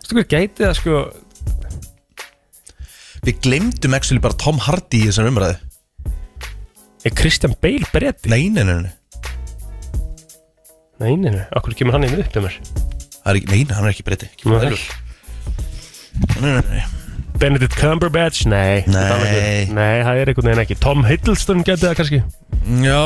B: Þú veist, gæti það sko
A: Við glemdum actually bara Tom Hardy í þessum umræði
B: Er Christian Bale breyti?
A: Nei, nei, nei, nei
B: Nei, nei, nei, okkur kemur hann einu upp hjá mér
A: Það er ekki, nei, nei, hann er ekki breti
B: Kemur hann upp?
A: Nei, nei, nei
B: Benedict Cumberbatch? Nei
A: Nei.
B: þetta er ekki- Nei, það er einhvern veginn ekki Tom Hiddleston gæti það kannski
A: Já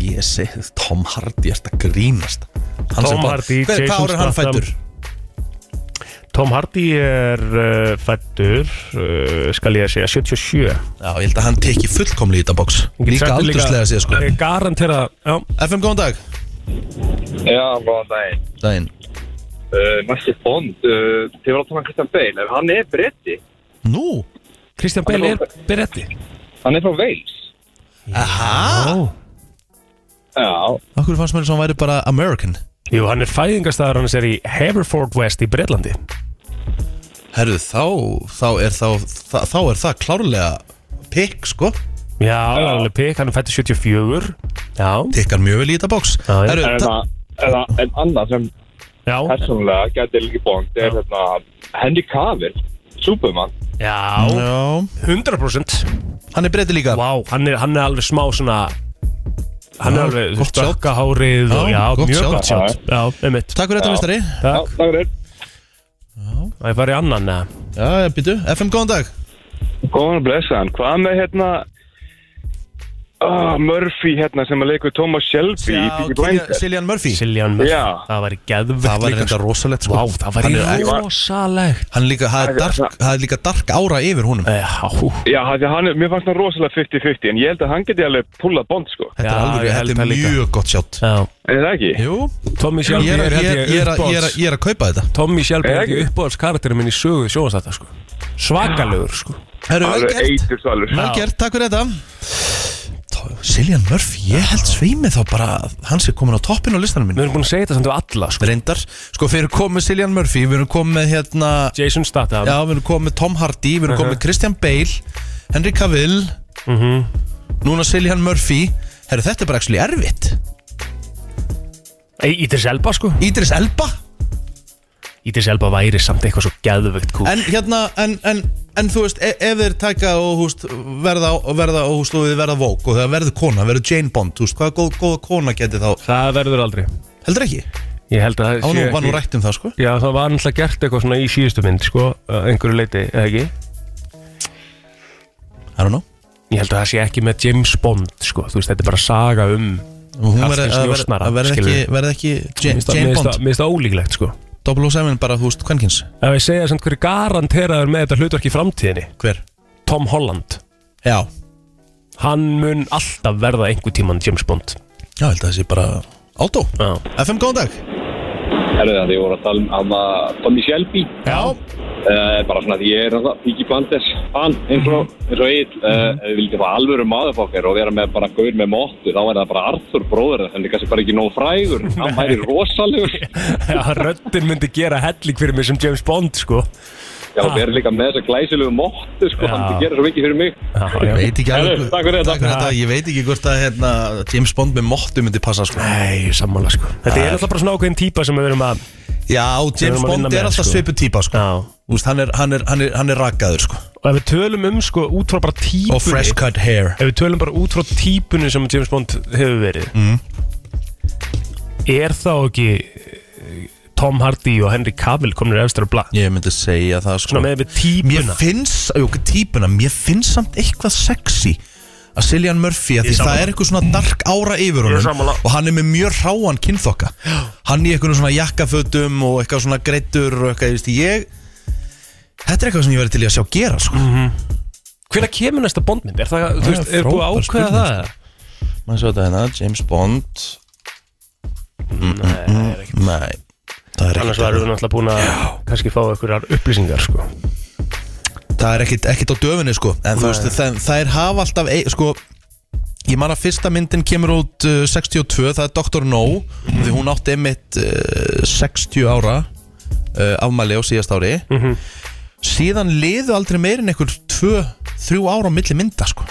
A: Ég segi Tom Hardy er þetta grínast Hann
B: Tom
A: sem bara-
B: Hardy,
A: Hver-
B: Jason
A: Hvað ára er hann
B: Statham.
A: fættur?
B: Tom Hardy er uh, fættur uh, skal ég að segja 77
A: Já, ég held að hann teki fullkomli í þetta box Líka aldurslega séð sko
B: Garantera, já
A: FM, góðan dag
H: Já, góðan daginn.
A: Daginn
H: Uh, Næsti Bond, uh, þið var að tala um Christian Bale, ef hann er bretti,
A: Nú?
B: Christian Bale er breyti
H: hann er frá Wales.
A: Aha
H: Já,
A: Akkur fannst mér eins og hann væri bara American
B: Jú, hann er fæðingastæðar hans er í Haverford West í Breitlandi
A: Herðu, þá, þá er þá, þá, þá er það klárlega pikk sko
B: Já, já. alveg pikk, hann er fættur 74 Já,
A: Tikkar mjög vel í þetta box
B: Já, já.
A: Herðu,
H: en,
A: ta-
H: það, en, það, en annað sem
B: já,
H: persónulega gæti líka Bond er hérna Henry Cavill, Superman.
B: já,
A: Já
B: 100%
A: Hann er breyti líka
B: Vá, hann er, hann er alveg smá svona Hann
A: Já,
B: er alveg, þú
A: gott
B: veist,
A: shot.
B: dökkahárið og-
A: Já,
B: Já,
A: gott
B: mjög
A: shot.
B: gott sjátt Já, einmitt
A: Takk fyrir þetta,
H: Já.
A: mistari
H: Já,
B: Takk
H: takk fyrir.
B: að ég fari í annan eða?
A: Já, býtu, FM góðan dag
H: Góðan og blessaðan, hvað með hérna ah, Murphy hérna sem að leikur Thomas Shelby í Peaky Blinders
A: Siljan Murphy
B: Siljan Murphy,
H: Já.
B: það væri geðvögt
A: Það var reynda rosalegt sko
B: Vá, það væri
A: Hann er-
B: rosalegt
A: Hann líka, það er, dark, það er líka dark ára yfir honum
B: Já, hú
H: Já, af því að hann, er- mér fannst hann rosalega 50-50 en ég held að hann geti alveg pulla bond sko
A: Þetta er
B: Já,
A: alveg,
B: ég held
A: þetta
B: það
A: er
B: líka.
A: mjög gott sjátt
B: Já,
H: Er það ekki?
A: Jú,
B: Tommy Shelby
A: ég er,
B: er
A: ég,
B: held
A: er,
B: ég
A: ég, er, að- ég, er,
B: uppbóðs
A: að- ég er að kaupa þetta
B: Tommy Shelby er hérna
H: Er
B: ekki
H: ekki?
B: uppbóðs karakterin minn í sögu sjóðast sko Svakalögur sko
A: Herru, vel
H: Alveg
A: gert,
H: eitur svalur
A: vel gert, takk fyrir þetta Tó- Siljan Murphy, ég held sveimi þá bara að Hann sé komin á toppin á listanum
B: Við
A: minn
B: erum búin að segja þetta samt við alla sko
A: Reyndar, sko fyrir komið Siljan Murphy Við erum komið hérna
B: Jason Statham
A: Já, við erum komið Tom Hardy, við erum komið Christian Bale Henry Cavill Núna Siljan Murphy Herru, þetta er bara ekki erfitt
B: Ei, Ítis Elba sko
A: Ídris Elba
B: Ítis Elba væri samt eitthvað svo geðvögt kú
A: En hérna, en, en, en þú veist, e ef þeir taka og húst, verða, og verða og húst, og við verða vók og það verður kona, verður Jane Bond, þú veist, hvaða góð, góða kona geti þá,
B: Það verður aldrei
A: heldur ekki?
B: Ég held að
A: Á
B: það
A: nú,
B: sé
A: var nú
B: ekki
A: rætt um það, sko.
B: Já, það var náttúrulega gert eitthvað svona í síðustu mynd sko að einhverju leiti, eða ekki
A: I don't know.
B: Ég held að það sé ekki með James Bond sko, þú veist, þetta er bara saga um
A: Og Hún
B: Karlsins
A: verður að verð,
B: njósnara,
A: að verð ekki,
B: skilurðu.
A: verð ekki Jane,
B: Mér finnst það-
A: Jane
B: mér finnst
A: Bond,
B: það- Mér finnst það ólíklegt sko
A: 007 bara, þú veist, kvenkins.
B: Ef ég segja samt hverju garanteraður með þetta hlutverk í framtíðinni
A: Hver?
B: Tom Holland
A: Já.
B: Hann mun alltaf verða einhver tíman James Bond
A: Já, held að það sé bara átó.
B: Já,
A: FM, góðan dag.
H: Herðu það, ég voru að tala um hann að Tommy Shelby
B: Já.
H: Uh, bara svona því ég er það, Piki Blanders fan eins og, eins og eitt
B: Mhm.
H: uh, ef við vildum fá alvöru maðurfokkar og vera með bara gaur með móttu, þá er það bara Arthur bróður, þannig kannski bara ekki nóg frægur hann væri rosalegur já,
B: Já, röddin myndi gera helling fyrir mig sem James Bond sko
H: við erum líka með þessa glæsilegu móttu sko,
B: Já.
H: hann myndi gera svo mikið fyrir mig
B: Já,
A: Ég
B: já
A: veit ekki
H: Herru,
A: alveg-
H: takk fyrir þetta.
A: Ég veit ekki hvort að, hérna, James Bond með móttu myndi passa, sko.
B: Nei, ég sammála sko Þetta er alltaf bara svona ákveðin típa sem við verum að
A: Já, James
B: erum að vinna
A: Bond
B: með,
A: er alltaf
B: sko.
A: svipu típa, sko.
B: Já Og
A: Þú veist, hann er, hann er, hann er, hann er rakaður, sko.
B: ef við tölum um sko út frá bara típunni
A: Og fresh cut hair
B: Ef við tölum bara út frá típunni sem James Bond hefur verið mm. Er þá ekki eh, Tom Hardy og Henry Cavill komnir efstur á blað
A: Ég myndi segja það sko
B: Svona með við
A: Mér
B: típuna
A: finnst, jú, ekki típuna Mér finnst samt eitthvað sexy Að Cillian Murphy, að því það er eitthvað svona dark ára yfir honum
B: sammála.
A: Og hann er með mjög ráan kynþokka Hann í eitthvað svona jakkafötum Og eitthvað svona greittur og eitthvað, ég veist Ég, þetta er eitthvað sem ég verið til í að sjá gera sko
B: Hvenær kemur næsta bondmynd? Er það, þú
A: Það er
B: veist, er búið að
A: frábær
B: ákveða
A: spurning,
B: það?
A: Maður svo þetta hérna, James Bond Nei, það er
B: Annars varum
A: ekkit
B: við náttúrulega búin að kannski fá einhverjar upplýsingar, sko.
A: Það er ekkit, ekkit á döfinni sko En þú veist, það, það er hafa alltaf ei, Sko, ég man að fyrsta myndin kemur út uh, 62 Það er Dr. No Því hún átti einmitt uh, 60 ára uh, Afmæli á síðast ári Síðan liðu aldrei meir en einhver 2-3 ára á milli mynda sko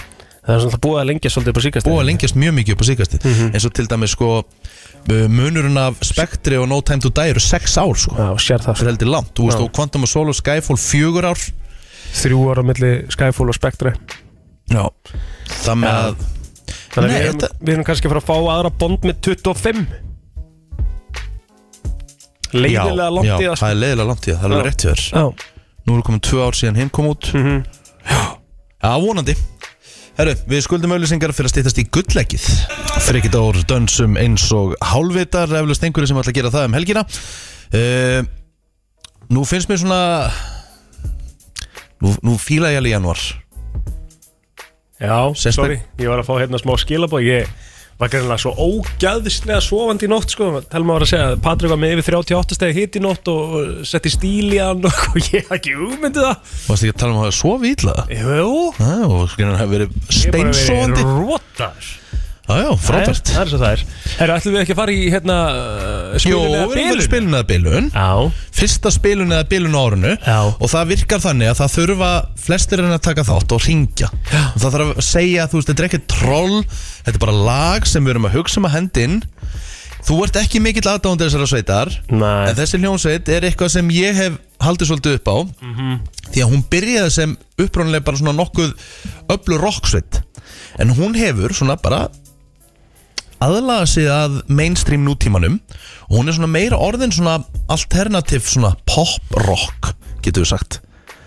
B: Það er svona búið að lengja svolítið upp á síkast.
A: Búið að lengjast mjög mikið upp á síkastið Eins og til dæmis sko uh, Munurinn af Spectre og No Time to Die eru 6 ár sko
B: Já, sér það,
A: Það er
B: sko.
A: heldur langt, þú veist, og Quantum of Solo Skyfall 4 ár
B: Þrjú ára milli Skyfall og Spectre.
A: Já Það með að
B: Þannig að
A: Nei,
B: við erum,
A: þetta-
B: við erum kannski að fara að fá aðra bond með 25. Leiðilega langt í það, sko.
A: það er leiðilega langt í það, það er
B: Já.
A: alveg
B: Mhm.
A: rétt hjá þér
B: sko.
A: Nú eru komin tvö ár síðan hinn kom út Já, já, vonandi Herru, við skuldum auðlýsingar fyrir að stýttast í gullleggið Frikið ár dönsum eins og hálfvitar Eflust einhverju sem ætla að gera það um helgina uh, Nú finnst mér svona Nú, nú fíla ég alveg januar
B: Já,
A: Sérstök-
B: sorry. Ég var að fá hérna smá skilabóð. Ég var greinlega svo ógæðislega sofandi í nótt, sko. Telma var að segja að Patrik var með yfir 38 stegi hitt í nótt og og setti stíl í hann og ég hafði ekki hugmyndið það.
A: Varst ekki að tala um að það sofi illa
B: Jú,
A: Já, og skilur hann hafa verið steinsóandi
B: Rótar
A: Já, já, frábært
B: Það er svo það er Herra, ætlum við ekki að fara í hérna uh,
A: Jó,
B: Spilulega
A: við erum
B: bilun
A: við spilun eða bilun
B: Já
A: Fyrsta spilun eða bilun á árinu
B: Já.
A: Og það virkar þannig að það þurfa flestir en að taka þátt og ringja og Það þarf að segja, þú veist, þetta er ekki troll Þetta er bara lag sem við erum að hugsa um að henda inn Þú ert ekki mikill aðdáðandi þessara sveitar
B: Nei.
A: En þessi hljónsveit er eitthvað sem ég hef haldið svolítið upp á Því að hún byrjaði sem upprónulega bara svona nokkuð öflu rocksveit En hún hefur svona bara aðlaga sig að mainstream nútímanum og hún er svona meira orðin svona alternativ svona pop rock getum við sagt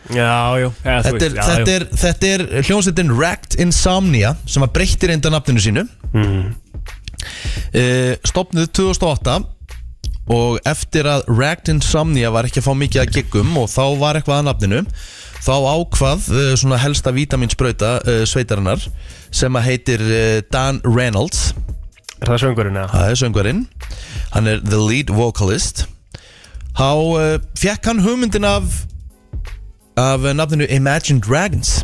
B: Já, já, eða, þú
A: Þetta er,
B: veist, já,
A: þetta,
B: já.
A: er, þetta er hljómsveitin Racked Insomnia sem að breytti reynda nafninu sínu Eh, mm. Stopnuð 2008 og eftir að Racked Insomnia var ekki að fá mikið að giggum og þá var eitthvað að nafninu þá ákvað uh, svona helsta vitaminsbrauta uh, sveitarinnar sem að heitir uh, Dan Reynolds
B: Er það söngurinn eða?
A: það er söngvarinn hann er the lead vocalist þá uh, fekk hann hugmyndin af af uh, nafninu Imagine Dragons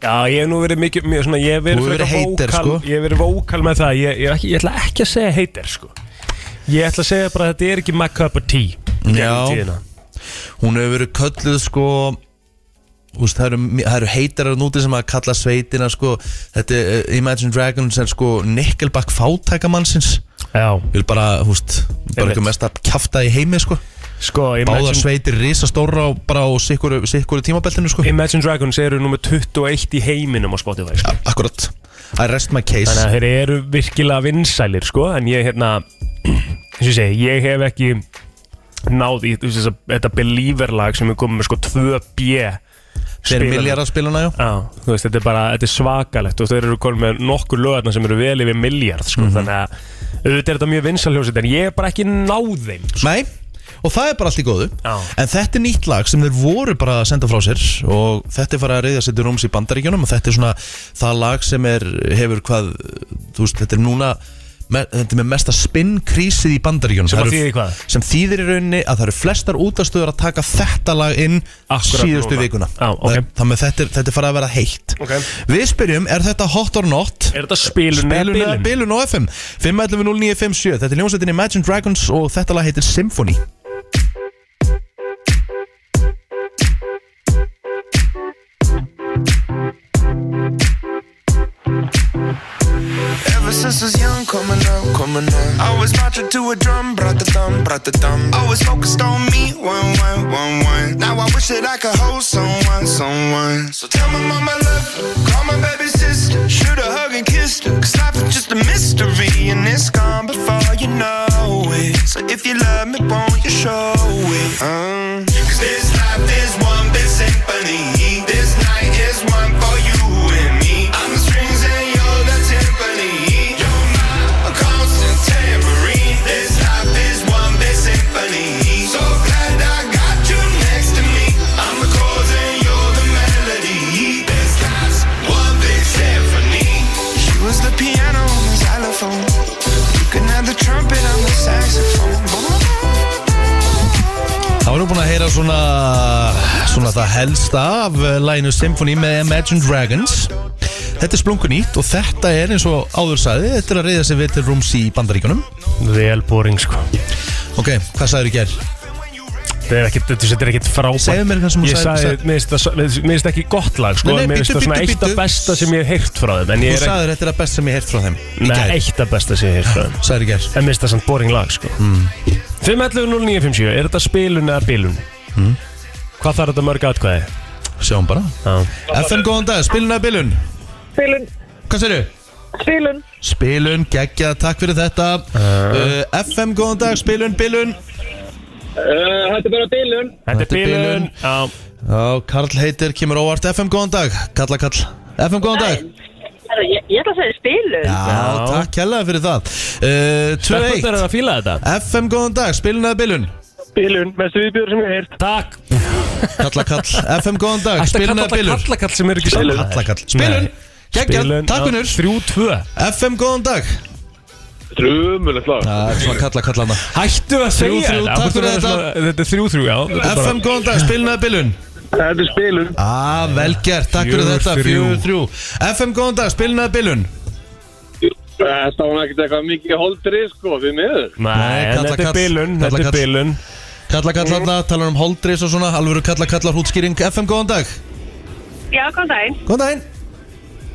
B: Já, ég hef nú verið mikið, mjög svona, ég hef verið
A: Þú hefur verið
B: frekar
A: hater,
B: vókal-
A: sko.
B: Ég hef verið vókal með það, ég, ég, er ekki, ég ætla ekki að segja heitir, sko Ég ætla að segja bara að þetta er ekki my cup of tea í gegnum
A: Já.
B: tíðina.
A: hún hefur verið kölluð sko Úst, það, eru, mi- það eru heitarar núti sem að kalla sveitina sko, þetta er uh, Imagine Dragons er sko Nickelback fátækamannsins
B: Já,
A: vil bara, húst, bara
B: Einmitt.
A: ekki mest að kjafta í heimi sko,
B: sko,
A: báðar
B: Imagine,
A: sveitir risastóra og bara á sikkuru, sikkuru tímabeltinu sko,
B: Imagine Dragons eru nummer 21 í heiminum á Spotify, sko
A: akkurat I rest my case
B: Þannig að þeir eru virkilega vinsælir sko En ég hérna eins og ég segi, ég hef ekki náð í þú veist, þessa, þetta Believer lag sem er komið með sko 2B
A: þeir eru
B: spilarar.
A: miljardarspiluna, já
B: Já, þú veist, þetta er bara, þetta er svakalegt og þeir eru komin með nokkur lögarna sem eru vel yfir miljard, sko,
A: Mhm.
B: þannig að auðvitað er þetta mjög vinsal hljóset, en ég er bara ekki náð þeim, sko.
A: Nei, og það er bara allt í góðu
B: Já.
A: En þetta er nýtt lag sem þeir voru bara að senda frá sér Og þetta er farið að reyða sér til rúms í bandaríkjunum Og þetta er svona það lag sem er, hefur hvað Þú veist, þetta er núna me, Þetta er með mesta spinnkrísið í bandaríkjunum
B: Sem
A: Það
B: að
A: eru-
B: þýðir hvað?
A: Sem þýðir í rauninni að það eru flestar útastöður að taka þetta lag inn
B: Akkúrat
A: Síðustu
B: núna.
A: vikuna
B: Já, ok.
A: Það- Þannig að þetta er, þetta er farið að vera heitt
B: Ok.
A: Við spyrjum, er þetta hot or not?
B: Er þetta spilun eða
A: Spilun eða
B: bilun?
A: bilun á FM 511-0957 Þetta er ljónsveitin Imagine Dragons og þetta lag heitir Symphony
I: Ever since I was young, coming up, coming up. I was marching to a drum, brought the thumb, brought the thumb. Always focused on me, one, one, one, one. Now I wish that I could hold someone, someone. So tell my mama I love her, call my baby sister, shoot a hug and kissed her. Cause life is just a mystery, and it's gone before you know it. So if you love me, won't you show it? Uh. Cause this life is one big symphony. This night is one for you and me. I'm the strings and you're the timpani. You're my constant tambourine. This life is one big symphony. So glad I got you next to me. I'm the chords and you're the melody. This life's one big symphony. She was the piano on the xylophone. You can have the trumpet on the saxophone.
A: Það var nú búin að heyra svona svona það helsta af eh, laginu Symphony með Imagine Dragons Þetta er splungun ítt og þetta er eins og áður sagði Þetta er að reyða sig við til rúms í bandaríkjunum
B: Vel boring, sko.
A: Ok, hvað sagður í gerð?
B: Þetta er ekkit, þetta þetta er ekkit frábært.
A: Segðu mér hvað sem þú
B: Ég
A: sagði-
B: sagði, mér finnst það- mér finnst- mér finnst það ekki gott lag, sko,
A: Nei, nei,
B: mér
A: bíddu,
B: finnst það svona
A: bíddu,
B: eitt af
A: bíddu.
B: besta sem ég hef heyrt frá þeim, en ég er
A: Þú
B: ekki,
A: sagður þetta er að best sem ég heyrt frá þeim í
B: neða,
A: gerð
B: eitt af besta sem ég hef heyrt frá þeim.
A: Sagður í gerð
B: En minnst það samt boring lag sko mm. 5.11.09.57, er þetta spilun eða bilun?
A: Mm.
B: Hvað þarf þetta mörg atkvæði?
A: Sjáum bara
B: Já.
A: FM góðan dag, spilun að bilun
G: Spilun,
A: Hvað segirðu?
G: spilun,
A: Spilun, geggjað, takk fyrir þetta uh, FM góðan dag, spilun, bilun
H: Uh, þetta er bara bilun.
B: Þetta er
A: Þetta er bilun.
B: bilun Já,
A: Já, Karl heitir, kemur óvart FM, góðan dag Kalla Kall, FM, góðan dag
G: Herra, ég, ég ætla að segja spilun.
A: Já, takk hella fyrir það uh, 2-1,
B: Stelpurnar er að fíla þetta
A: FM, góðan dag, spilun eða bilun
H: Bilun, mestu viðbjörn sem ég heirt.
B: Takk
A: Kalla Kall, FM, góðan
B: Ætti
A: dag,
B: að
A: spilun
B: kalla
A: eða
B: þetta
A: bilun
B: kallakall sem eru ekki saman
A: Kalla Kall, spilun, geggjað, takk unnur
B: 3-2
A: FM, góðan dag
H: Þetta er umulegt lag.
A: Það er svona Kalla Kallana
B: Hættu að
A: Þrjú,
B: segja
A: þrjú,
B: þetta.
A: takk
B: Af hverju
A: fyrir
B: er
A: þetta.
B: svona- Þetta er 3-3, já Þetta er bara-
A: FM, góðan dag, spilun eða bilun
H: Þetta er spilun.
A: Á, vel gert, takk fyrir
B: Fjögur,
A: þetta,
B: þrjú.
A: 4-3 FM, góðan dag, spilun eða bilun
H: Þetta var ekkert eitthvað mikið holdrið sko, við miður.
B: Nei, en
A: kalla
B: þetta er
A: kall.
B: bilun
A: Kalla
B: Þetta er
A: kall.
B: bilun
A: Kalla Kallana, talar um holdreis og svona Alvöru Kalla Kallar hútskýring, FM, góðan dag
G: Já, góðan daginn.
A: Góðan daginn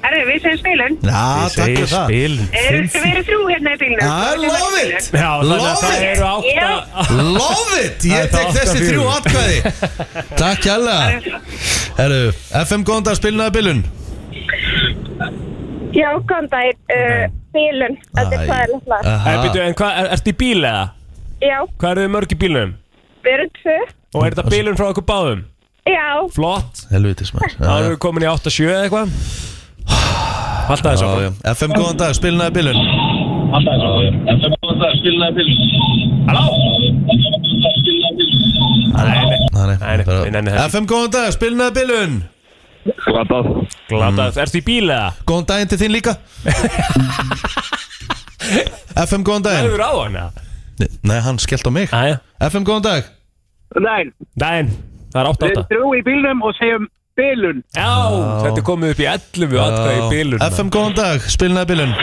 G: Herru, við segjum spilun.
A: Já, Ah, takk fyrir það
B: Bilun
G: Erum við verið þrjú hérna í bílunum?
A: I love it
B: Já, þannig að
A: Love
B: það
A: it.
B: eru átta
A: Love it,
B: Það
A: ég
B: er
A: tek
B: það
A: þessi
B: átta
A: þrjú
B: fjögur.
A: atkvæði Takk hjalla Herru, FM góðan dag, spilnaði bilun
G: Já, góðan daginn. Uh, spilun, þetta er sæðilegt lag.
B: Hey, býttu, En hvað, er- ertu í bíl eða?
G: Já,
B: Hvað eru þið mörg í bílunum?
G: við erum tvö.
B: Og er
A: Hm,
B: þetta bilun frá okkur báðum?
G: Já,
B: Flott
A: Helvitis maður
B: Þá
A: Já,
B: erum við komin í 8-7 eða eitthvað Alltaf þess
A: já,
B: að
A: já. FM, góðan dag, spilnaði bilun Nei,
B: Nei, nei, nei, nei, nei.
A: FM, góðan dag, spilnaði bilun
H: Glatað
A: Hm.
B: Glatað, ertu í bíl eða?
A: Góðan daginn til þín líka FM, góðan
B: Það
A: daginn
B: eru á hana
A: Nei, hann skellt á mig
B: Æja,
A: FM, góðan dag
J: Nein,
B: daginn, það er 8-8
J: þrjú í bílnum og segjum bilun
B: Já, þetta er komið upp í 11 atkvæði í bilun
A: FM, góðan dag, spilnaði bilun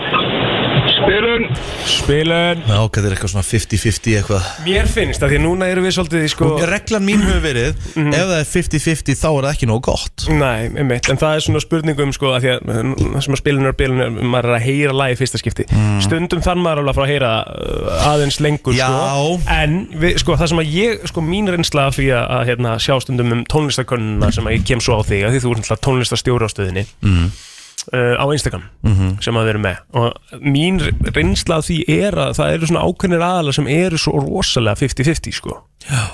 J: Bilun
B: Spilun
A: Já, ok, þetta er eitthvað svona 50-50 eitthvað
B: Mér finnst að því að núna erum við svolítið í sko Mhm.
A: Reglan mín hefur verið Ef það er 50-50 þá er það ekki nóg gott
B: Nei, einmitt, en það er svona spurningum sko, að því að um, það sem að spilunar bilunar maður er að heyra lagi í fyrsta skipti stundum þann maður alveg að fá að heyra uh, aðeins lengur sko,
A: Já.
B: en við, sko, það sem að ég, sko, mín reynsla af því að, að hérna, sjá stundum um tónlistakönnuna sem að ég kem svo á þig, að því þú er náttúrulega tónlistastjóri á stöðinni uh, á Instagram sem að við erum með og mín reynsla af því er að það eru svona ákveðnir aðalega sem eru svo rosalega 50-50 sko Já.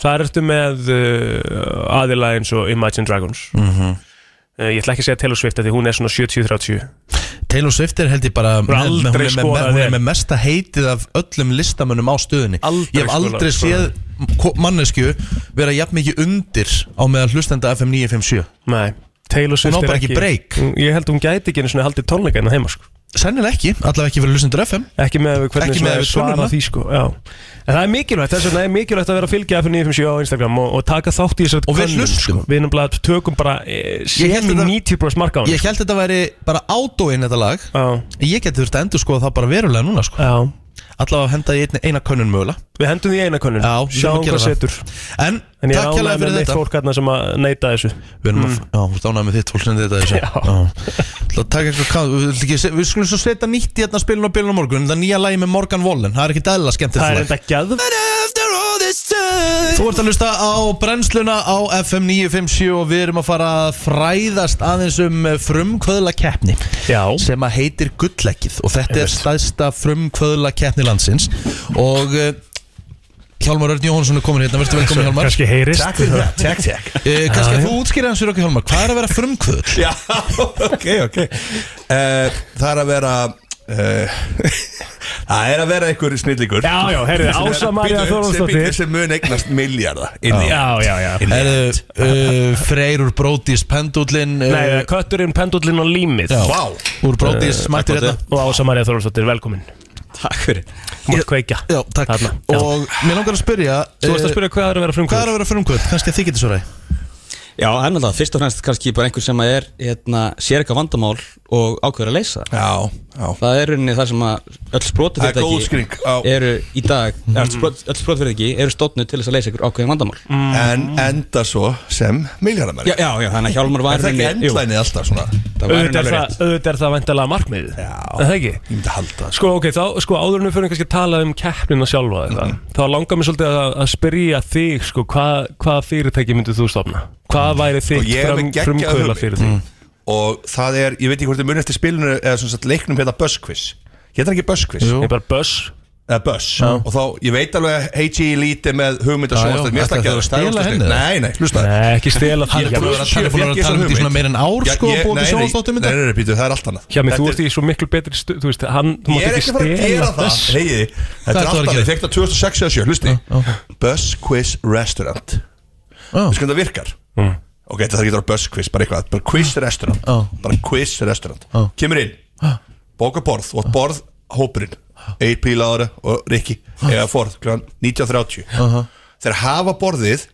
B: það ertu með uh, aðila eins og Imagine Dragons
A: Mhm.
B: uh, ég ætla ekki að segja Taylor Swift af því hún er svona 70-30
A: Taylor Swift er held ég bara hún er,
B: aldrei
A: hún, er með,
B: skorað
A: hún
B: vel.
A: er með mesta heitið af öllum listamönnum á stöðunni
B: Aldrei
A: Ég hef aldrei
B: skorað-
A: séð ko- manneskju vera jafn mikið undir á meðan hlustenda FM 957
B: nei Taylor Swift er
A: á bara ekki break.
B: Hún- ég held hún gæti ekki einu svona haldið tónleika en heima sko
A: Sennilega ekki, allavega ekki fyrir hlustendur FM
B: ekki með við hvernig
A: Ekki
B: svona
A: með við
B: svara
A: tölvuna.
B: því sko Já. en það er mikilvægt þess vegna er mikilvægt að vera að fylgja F957 á Instagram og, og taka þátt í þessar
A: Og við
B: könnun,
A: hlustum.
B: sko. við nefnilega tökum bara e,
A: Ég held
B: semi
A: þetta-
B: 90% marka á sko.
A: Ég held þetta væri bara átóin þetta lag
B: Já,
A: Ég geti þurft að endur skoða það bara verulega núna sko.
B: já
A: Allavega henda ég eina, eina könnun mögulega
B: Við hendum því í eina könnun
A: Já, við
B: sjáum
A: skulum gera
B: hvað
A: það.
B: setur
A: En,
B: En ég
A: takk hérlega
B: ránaði með
A: fyrir
B: mitt
A: þetta
B: fólk hérna sem að neyta þessu
A: Við erum að, já, þú stánaði með þitt fólk sem þetta þessu
B: Mm. Já.
A: Það taka eitthvað káð, við, vilt ekki- við skulum svo setja nýtt í hérna spilin og bilin á morgun Það er nýja lagi með Morgan Wallen, það er ekki dæla skemmt
B: Það er enda gæð
A: Þú ert að hlusta á brennsluna á FM 957 og við erum að fara að fræðast aðeins um frumkvöðla keppni
B: Já,
A: sem að heitir Gulleggið og þetta er staðsta frumkvöðla keppni landsins og uh, Hjálmar Örn Jóhansson er komin hérna, verður velkomin Hjálmar
B: kannski heyrist Takk fyrir það
A: Takk, takk uh, Kannski að þú útskýra hans fyrir okkur Hjálmar, hvað er að vera frumkvöðl?
K: Já, ok, ok uh, Það er að vera uh, Það er að vera einhver snillingur
B: Já, já, heyrðu,
K: Sem er að-
B: Ása María
K: bíddu, sem-
B: Þorvaldsdóttir
K: Sem mun eignast milljarða inn í
B: Já, já, já
A: Erðu uh, Freyrur Brótis Pendullin
B: Nei, það er kötturinn, pendullinn og límið
A: uh, Já.
K: Vá Eh,
A: Úr Brótis mættir hérna
B: Og Ása María Þorvaldsdóttir, velkomin
K: Takk fyrir
B: Þú mátt kveikja
A: Já, takk
B: Þarna, já.
A: Og mér langar að spyrja
B: Þú varst að
A: eh,
B: spyrja um hvað er að vera
A: Hvað er
B: frumkvæður
A: að vera frumkvöld? Kannski að þið getur svo ræði
L: Já, það er náttúrulega fyrst og fremst kannski bara einhver sem er hérna, sér eitthvað vandamál og ákveður að leysa það.
K: Já, já
L: Það er rauninni þar sem að öll
K: Það er góð Mhm.
L: sprótafyrirtæki
K: skring á,
L: eru í dag, mm. öll, sprot, öll sprótafyrirtæki eru stóttnu til þess að leysa ykkur ákveðin vandamál.
K: En enda svo sem milljarðamæri
L: Já, já, já, þannig að Hjálmar
K: Er
L: var
K: það ekki endlæni alltaf svona
L: það var
B: Auðvitað
L: rauninni alveg
B: er það-
L: rétt.
B: auðvitað er það væntalega markmiðið
K: Já.
B: Er það ekki?
K: Ég myndi halda það sko.
B: Sko, ok, þá, sko, áður en við fyrir kannski að tala um keppnina sjálfa mm
K: Mhm.
B: þá langar mér svolítið að, að spyrja þig, sko, hvað hva fyrirtæki myndir þú stofna? Hvað væri þitt
K: Mhm. Sko, ég er
B: frum,
K: með geggjaða
B: frumkvöla
K: hugmynd.
B: fyrirtæki?
K: Og það er, ég veit ekki hvort þið munið eftir spilinu Eða svona sagt leiknum hérna Buzzquiz Hérna ekki Buzzquiz
B: Ég er bara buzz
K: eða Buzz og þá, ég veit alveg að Heiji Elite er með hugmynd að
A: Já, já.
K: sjónastöð, mér
A: Ætlar
K: stakka
A: þú að stela henni, eða?
K: Nei, nei, hlusta
B: Nei, ekki stela
A: Hann er
B: því
A: búin að vera
K: Sjö,
A: hann er búin að
K: fékk ég
A: vera
K: þessa
A: talað um þetta í svona
K: hugmynd.
A: meir en ár
K: Já,
A: sko
K: ég-
A: Búin til
K: nei, nei,
A: sjónastóttum
K: Nei,
A: þetta
K: nei, nei, býtu, það er allt annað
B: Hjá mig, þú
K: Þetta
B: ert í svo miklu betri stu, þú veist, hann, þú
K: Ég
B: mátt
K: er
B: ekki
K: ekki að fara að
B: stela
K: gera það
B: þess
K: Heiði, þetta er allt
A: Hvað ætlar þú að gera?
K: annað Þegar 2006 eða 7, hlusti Buzz Quiz Restaurant Við skoðum það virkar Ok, þetta getur að vera Buzz Quiz, bara eitthvað Bara Quiz Restaurant
A: Já.
K: Bara Quiz Restaurant
A: Já.
K: Kemur inn Bóka borð og borð hópurinn AP Lára og Rikki Eða forð, kl. 19.30 Þeir hafa borðið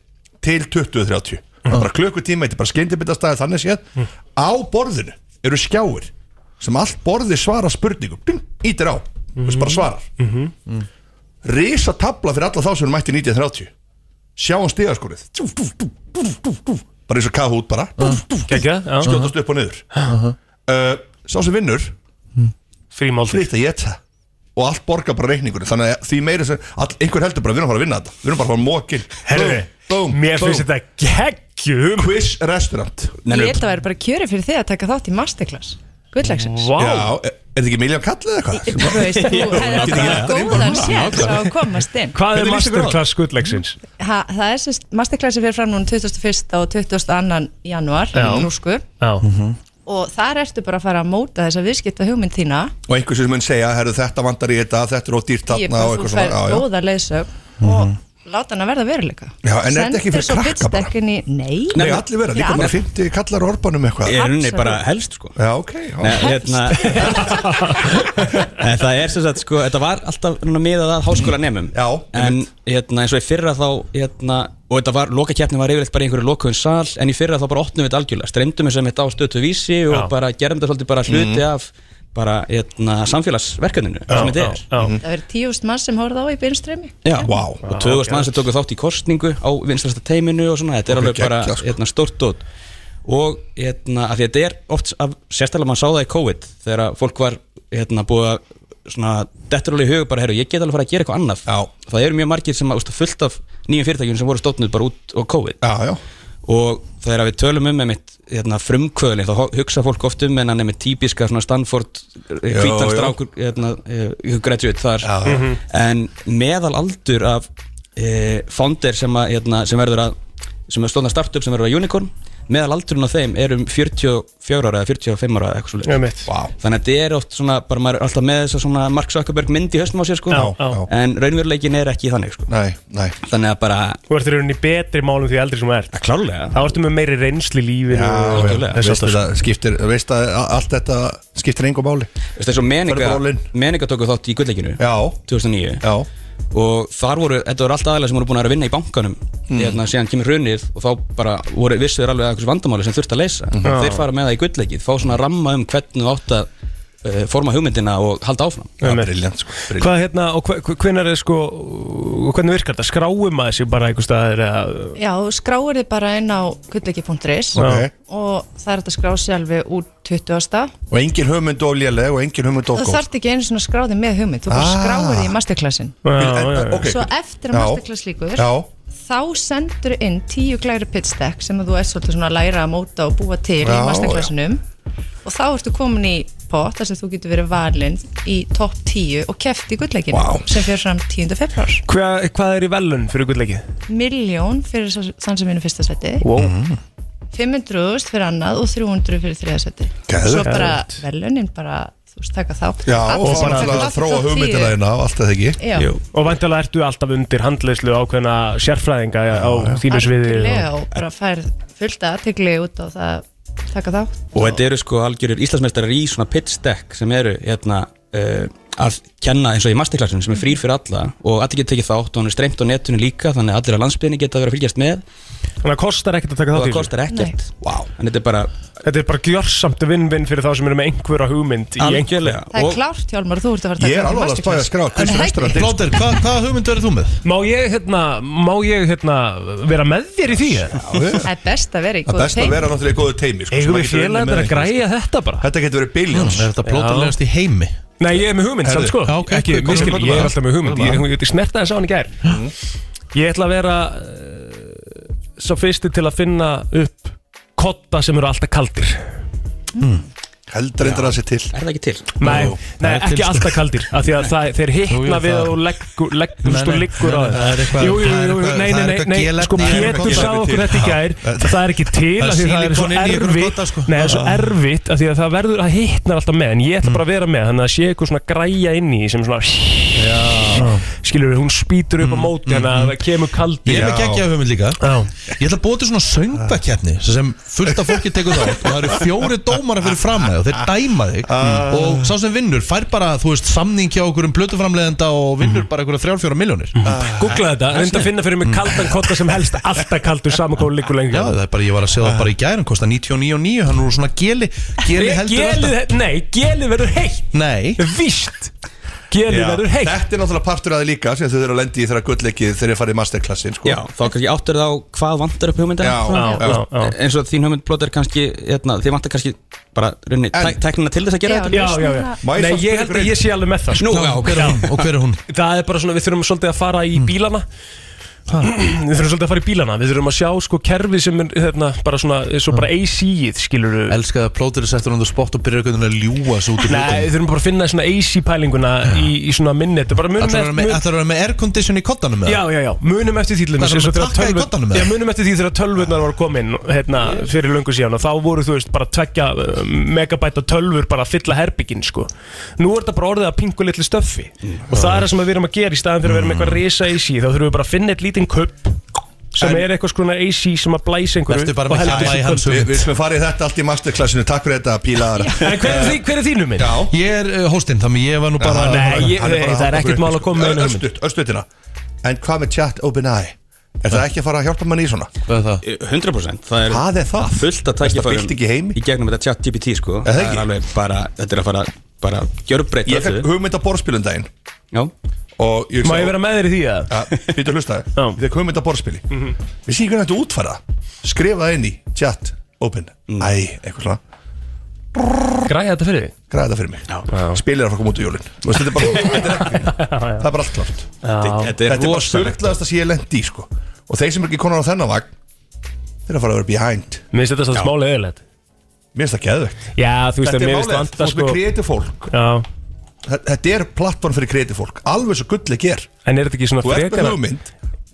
K: til 20.30 Bara klukkutíma, þetta er bara skeindibitastæði þannig
A: Mm.
K: séð Á borðinu eru skjáir sem allt borðið svara spurningum Ding, Ítir á,
A: Mm.
K: þú veist bara svarar Risa tabla fyrir alla þá sem eru mætti 1930 Sjáum stigaskorið Dú, dú, dú, dú, dú, dú. Bara eins og kaða út bara Dú, dú, dú.
B: Gekja, já,
K: Skjótast upp og niður
B: Uh-huh.
K: uh, Sá sem vinnur
B: frímáldi
K: Fritt að geta Og allt borgar bara reikningurinn Þannig að því meira sem all, Einhver heldur bara við erum að fara að vinna þetta Við erum bara að fara að mókin
B: Herri, mér finnst þetta geggjum
K: Quiz restaurant
M: Ég held að það væri bara kjöri fyrir þig að taka þátt í masterclass gulllegsins
K: Já, er er þetta ekki miljón kall eða hvað?
M: Þú veist, þú hefði góðan séns á að komast inn
B: Hvað er masterclass gulllegsins?
M: Ha, það er sérst, masterclassi fyrir fram núna 21. og 22. januar
K: Já.
M: nú sko, og þar ertu bara að fara að móta þess að viðskipta hugmynd þína
K: Og einhvers sem mun segja, herru þetta vandar í þetta, þetta er ódýrt
M: Ég
K: þarna
M: bara,
K: og
M: þú
K: eitthvað
M: fær
K: svona já, já.
M: góða leysög láta hann að verða veruleika
K: Já, en er þetta ekki fyrir
M: Sendir svo
K: krakka bara?
M: bitstekkinn í- Nei,
K: Nei, allir vera, líka bara 50 kallar á orbanum eitthvað
L: Ég er unni bara helst sko
K: Já, ok já.
L: Nei, hérna, en það er sem sagt sko, þetta var alltaf svona miðað að háskóla nefnum Já, en hérna, eins og í fyrra þá hérna, og þetta var, lokakeppni var yfirleitt bara í einhverju lokuðum sal, en í fyrra þá bara opnum við þetta algjörlega, streymdum við sem þetta á stötu vísi og
B: Já.
L: bara gerðum þetta svolítið bara hluti af bara hérna, samfélagsverkefninu sem þetta er
B: já,
M: það verður tíust mann sem horfði á í beinströmi
L: Já, wow. og tögust mann sem tóku þátt í kostningu á vinstrasta teiminu og svona, þetta er
K: Ok,
L: alveg bara
K: geggjað,
L: hérna, stórt dót og hérna, af því að þetta er oft af, sérstaklega mann sá það í COVID þegar að fólk var hérna, búið að svona, dettur alveg í hug bara, heyrðu, ég get alveg að fara að gera eitthvað annað já. það eru mjög margir sem að, úst, fullt af nýjum fyrirtækjum sem voru stóknuð bara út á COVID
K: já,
L: já. og þegar við tölum um einmitt, hérna, frumkvöðlin, þá ho- hugsa fólk oft um en hann er með típiska svona Stanford eh,
K: Já,
L: hvítan
K: já.
L: strákur hérna, uh, graduate þar
K: Já, já. Mhm.
L: en meðal aldur af uh, founder sem, að, hérna, sem verður að sem er stóðna startup sem verður að unicorn meðal aldurinn á þeim er um 44 ára eða 45 ára eða eitthvað
B: Já,
L: svolítið wow. þannig að þetta er oft svona bara maður er alltaf með þess að svona Mark Zuckerberg mynd í höstum á sér sko
B: Já, já.
L: en raunveruleikin er ekki þannig sko
K: nei, nei.
L: þannig að bara
B: Þú ert í rauninni í betri málum því eldri sem þú ert
L: Klálega
B: Þá ertu með meiri reynsli í lífinu
K: Já,
B: og-
K: já,
B: Þess
K: veist
B: háttar, sko.
K: þetta skiptir, veist að a- allt þetta skiptir engum máli
L: Veist þessu meninga,
K: Farðu bara all in.
L: meninga tóku þátt í gullleikinu Já 2009
K: Já
L: Og þar voru, þetta voru alltaf aðeins sem voru búin að vera að vinna í bankanum
K: Mm.
L: Þannig að síðan kemur hrunið og þá bara voru vissuður alveg að eitthvað vandamáli sem þurfti að leysa
K: Mhm. Já.
L: Þeir fara með það í gullleikið, fá svona ramma um hvernig þú átt að uh, forma hugmyndina og halda áfram
B: Já, Einmitt.
K: briljant sko
B: Hvað hérna, og hvernig er sko og Hvernig virkar þetta? Skráum maður sér bara einhver staðar eða-
M: Já, þú skráir þið bara inn á gullleiki.is
K: Ok.
M: og það er hægt að skrá sér alveg út 20.
K: Og engin hugmynd og léleg og engin hugmynd og
M: Þú
K: góð
M: þarft ekki einu svona að skrá þig með hugmynd, þú bara
K: Ah.
M: skráir þig í masterclassin
K: En- ok,
M: Svo
K: hvernig-
M: eftir að
K: Já.
M: masterclass líkur
K: Já,
M: þá sendur inn tíu glæri pitch deck sem að þú ert svolítið svona að læra að móta og búa til í
K: Já,
M: masterclassinum og þá ertu komin í pott þar sem þú getur verið valinn í topp 10 og keft í gullleikinu
B: Vá.
M: sem fyrir fram 10. februar
B: Hva- Hvað er í velun fyrir gullleikið?
M: Miljón fyrir sá- þann sem vinur fyrsta seti
B: Wow.
M: 500.000 fyrir annað og 300 fyrir þriða seti Svo
K: Geðveikt.
M: bara velunin bara þú veist taka þá
K: já og bara
M: taka þátt
K: að
M: í
K: þróa
M: topp 10.
K: hugmyndina þína og allt þetta
M: Já.
K: ekki
M: Jú.
B: Og vantilega ertu alltaf undir handleyslu ákveðna sérfræðinga á þínu sviði
M: Algjörlega og bara færð fullt aðtegli út og það taka þátt
L: Og þetta eru sko algjörir Íslandsmeistarar í svona pitch deck sem eru hérna, uh, að kenna eins og í masterclassinu sem er frýr fyrir alla og allir getur tekið þátt og hann er streymt á netinu líka þannig að allir á landsbyðinni geta verið að fylgjast með
B: Þannig að kostar ekkert að taka
L: og
B: þátt
L: það
B: í þessu?
L: kostar ekkert wow. en þetta er bara
B: Þetta er bara gjörsamt vinn-vinn fyrir þá sem eru með einhverja hugmynd í einhverju.
L: Algjörlega.
M: Það er klárt Hjálmar, þú ert að fara að taka þátt í masterclass. Er það ekki?
B: Blóter, hvað, hvaða hugmynd verður þú með? Má ég, hérna, má ég, hérna, vera með þér í því?
M: Það er best að vera í
K: Það er
M: góð
K: best að vera náttúrulega í góðu teimi sko,
B: Eigum við
K: sem maður getur unnið
B: félagarnir að
K: með einhvers.
B: græja þetta bara?
K: sko. Þetta getur verið biljóns
B: Er þetta plóterlegast
A: í heimi?
B: sko? Nei, ég er með hugmynd, samt
K: Herðu,
B: sko.
K: já, ok,
B: Ekki,
K: hvað-
B: miskil,
K: hvað-
B: ég er
K: hvað-
B: alltaf með hugmynd.
K: hvað-
B: Ég, ég, ég snerta þess á hann í gær. Ég ætla að vera uh, svo fyrsti til að finna upp kotta sem eru alltaf kaldir.
K: Heldur endur að það sé til
L: Er það ekki til?
B: Nei, nei
K: það er
B: ekki
K: til, sko.
B: alltaf kaldir af því að það, þeir
K: Jú, jú,
B: hittna við
K: það-
B: og þú leggur- legg- þú veist,
K: Nei,
B: þú
K: nei,
B: liggur á
K: nei, nei, það er
B: þeir
K: eitthvað-
B: Jú, jú,
K: það er
B: jú,
K: eitthvað-
B: nei,
K: það
B: nei,
K: er
B: nei,
K: eitthvað
B: nei
K: gelefni
B: sko
K: í einhverjum
B: Pétur
K: kotta.
B: sá okkur þetta í gær það er ekki til
K: Það er
B: af því að það er svo
K: sílikon inni í einhverjum
B: erfitt
K: kotta, sko.
B: Nei, það er svo
K: Já. Mm.
B: erfitt af því að það verður að hittna alltaf með en ég ætla bara að vera með þannig að það sé eitthvað svona græja inn í sem svona skilur hún spýtur
K: Mm,
B: upp á móti þannig að það kemur kaldir
A: Ég er með geggjaða hugmynd líka Ég ætla að búa til svona söngvakeppni sem fullt af fólki tekur þá og það eru fjóri dómara fyrir fram þig og þeir dæma þig
K: Ah.
A: og sá sem vinnur fær bara, þú veist, samning hjá okkur um blötuframleðenda og
B: Mhm.
A: vinnur bara einhverja þrjálfjóra miljónir
B: Googla þetta, reynda að finna fyrir mig kaldan kotta sem helst alltaf kaldur saman hvað hún liggur lengi
A: Já, það er bara, ég var að segja það bara í gæri, hann kostar 99,9, hann er úr svona geli Geli heldur
B: Gelið, nei, gelið verður heitt
A: Nei
B: Víst Gelið
K: Já,
B: verður heitt
K: Þetta er náttúrulega partur að þið líka sem þau eru að lendi í þeirra gullleikið þegar þið farið í masterclassin sko.
L: Já, þá kannski áttur þá hvað vantar upp hugmynda
K: Já, já, já.
L: eins og þín hugmynd blótt er kannski hérna, þið vantar kannski bara runni tæk, tæknina til þess að gera þetta
B: Já, já, já Nei, ég held að ég sé alveg með það sko.
L: Nú, já,
B: Já.
L: ok.
A: hver er hún? Hmm. Og hver er hún?
B: Það er bara svona, við þurfum svolítið að fara í bílana Við þurfum svolítið að fara í bílana Við þurfum að sjá sko kerfið sem er hérna, bara svona, svo
A: Hmm.
B: bara AC-ið skilur
A: Elskar það plótur þess eftir hann þú spott og byrjar einhvern veginn að ljúa svo út úr
B: Nei, við
A: hlutum
B: þurfum bara að finna svona AC-pælinguna í, í svona minni Þetta er bara munum
A: Ætlar að vera með- ætlarðu að vera með aircondition í koddanum með
B: Já, já, já, munum eftir þýllinu
A: Hvað, ætlarðu að taka í koddanum með
B: Já,
A: það?
B: munum eftir því þegar tölvurnar var komin hérna, fyrir löngu síðan og þá voru, þú veist, bara tvekja megabæta tölvur bara að fylla herbyggin, sko Nú er þetta bara orðið að pingu litlu stöffi og það er það sem við erum að gera í staðan fyrir að vera með eitthvað risa AC þá þurfum við bara að finna eitt lítinn kupp sem
K: En-
B: er eitthvað skona AC sem að blæsa einhverju og heldur þessu
K: hans
B: kubb.
K: Við við skulum farið þetta allt í masterclassinu Takk fyrir þetta, pílaðara
B: En hver er, þín- hver er þínu minn?
K: Já
A: Ég er uh, hóstinn, þannig ég var nú bara
B: Nei, ég- nei, það er ekkert mál að koma með einu hugmynd.
K: sko. Örstutt, örstuttina En hvað með chat OpenAI? Er það ekki að fara að hjálpa manni í svona?
A: Hvað er það?
L: 100% Eh, Það er,
K: Hvað er það?
L: fullt að
K: Besta
L: tækifærum
K: bylting í heimi?
L: gegnum þetta chat GPT sko
K: Er það
L: er
K: ekki?
L: alveg bara, þetta er að fara bara gjörbreyta
K: Ég fekk hugmynd á borðspilum daginn
L: Já
K: Og ég
B: Má ég vera með þér í því að?
K: Býtu að hlusta það Ég fekk hugmynd á borðspili
B: Mhm.
K: Við séum hvernig þetta útfæra Skrifa það inn í chat OpenAI Eitthvað svona
B: Græja þetta fyrir þig?
K: Græða þetta fyrir mig Spilir það frá að koma út í jólun Þetta er bara þetta er ekki- Það er bara allt klart Þetta er bara sturglaðast að sé ég lendi í sko Og þeir sem er ekki konar á þennan vagn Þeir eru að fara að vera behind
B: Mér finnst þetta
K: Já.
B: svona smá leðilegt
K: Mér finnst það geðvegt
B: Já, þú veist
K: Þetta
B: að
K: er
B: mér finnst sko-
K: málið, þú
B: vanda
K: ert með kreatív fólk
B: Já
K: Þe- Þetta er plattform fyrir kreatív fólk Alveg svo gull ekki er
B: En er þetta ekki svona
K: Þú ert með
B: frekara-
K: hugmynd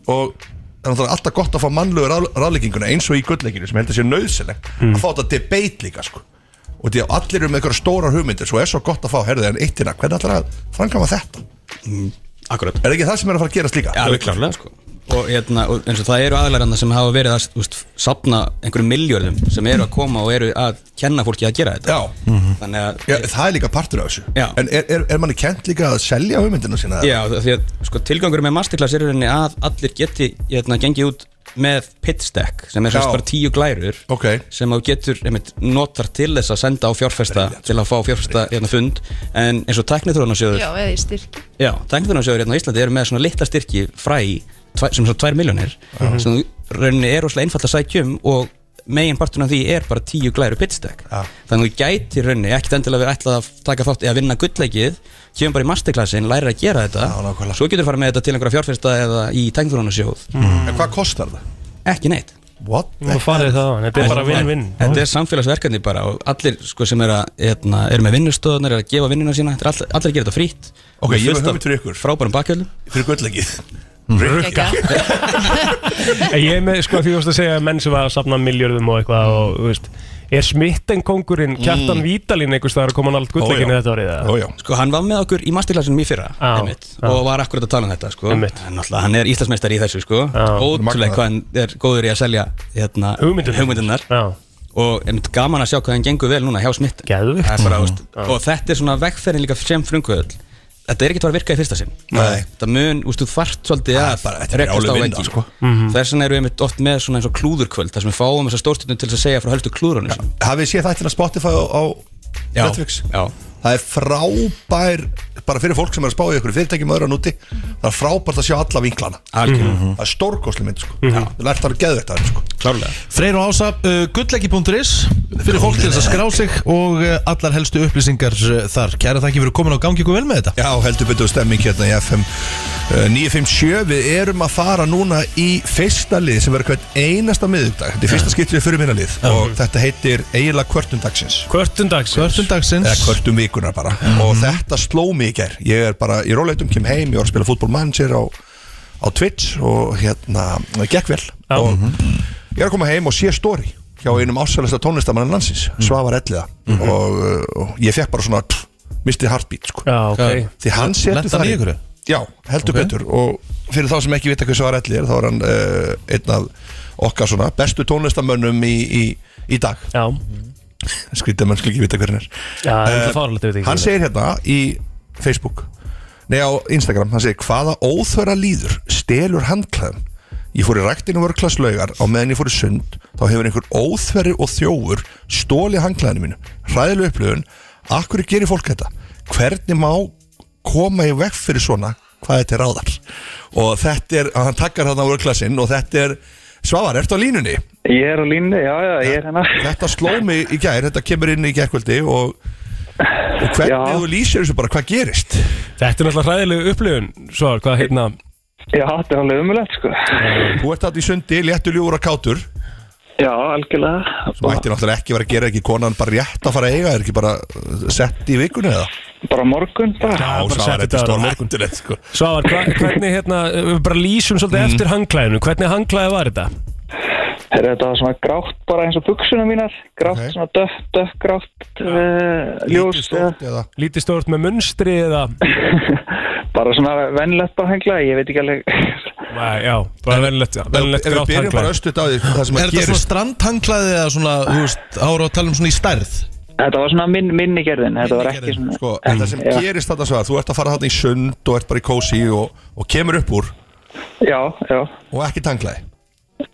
K: Og það er náttúrulega alltaf gott að fá mannlegu ráð- ráðlegginguna Eins og í gullleikinu sem ég held að sé nöðsileg
B: Mm.
K: Að fá þetta debate líka sko Og því að allir eru með einhverja stórar hugmyndir Svo er svo gott að fá, herðu en eittina Hvernig allir að framkama þetta?
L: Akkurat
K: Er ekki það sem er að fara að gerast líka?
L: Já, alveg klárlega sko Og, hérna, og eins og það eru aðlæranna sem hafa verið að úst, sapna einhverjum miljörðum sem eru að koma og eru að kenna fólki að gera þetta
K: Já,
L: þannig að
K: Já, það er líka partur af þessu
L: Já.
K: En er, er, er manni kent líka að selja hugmyndina sína?
L: Já, því að sko, tilgangur með masterclass er í rauninni að allir geti hérna, gengið út með pitch deck sem er
K: Já.
L: semst bara tíu glærur
K: okay.
L: sem þú getur einmitt, notar til þess að senda á fjárfesta til að fá fjárfesta hérna, fund en eins og tæknitrúnarsjóður
M: Já, eða í styrki
L: Já, tæknitrúnarsjóður hérna á Íslandi eru með svona litla styrki fræ tvæ, sem svo 2 miljónir
K: Mhm.
L: sem þú rauninni er rosalega einfalt að sækja um og megin parturinn af því er bara tíu glæru pitch deck
K: Já.
L: þannig að þú gæti rauninni ekkert endilega verið ætlað að taka þátt eða vinna gullleikið kemur bara í masterclassin, lærir að gera þetta Já, svo getur þú farið með þetta til einhverja fjárfesta eða í tæknitrúnarsjóð
K: En hvað kostar það?
L: Ekki neitt
K: What?
B: Nú farið það á hann, þetta er bara vinn-vinn
L: Þetta er samfélagsverkefni bara og allir sko, sem eru hérna, er með vinnustöðunar, eru að gefa vinnuna sína þetta er all, allir að gera þetta frýtt
K: Ok, ég hef hugmynd fyrir ykkur
L: Frábærum bakkjöldum
K: Fyrir gullleikið
B: En Ég er með, sko, því þú veist að segja að menn sem var að safna miljörðum og eitthvað og, þú veist Er smitten kongurinn, kjartan
L: Mm.
B: Vítalín einhvers staðar að koma nált gullleikinu þetta árið? eða?
L: Sko, hann var með okkur í masterclassinum í fyrra einmitt, og var akkurat að tala um þetta sko.
B: Einmitt.
L: En náttúrulega, hann er íslensmestari í þessu sko.
B: Magnað.
L: ótrúlega hvað hann er góður í að selja hérna, hugmyndunar, og einmitt gaman að sjá hvað hann gengur vel núna hjá smitt
B: Geðvikt
L: bara,
K: Mhm.
L: mm. og þetta er svona vegferðin líka sem frunguðull þetta er ekki bara að virka í fyrsta sinn
K: Nei.
L: þetta mun, úst, þú þarft svolítið
K: Það er
L: að
K: bara- þetta er
L: rekast á
K: brjáluð vinna,
L: veggi
K: sko.
L: Mhm. þess vegna erum við einmitt oft með svona eins og klúðurkvöld þar sem við fáum þessar stórstundum til þess að segja frá helstu klúðrunum sínum.
K: Hafið séð það eftir að Spotify á, á
L: Já,
K: Netflix?
L: já.
K: Það er frábær Bara fyrir fólk sem er að spá í ykkur fyrirtækjum öðru að núti Það er frábært að sjá alla vinklana
L: Algjörlega. Mhm.
K: Það er stórkosli mynd sko mm -hmm. Lært það að geða þetta sko
L: Klárlega
A: Freyr og Ása, uh, gullleggi.is Fyrir fólk til þess að skrá sig Og uh, allar helstu upplýsingar uh, þar Kæra þakki fyrir komin á gangi ykkur vel með þetta
K: Já, heldur betur stemming hérna í FM uh, 957, við erum að fara núna í fyrsta lið sem verður hvert einasta miðugdag, þetta er fyrsta skiptið fyrir minna lið og þetta heitir eiginlega kvörtundagsins
B: Kvörtundagsins
A: Kvörtundagsins
K: Eða kvörtum vikunar bara og þetta sló mig í ger ég er bara í róleitum, kem heim, ég var að spila fútbolmanager á, á Twitch og hérna, það gekk vel og ég er að koma heim og sé stóri hjá einum ásælasta tónlistamannan landsins Svavar Elliða og, uh, og ég fekk bara svona pff, mistið heartbeat sko.
B: Já, ok.
K: því hann setur
A: Lenti hann í einhverju?
K: Já, heldur
A: Ok.
K: betur og fyrir þá sem ekki vita hvað Svavar Elliði er þá er hann uh, einn af okkar svona bestu tónlistamönnum í, í, í dag
B: Já
K: Skrítið að menn skil ekki vita hver hann er
B: Já, það er
K: Eh,
B: það fárlegt að vita ekki
K: Hann
B: hver
K: segir hérna í Facebook Nei, á Instagram, hann segir Hvaða óþöra líður stelur handklæðum Ég fór í ræktinu vörklass laugar á meðan ég fór í sund þá hefur einhver óþverri og þjófur stóli handklæðinu mínu hræðileg upplöfun, akkur gerir fólk þetta hvernig má koma í vekk fyrir svona hvað þetta er ráðar og þetta er, hann takkar þarna vörklassinn og þetta er, Svavar, ertu á línunni?
J: Ég er á línni, já, já, ég er hérna
K: Þetta sló mig í gær, þetta kemur inn í gærkvöldi og, og hvernig þú lýsir þessu bara, hvað gerist?
B: Þetta er náttúrulega hræðileg upplifun Svar, hvað hérna
J: Já, þetta er alveg umulegt sko
K: Þú ert alltaf í sundi, léttu ljúur og kátur
J: Já, algjörlega
K: Þú ættir náttúrulega ekki að vera að gera ekki konan bara rétt að fara að eiga Er ekki bara uh, sett í vikunni eða?
J: Bara morgun bara
K: Já,
B: bara sett
K: svar,
B: í
K: þetta
B: dag,
K: er stór
B: bara
K: morgun sko.
B: Svavar, hva- hvernig hérna, við bara lýsum svolítið
K: Mm.
B: eftir hangklæðinu Hvernig hangklæði var þetta?
J: Heyrðu, Þetta var svona grátt bara eins og buksuna mínar Grátt, svona dökk, dökk, grátt uh, Ljós eða-
K: eða?
B: Lítið stórt með munstri eða?
J: Bara svona vennlegt bara hengla Ég veit ekki alveg
B: Nei, já, bara vennlegt
K: Ef ef við byrjum bara östuðt á því Það sem að
A: Er þetta svona
K: gerist
A: strandhanglaði eða svona, þú veist, ára að tala um svona í stærð?
J: Þetta var svona minn, minni gerðin Þetta var ekki svona
K: sko, Þetta sem
J: Já.
K: gerist þetta svo að þú ert að fara þarna í sund og ert bara í kósi og, og kemur upp úr
J: Já, já
K: Og ekki tanglaði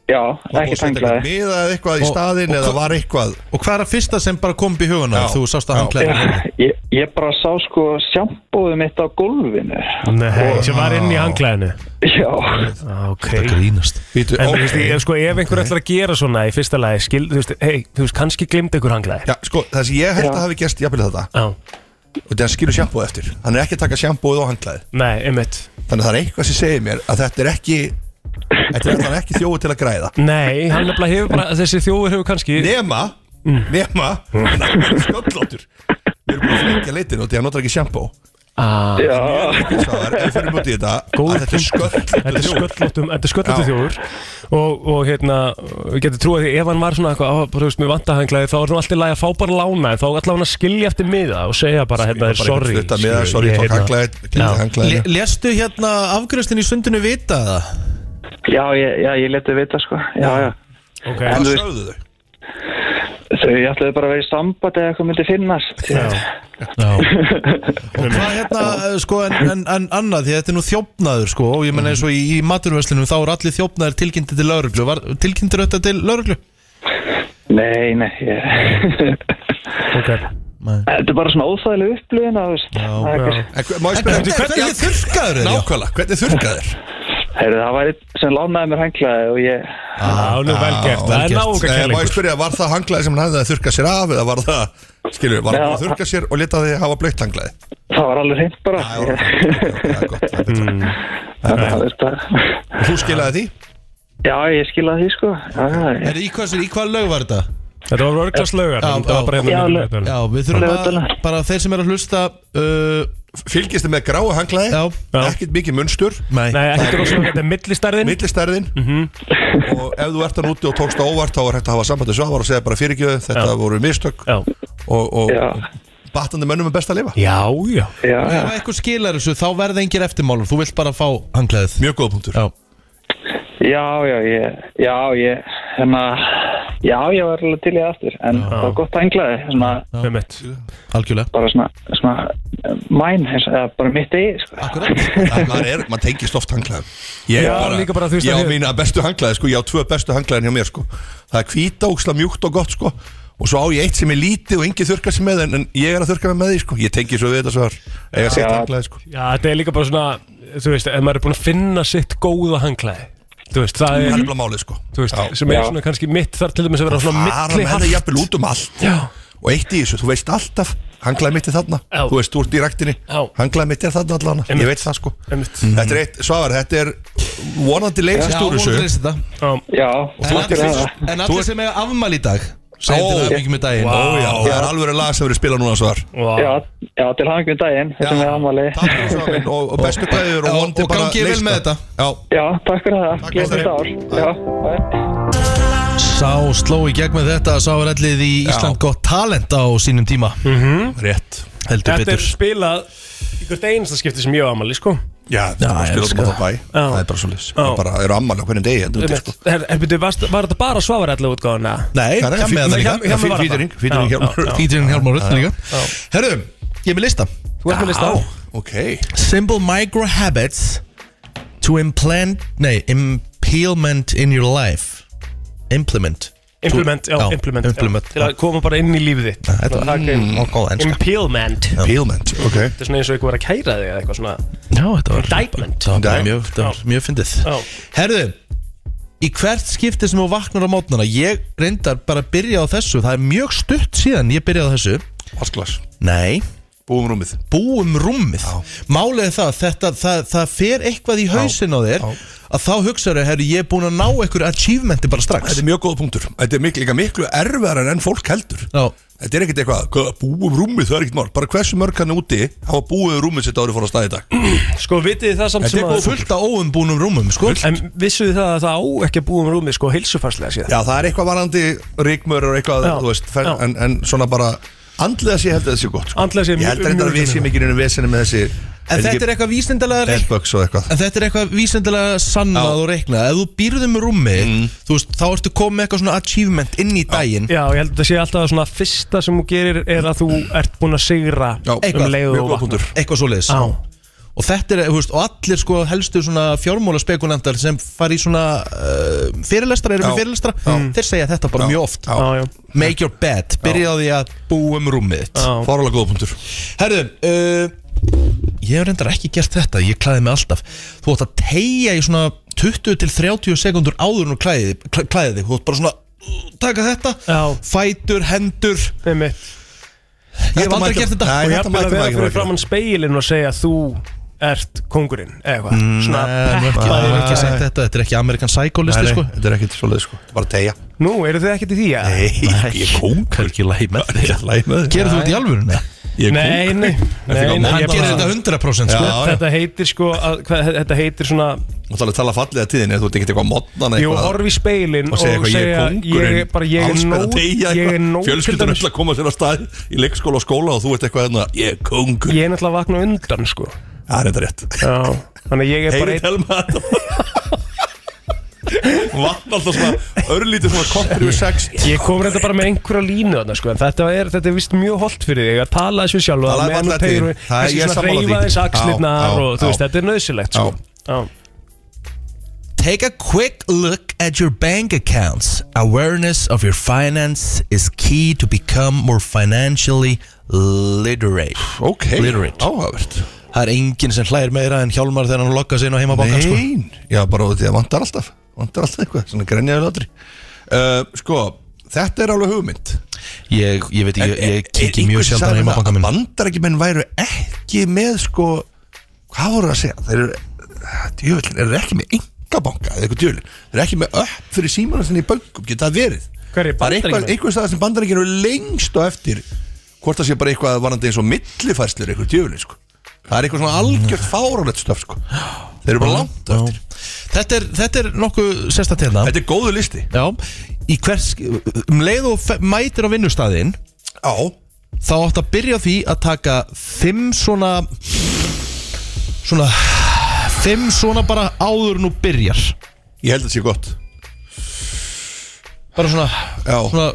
J: Já,
K: Var búið að
J: ekki
K: setja eitthvað
J: tanglaði
K: miða eða eitthvað í
A: Og-
K: staðinn
A: og
K: eða
A: hva-
K: var eitthvað
A: Og hvað er að fyrsta sem bara kom upp í huguna? Þú sást að hanglaði
J: ég, ég bara sá sko sjampóðu mitt á gólfinu
K: Sko,
B: Nei, sem var
K: ah.
B: inn í hangklæðinu
J: Já
B: Ok Þetta grínast
K: Vítu,
B: En
K: ok.
B: þú veist, ég- sko, ef einhver ætlar að gera svona í fyrsta lagi skil, Þú veist, hei, þú veist, kannski glimta ykkur hangklæði
K: Já, sko, það sem ég held að hafi gerst jafnvel þetta
B: Já
K: Og það skilur sjampóð eftir Hann er ekki að taka sjampóð og hanglaði
B: Nei, einmitt
K: Þannig að það er eitthvað sem segir mér að þetta er ekki Þetta er, hann er ekki þjóðu til að græða
B: Nei, hann nefnilega hefur bara, þessi þjófur hefur kannski
K: Nema, nema Hann er sköllóttur Við erum búin að flengja leitin og því að hann notar ekki sjampó
B: Ah.
K: Já Það er fyrir mútið þetta að
B: Góður
K: Þetta
B: Þetta er
K: er sköllóttur þjóður
B: sköllóttum, þetta er sköllóttum þjófur og, og hérna, við getum trúið því ef hann var svona eitthvað, á, bara, þú veist, mér vanta hanglaði þá er hann alltaf læg að fá bara lána en þá ætla hann að skilja eftir miða og segja bara, hérna,
K: bara
B: sorry
K: eitthvað stutta miða,
B: skilur,
K: sorry,
B: ég,
K: tók
B: hérna-
K: hanglaðið, gleymdi
B: Já.
K: hanglaðinu.
A: Le- Lestu hérna afgröstin í sundinu vita það?
J: Já, ég, já, ég leti vita sko Já, já En
B: Ok,
J: þú
K: Hvað
J: veist-
K: sögðu þau?
J: Þau ætlaði bara að vera í samband eða eitthvað myndi finnast
A: Og hvað hérna, eh, sko, en, en, en annað, því að þetta er nú þjófnaður, sko, og ég menna eins og í, í maturverslunum þá eru allir þjófnaður tilkynnti til lauruglu, var tilkynntir þetta til lauruglu?
J: Nei, nei ég...
B: Ok
J: Þetta er bara svona óþægileg upplöðin að þú veist það er ekki-
K: En hva- má ég spyrja-
A: En hvernig- hvernig þurrkaður er þér?
K: Nákvæmlega, hvernig þurrkaður?
J: Heyrðu, það væri sem lánaði mér henglaði og ég
B: Já, nú vel gert, það er
K: Eh, Má ég
B: náungarkærleikur
K: spyrja, var það hanglaði sem hann hafði að þurka sér af eða var það, skilur, var hann
J: Já.
K: búinn að þurka sér og leta því hafa blöytt hanglaði?
J: það var alveg hreint bara
A: Hmm.
J: Þannig að þetta
K: Og Þú skilaði því?
J: Já, ég skilaði því sko Já, já,
A: Er
J: ég-
A: í hvað, í hvað lög var þetta?
B: Þetta var örglast lögar,
A: Já,
B: þetta var bara
A: já,
B: hérna niður í
A: lög-
B: miðbænum.
A: Já, við þurfum að,
J: Laugardalur.
A: bara þeir sem er að hlusta uh,
K: Fylgistu með gráu hanglaði?
A: Já,
K: Ekkert mikið munstur
A: nei, Mhm.
B: Nei, ekkert rosalega, þetta er millistærðin
K: Millistærðin Og ef þú ert hann úti og tókst á óvart þá er hægt að hafa sambandi svavar og segja bara fyrirgjöðu þetta voru mistök
B: Já,
K: og, og
J: Já.
K: battandi mönnum er best að lifa
B: já, já
J: já, já.
A: Ef eitthvað skilar þessu, þá verða engir eftirmálur, þú vilt bara fá hanglaðið
K: Mjög góð punktur
A: Já,
J: Já, já, ég, já, ég, hérna, já, ég var alveg til í það aftur, en það var gott að hengla þið, svona,
B: Einmitt.
A: algjörlega
J: bara svona, svona, mæn, eins og- eða bara mitt eigið, sko.
K: En maður er, maður tengist oft hanglaðum Ég
B: Já,
K: er
B: líka bara, þú veist,
K: ég á
B: að-
K: mína bestu hanglaði sko, ég á tvö bestu hanglaðin hjá mér sko Það er hvíta, óksla mjúkt og gott sko Og svo á ég eitt sem er lítið og engi þurka sem með en, en ég er að þurka mig með því sko Ég tengi svo við þetta svar Ega sitt hanglaði sko
B: Já, þetta er líka bara svona, þú veist, ef maður er búin að finna sitt góða hanglaði Þú veist, það
K: Það
B: er,
K: er bara málið sko
B: þú veist,
K: Já.
B: sem er svona kannski mitt þar til dæmis að vera svona
K: Fara
B: milli
K: með það jafnvel út um allt
B: Já,
K: Og eitt í þessu, þú veist alltaf Hanglaði mitt er þarna,
B: Já.
K: þú veist, þú ert í ræktinni
B: Já.
K: Hanglaði mitt er þarna allan,
B: Einmitt.
K: ég veit það sko
B: einmitt
K: Þetta er eitt, Svavar, þetta er vonandi leysist
A: Já,
K: úr
A: vonandi
K: þessu
A: leysist þetta.
B: Já,
J: Já,
K: þú ert í
J: takk fyrir
K: fyrst-
J: það.
K: Þú
A: En allir
K: ert-
A: sem er afmæli í dag Sætið
K: Ó.
A: oh, það mikið með daginn
B: Vá.
K: Ó, já, það er alveg lag sem verið spilað núna svar
B: wow.
J: Já, já, til hangum daginn, þetta er með amalegi.
K: Takk fyrir svo minn og og bestu gæður og
A: Já,
K: vondi
A: og
K: bara
A: gangi vel
K: leysta.
A: með þetta.
K: Já,
J: Já, takk fyrir það,
K: Takk,
J: gleðið þetta
K: Óskar.
J: ár. Já, bæ.
A: Sá sló í gegn með þetta Sá er allir í Ísland gott talent á sínum tíma
K: rétt
B: Mhm. Þetta
A: Heldur
B: er
A: betur
B: spilað í hvert einasta skipti sem ég á amali, sko
K: Já, það
A: Já, ég
K: spilað
A: elska
K: um það bæ
B: Já.
K: Það er bara svo lis Það er bara, eru ammali á hvernig degi en þú veitir, sko.
B: Einmitt. Her- her- byrju, varst- Var þetta bara svafarætla útgáðan, eða?
A: Nei,
K: Það er
A: hjá
K: fí-
A: með það líka
K: hjá- hjá-
B: var það.
K: Featuring, featuring
B: Já,
K: hjá mér.
B: já,
A: Featuring Hjálmar Röttin líka
B: Já.
A: Herru, ég er með lista
B: Þú ert með lista
K: Á, Ok
A: Simple micro habits To implant Nei, impalement in your life Implement
B: Implement, já,
A: Já,
B: implement,
A: implement,
B: já, Til að koma bara inn í lífið þitt
A: Þetta var mm, og góð enska
B: Implement Þetta
K: Peelment, ok
B: er svona eins og eitthvað var að kæra þig eða eitthvað svona
A: Já, þetta var
B: Indictment.
A: Það var bara
K: Já.
A: mjög, þetta var mjög fyndið
B: Já.
A: Herðu, í hvert skipti sem þú vaknar á mótnana Ég reyndar bara að byrja á þessu Það er mjög stutt síðan ég byrjaði á þessu
K: Vasklas
A: Nei
K: Búum rúmið
A: Búum rúmið Málið er það, þetta, það, það fer eitthvað í hausin á þér Að þá hugsaður, herru, ég er búin að ná einhver achievementi bara strax
K: Þetta er mjög góð punktur Þetta er miklu, líka miklu erfæra enn fólk heldur
A: Já.
K: Þetta er ekkert eitthvað, hvað, búum rúmið, það er ekkert mál Bara hversu mörg hann úti hafa búið rúmið sitt árið fór að staði í dag
B: Sko vitið þið það samt
K: Þetta
B: sem
K: er góð fullt
A: af óumbúnum rúmum sko.
B: En vissuð þið það að það á ekki að búum rúmi sko heilsufarslega séð
K: Já, það er eitthvað varandi ríkmör og eitthvað, þú veist fer, en, en svona bara, andlega sé ég held að þetta sé gott sko.
B: Andlega sé
K: Ég
B: mjög-
K: held að þetta
B: mjög
K: við séum ekki nýjum vesinu með þessi
A: En þetta er eitthvað vísindalega reik-
K: Airbugs og eitthvað
A: En þetta er eitthvað vísendilega sannað og reiknað Ef þú býrðum með rúmi, þú veist, þá ertu komið með eitthvað svona achievement inn í daginn
B: Já, ég held að það sé alltaf að svona fyrsta sem þú gerir er að þú ert búin að sigra um leið og vaknar.
A: Eitthvað svoleiðis
B: Já.
A: Og þetta er, þú veist, og allir sko helstu svona fjármála spekunandar sem fari í svona uh, fyrirlestra, eru
K: Já.
A: með fyrirlestra Þeir segja þetta bara mjög oft
B: já.
A: Make your bed, byrja á því að búum rúmið þitt
K: Fáralega góða punktur
B: Sko.
A: Herðu, uh, ég hef reyndar ekki gert þetta, ég klæði mig alltaf Þú ætti að tegja í svona 20 til 30 sekundur áður en þú klæði, klæði þig Þú ætti bara svona, uh, taka þetta, já. fætur, hendur
B: Einmitt.
A: Ég hef aldrei gert þetta
B: Og ég hef bara verið fyrir framann speilin og segja þú ert kongurinn eða eitthvað
K: Mm.
B: Svona peppa
A: Það
B: þér
A: er
B: ekki
A: ekki sagt þetta, þetta er ekki Amerikan Psycho-listi
K: Nei,
A: sko
K: nei, Þetta er ekkert svoleið sko, þetta er bara tegja
B: Nú, eru þið ekkert í því að?
K: Nei, ég er kóngur Það er
A: ekki læg með
K: þig
A: Gerðu þú þetta í alvöru? Nei,
K: Ég er
B: Nei,
K: kóngur.
B: nei,
K: Ertu ekki á
B: nei, nei
K: móti?
B: ég bara- Sko,
K: Já, já.
B: Þetta heitir sko að, hvað, Þetta heitir svona
K: Þú ætlar að tala fallega tíðin eða þú ert ekkert eitthvað modnan
B: Jú, horfi í speilin
K: og segja
B: og
K: eitthvað ég
B: segja,
K: er kongurinn
B: ég er bara- ég er
K: allsber að
B: nóg-
K: deyja
B: ég er
K: eitthvað.
B: nóg til
K: fjölskyldan
B: dæmis.
K: öll að koma sér að stað í leikskóla og skóla og þú ert eitthvað hérna ég er kongur
B: Ég er náttúrulega að vakna undan sko
K: Það er þetta rétt
B: Já, þannig að ég er bara
K: Heyri telma þetta Vatn alltaf svona örlítið svona kortur yfir sex
B: Ég kom reynda bara með einhverja línu þarna sko, en þetta er, þetta er vist mjög holdt fyrir þig að tala þessu sjálf meðan
K: Talaðu
B: þú
K: fallega til
B: teygir
K: þín.
B: og-
K: Það er-
B: kannski
K: ég er
B: svona
K: sammála
B: hreyfa
K: því.
B: þess
K: Já,
B: axlirnar
K: já,
B: og þú veist,
K: já.
B: þetta er nöðsilegt sko. Já.
A: Take a quick look at your bank accounts. Awareness of your finance is key to become more financially literate.
K: Ok,
A: literate.
K: áhugavert.
A: Það er enginn sem hlægir meira en Hjálmar þegar hann lokka sig inn á heimabakkan, sko.
K: Nein, já bara því að vantar alltaf vantar alltaf eitthvað, svona grenjaður látri uh, Sko, þetta er alveg hugmynd Eh,
A: Ég, ég veit ekki, ég, ég kíkja mjög sjaldan á heimabankann
K: minn Bandar ekki menn hérna, væru ekki með sko, hvað voru að segja þeir eru, djöfullin, eru þeir ekki með engabanka eða eitthvað djöfullin, þeir eru ekki með upp fyrir símanu sinni í bankum, geta það verið
B: Hver
K: Það er eitthvað, eitthvað stað sem bandar eru lengst á eftir hvort það sé bara eitthvað varandi eins og millifærslir eitthvað djöfullin sko Það er eitthvað svona algjört fáránlegt stöf sko Þeir eru bara langt
A: á eftir. Þetta er, þetta er nokkuð sérstætt hérna.
K: Þetta er góðu listi.
A: Já, í hvers, um leið og fe- mætir á vinnustæðin.
K: Já.
A: Þá átt að byrja á því að taka fimm svona, svona, fimm svona bara áður nú byrjar.
K: Ég held að það sé gott.
A: Bara svona,
K: já,
A: svona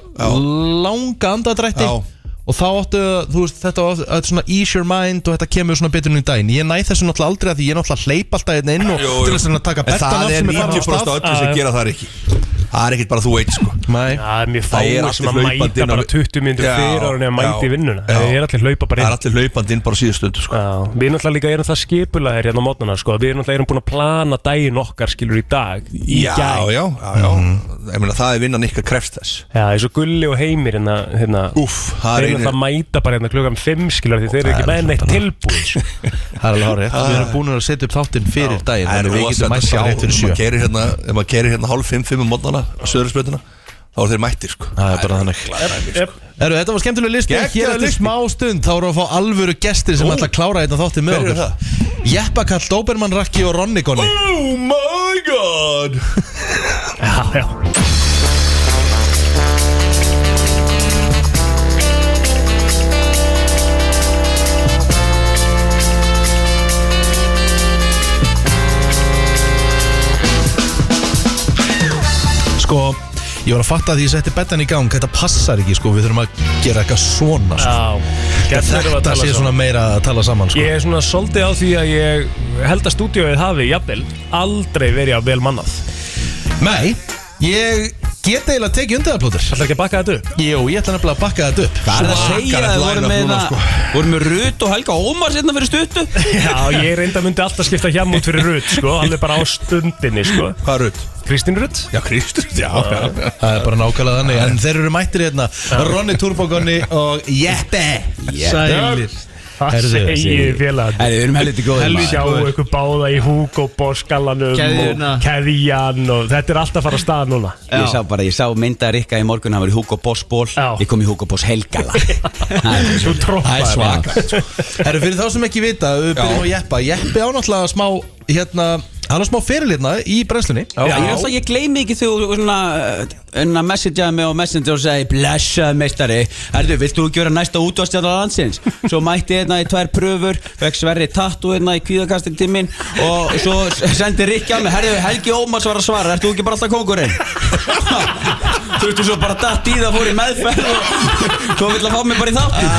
A: langa andadrætti.
K: Já.
A: Og þá áttu, þú veist, þetta var þetta er svona ease your mind og þetta kemur svona betur inn í daginn. Ég næ þessu náttúrulega aldrei að því ég náttúrulega hleyp alltaf hérna inn og til þess að taka
K: En
A: bettan af
K: það er
A: sem er farin á
K: 90% af
A: stað.
K: öllu sem gera það ekki Það er ekkert bara þú eitt sko
A: Nei.
B: Það er mjög
K: Það er
B: fáir sem
K: allir
B: að
K: hlaupandi
B: mæta
K: inn á-
B: bara 20 myndir
K: Já,
B: fyrir ára nefn að mæta
K: já,
B: í vinnuna
K: já.
B: Það er allir hlaupa bara inn
K: Það er allir hlaupandi inn bara síðust undur sko
B: Við náttúrulega líka erum það skipulaðir hérna á mótnana sko. Við náttúrulega erum búin að plana daginn okkar skilur í dag í
K: Já,
B: gær.
K: já, já, já Ég meina það er vinnan ykkar krefst þess
B: Já, eins og Gulli og Heimir hérna, hérna
K: Úff,
B: Þeir
K: það er einir-
B: náttúrulega mæta bara hérna klukkan 5 skilur því þeir eru
A: Það
B: ekki
A: er
B: með neitt tilbúið sko.
A: Það er alveg hárið Við erum búin að setja upp þáttinn fyrir daginn
K: Það er
A: Þannig við
K: rosa
A: getum
K: að
A: mætt
K: sjá
A: bara rétt fyrir
K: Ef
A: sjö
K: maður kerir hérna, ef maður kerir hérna hálf fimm, fimm um mótnana á söðurspröðuna Þá er þeir mættir sko
A: Það er bara þannig
B: sko.
A: Eru, þetta var skemmtileg listi
K: Geggjaður
A: Hér eftir
K: listi.
A: smá stund þá erum við að fá alvöru gestir sem
K: Ó.
A: ætla að klára þetta þáttinn með
K: Hver eru
A: okkur Jeppakall, Dobermann, Rakki og Ronni Gonni
K: Oh my god
B: Já, já
A: Sko, ég var að fatta að því ég setti betan í gang Þetta passar ekki, sko, við þurfum að gera eitthvað svona sko.
B: Já, gegnir að
A: Þetta
B: tala
A: sé
B: saman.
A: svona meira að tala saman sko.
B: Ég er svona svolítið á því að ég held að stúdíóið hafi, jafnvel, aldrei verið að vel mannað
A: Nei, ég get eiginlega að tekið undir það plótur Það
B: ætlar ekki að bakka þetta upp?
A: Jú, ég ætla nefnilega að bakka þetta upp
L: Það er að
A: Svakalegt
L: segja að voru
A: line-up
L: með
A: núna, sko.
L: það Voru með Rut og Helga Ómar sérna fyrir stuttu
B: Já, ég reynda myndi alltaf skipta hjá út fyrir Rut, sko, alveg bara á stundinni, sko
K: Hvað Rut?
B: Kristín Rut?
K: Já, Kristín, já, já, já.
A: Það er bara nákvæmlega þannig En þeir eru mættir hérna Ronny Turbogonni og Jeppe
K: Jeppe.
A: Sælir
B: Hvað
N: Herðu,
B: segir
N: segir-
B: félag?
N: Herðu, við erum helviti góðir, maður.
B: Sjáu ykkur báða í Hugo Boss galanum
N: Keðjuna.
B: og keðjan og þetta er alltaf að fara að staða núna
N: Ég sá bara, ég sá mynda Rikka í morgun, hann var í Hugo Boss ból Ég kom í Hugo Boss helgala Svo
B: troppaði
N: Það er sko. svaka
A: Herru, fyrir þá sem ekki vita, við byrjum á Jeppa Jeppi á náttúrulega smá, hérna Hann á smá feril hérna í brennslunni
N: Já, ég, ætla, ég gleymi ekki þú svona, svona messageaði mig á Messenger og segi blessað meistari, herðu, vilt þú gera næsta útvarstjáta landsins? Svo mætti ég hérna í tvær pröfur, vekk sverri tattu hérna í kvíðakastin tíminn og svo s- sendi Rikki á mig, herðu, Helgi Ómars var að svara, ert þú ekki bara alltaf kongurinn? Þurftu svo bara datt í það, fór í meðferð og svo vill að fá mig bara í þáttin.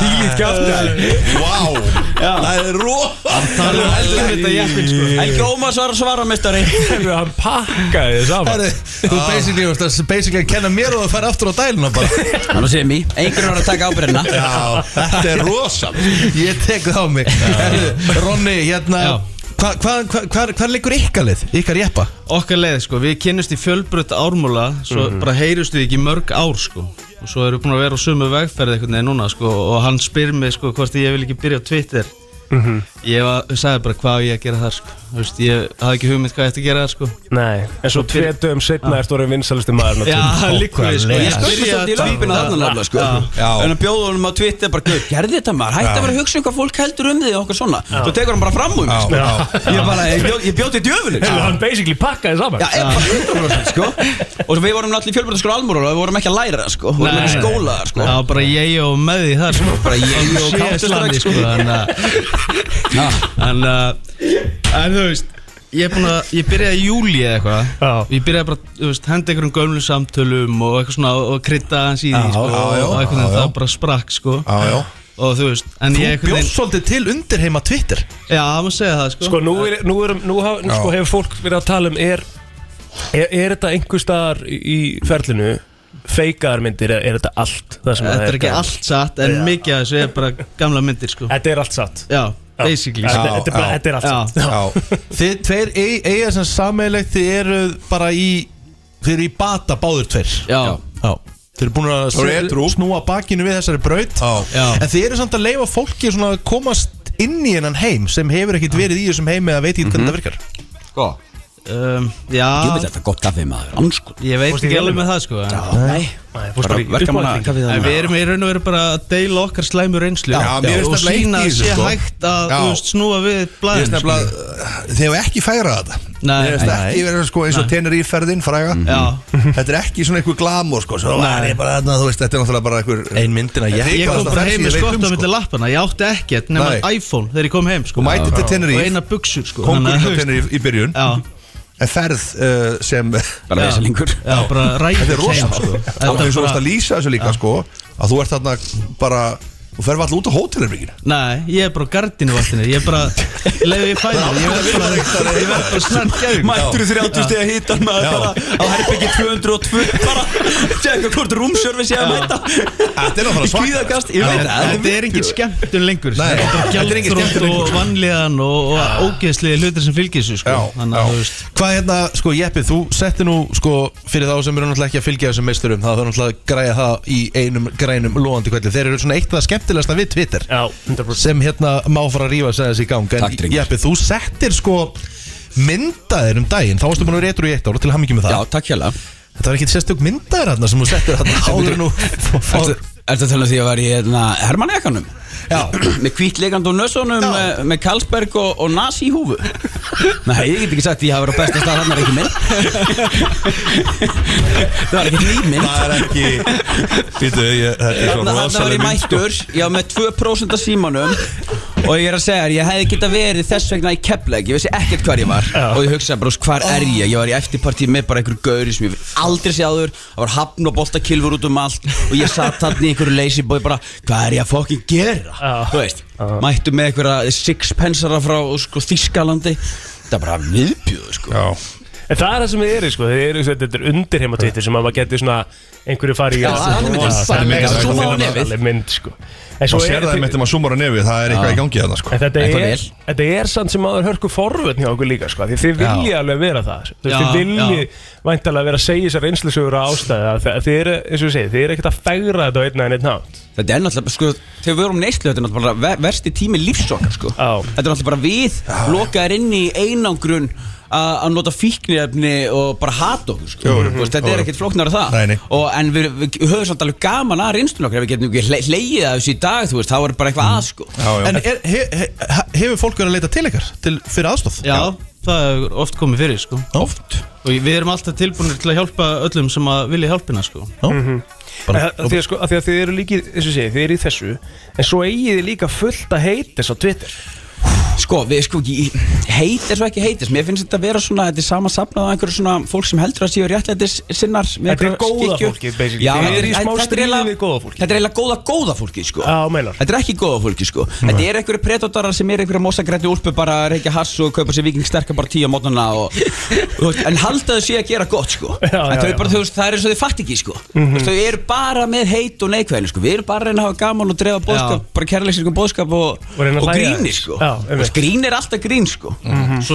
N: Þýlít kjátt.
K: Vá, það er rófa
N: Það er helgivita jeppin sko Helgi Ómars var að svara meistari
B: Hann pakkaði þið saman
A: Herru, þú basically, þú veist, basically að kenna mér og það fær aftur á dæluna bara
N: Þannig að segja mér, einhvern var að taka ábyrðina
A: Já, þetta er
K: rosal
A: Ég tek það á mig Herru, Ronni, hérna hva- hva- hva- hvar- Hvar liggur ykkarlið? Ykkar jeppa?
O: Okkar leið sko, við kynnumst í fjölbrött ármúla Svo
A: Mhm.
O: bara heyrust við ekki í mörg ár sko Og svo erum við búin að vera á sömu vegferð einhvern veginn núna sko Og hann spyr mig sko hvort ég vil ekki byrja á Twitter
B: Mhm.
O: Ég var, sagði bara hvað á ég að gera þar sko Þú veist, ég hafði ekki hugmynd hvað ég ætti að gera þar sko
B: Nei, en svo tvei dögum setna ertu orðin vinsalusti maður
O: Já, líka við sko Ég
N: svolítið í löpina þarna nafnilega sko En að bjóða honum á Twitter bara "Guð, Gerði þetta maður, hætti að vera að hugsa um hvað fólk heldur um þig og okkur svona Þú tekur hann bara fram úr mig sko
B: Já.
N: Ég bara, ég bjó- ég bjóti djöfulinn
B: Hefur hann basically pakkaði saman
N: Já, ég bara 100% sko Og svo við vorum náttúrulega í fjölbjörnarskóla almúru og við vorum ekki að læra það sko Við vorum ekki skólaðar sko
O: Já, bara ég og með því þar sko Bara ég og
N: Sé
O: Counter-Strike
N: slandi,
O: sko
N: sko.
O: Þannig að Þannig að En þú veist Ég er búin að Ég byrjaði í júli eða eitthvað Ég byrjaði bara Þú veist, henda einhverjum gömlu samtölum Og eitthvað svona Og krydda hans í því
A: Já,
O: sko
A: já, já,
O: Og einhvern
A: já,
O: veginn
A: já.
O: það bara sprakk sko
A: Já, já.
O: Og þú veist En
A: Þú
O: ég einhvern
A: bjóst svolítið til undir heima Twitter
O: Já, það má segja það sko
B: Sko, nú, er, nú, er, nú, haf, nú
O: Já.
B: sko, hefur fólk verið að tala um er, er, er þetta einhver staðar í í ferlinu feikaðar myndir eða er þetta allt það sem
O: Þetta
B: það
O: er ekki
B: gaman?
O: allt satt En
B: Já.
O: mikið af þessu er bara gamla myndir sko
B: Þetta er allt satt
O: Já, basically
B: Þetta-
O: sko.
B: þetta er bara-
O: Já.
B: þetta er allt
O: Já.
B: satt. Já.
A: Þið tveir ei- eiga sem sammeilegt Þið eru bara í Þið eru í bata báður tveir
O: Já,
A: já. Þið eru búin að
K: Þau eru edrú.
A: snúa bakinu við þessari braut
K: Já.
A: En þið eru samt að leifa fólki svona að komast inn í hennan heim sem hefur ekkert verið í þessum heim eða veit ekki hvernig það virkar
N: Sko
O: um, Já
N: Ég veit þetta gott kaffi maður, ansku
O: Ég veit
N: Fórstu í
O: ekki alveg
N: vélina?
O: með það sko en-
N: Nei, bara verka manna kaffið
O: En Við
N: þarna
O: erum í raun og veru bara að deila okkar slæmu reynslu
K: Já, mér finnst
O: og
K: nefnilega eitt
O: sína
K: í
O: að
K: þessu,
O: sé
K: sko.
O: hægt að
K: Já.
O: þú veist, snúa við sko.
K: Ég veist
O: blæðin
K: nefnilega, Þið hefur ekki færað þetta
O: Nei.
K: Ég veist ekki
O: Nei.
K: verið sko eins og
O: Nei.
K: tenur í ferðin fræga
O: Já.
K: Þetta er ekki svona einhver glamour sko Svo var
O: Nei.
K: ég bara þarna, þú veist, þetta er náttúrulega bara einhver Ein myndina
O: Ég kom bara heim með skott á milli lappana Ég átti ekkert nema
K: um, sko. Nei.
O: iPhone þegar ég kom heim sko.
K: Þú mætir til Tenerife.
O: Og eina buksur sko.
K: Kongurinn á
O: Þannig að-
K: tenur í byrjun
O: Já.
K: En ferð uh, sem
N: Bara veselingur.
O: Já, bara ræður
K: Þetta er rosa
O: segjum, sko.
K: sko
O: Þetta
K: Og eins og
O: bara-
K: varst að lýsa þessu líka sko Að þú ert þarna bara Þú ferð alltaf út á hótelherbygginu
O: Nei, ég er bara á gardinu vatninu Ég er bara Leðu ég fæði Ég verð bara Ég verð bara snart gæðum
N: Mættur 30 steg að hita maður bara á herbyggi 202 bara tjekka hvort roomservice ég að mæta
K: Þetta er náttúrulega svaka.
N: Kvíðakast, ég veit það
O: Þetta er engin skemmtun lengur
K: Nei,
O: Þetta
K: þetta er
O: er
K: engin
O: gjaldrótt
K: skemmtun
O: og vanlíðan og, og ógeðslega hlutir sem fylgir þessu sko. Þannig að þú veist
A: Hvað hérna, sko Jeppi, þú setti nú sko fyrir þá sem eru náttúrulega ekki að fylgja þessum meisturum það þarf náttúrulega að græja það í einum grænum lóandi kvelli, þeir eru svona eitt af það skemmtilegasta við Twitter
B: Já, 100%.
A: sem hérna má fara að rífa sig þessi í gang en
N: Takk, drengur.
A: Jeppi, þú settir sko myndaðir um daginn, þá varstu búin að vera eitthvað í eitt ára til hamingi með það
N: Já, takk hérna. hjá
A: Þetta var ekkit sérstök myndaðir hérna sem þú settir hérna áður en þú
N: Ertu ertu að tala um því að var í hérna, Hermann-ekkanum?
A: Já
N: Með kvítlegand og nössunum, með, með Karlsberg og, og nasi í húfu Nei, ég get ekki sagt að ég hafa verið á besta stað hann er ekki minn Það var ekki nýmynd
K: Það er ekki Býtu, ég- þetta
N: Þarna
K: er svo
N: þarna var
K: rosalega
N: ég
K: mynd, sko.
N: mættur, ég var með 2% af símanum Og ég er að segja þér, ég hefði geta verið þess vegna í kepleg Ég vissi ekkert hvar ég var Og ég hugsaði bara, hvar er ég? Ég var í eftirpartíð með bara einhverju gauri sem ég hef aldrei séð áður Það var hafn og boltakilfur út um allt Og ég satt hann í einhverju leysibói bara Hvað er ég að fokkin gera? Þú veist, mættu með einhverja sixpensara frá sko, Þískalandi Þetta er bara viðbjöðu sko
K: Já
B: En það er það sem þið eru sko, þið eru þetta er undirheim á Twitter sem að maður getur svona einhverju farið í
K: Já, það er myndin. Það er myndin.
B: Það
K: Zooma á
B: er
K: nefið.
B: alveg mynd sko En
K: Svo
B: svo
K: sér
B: er-
K: það einmitt um að súmar á nefið, það er eitthvað í gangi þarna sko
B: En þetta
K: Eitthvað
B: er,
K: vel.
B: þetta er samt sem aður hörku forvöldni á okkur líka sko, því þið
K: Já.
B: viljið alveg vera það sko.
K: Já,
B: þið
K: já.
B: viljið væntalega vera að segja þessar einslisögur á ástæði að þið- þið eru, eins og ég segi, þið eru ekkert að fegra þetta á einn að einn nátt
N: Þetta er náttúrulega, sko, þegar við vorum neyslu Þetta er náttúrulega bara ver- versti tími lífsokkar, sko
B: Á.
N: Þetta er náttúrulega bara við Lokaðir inn í einangrun Að að nota fíknirefni og bara hata okkur, sko
K: Jú, jú,
N: Þú veist, Þetta
K: jú,
N: er
K: jú.
N: ekkert flóknar að það
K: Nei, nei.
N: Og, En við, við höfum samt alveg gaman að reynslun okkar Ef við getum ekki hle- hlegið að þessu í dag, þú veist Þá er bara eitthvað að, sko
A: En er, he, he, hefur fólk verið að leita til ykkar til, fyrir aðstof?
O: Já, það hefur oft komið fyrir sko Oft Og við erum alltaf tilbúinir til að hjálpa öllum sem að vilja hjálpina sko
B: Mhm.
O: Bara-
B: Bara, því, að, sko, að því að þið eru líki, eins og ég segi, þið eru í þessu En svo eigið þið líka fullt að heitis á Twitter
N: Sko, við sko ekki, heitir svo ekki heitir Mér finnst þetta að vera svona, þetta er sama safnað á einhverju svona fólk sem heldur að séu réttlætis sinnar með
B: Þetta er
N: einhverjar
B: góða
N: skyggjur.
B: fólkið, basically.
N: Já,
B: Þið
N: þetta
B: eru í
N: er-
B: smá
N: þetta er
B: stríði
N: eiginlega-
B: við góða fólkið.
N: Þetta er eiginlega góða góða fólkið, sko Já,
B: meinar
N: Þetta er ekki góða fólki, sko Þetta er einhverju predatora sem er einhverju mosagrætti úlpu bara að reykja hass og kaupa sér viking sterkar bara tíu á mótnana og, þú veist, en halda þau sé að gera gott, sko En
B: já,
N: þau
B: já.
N: bara, þú veist, það er eins og þau fatt ekki, sko
B: Mhm.
N: Þú veist, Þau eru bara með heit og neikvæðin, sko Við erum bara að reyna að hafa gaman og drefa bóðskap, bara kærleiksirkum bóðskap og,
B: Og reyna að
N: og
B: hlæja
N: gríni,
B: aðeins.
N: sko
B: Já, einmitt.
N: Og grín er alltaf grín, sko
O: Svo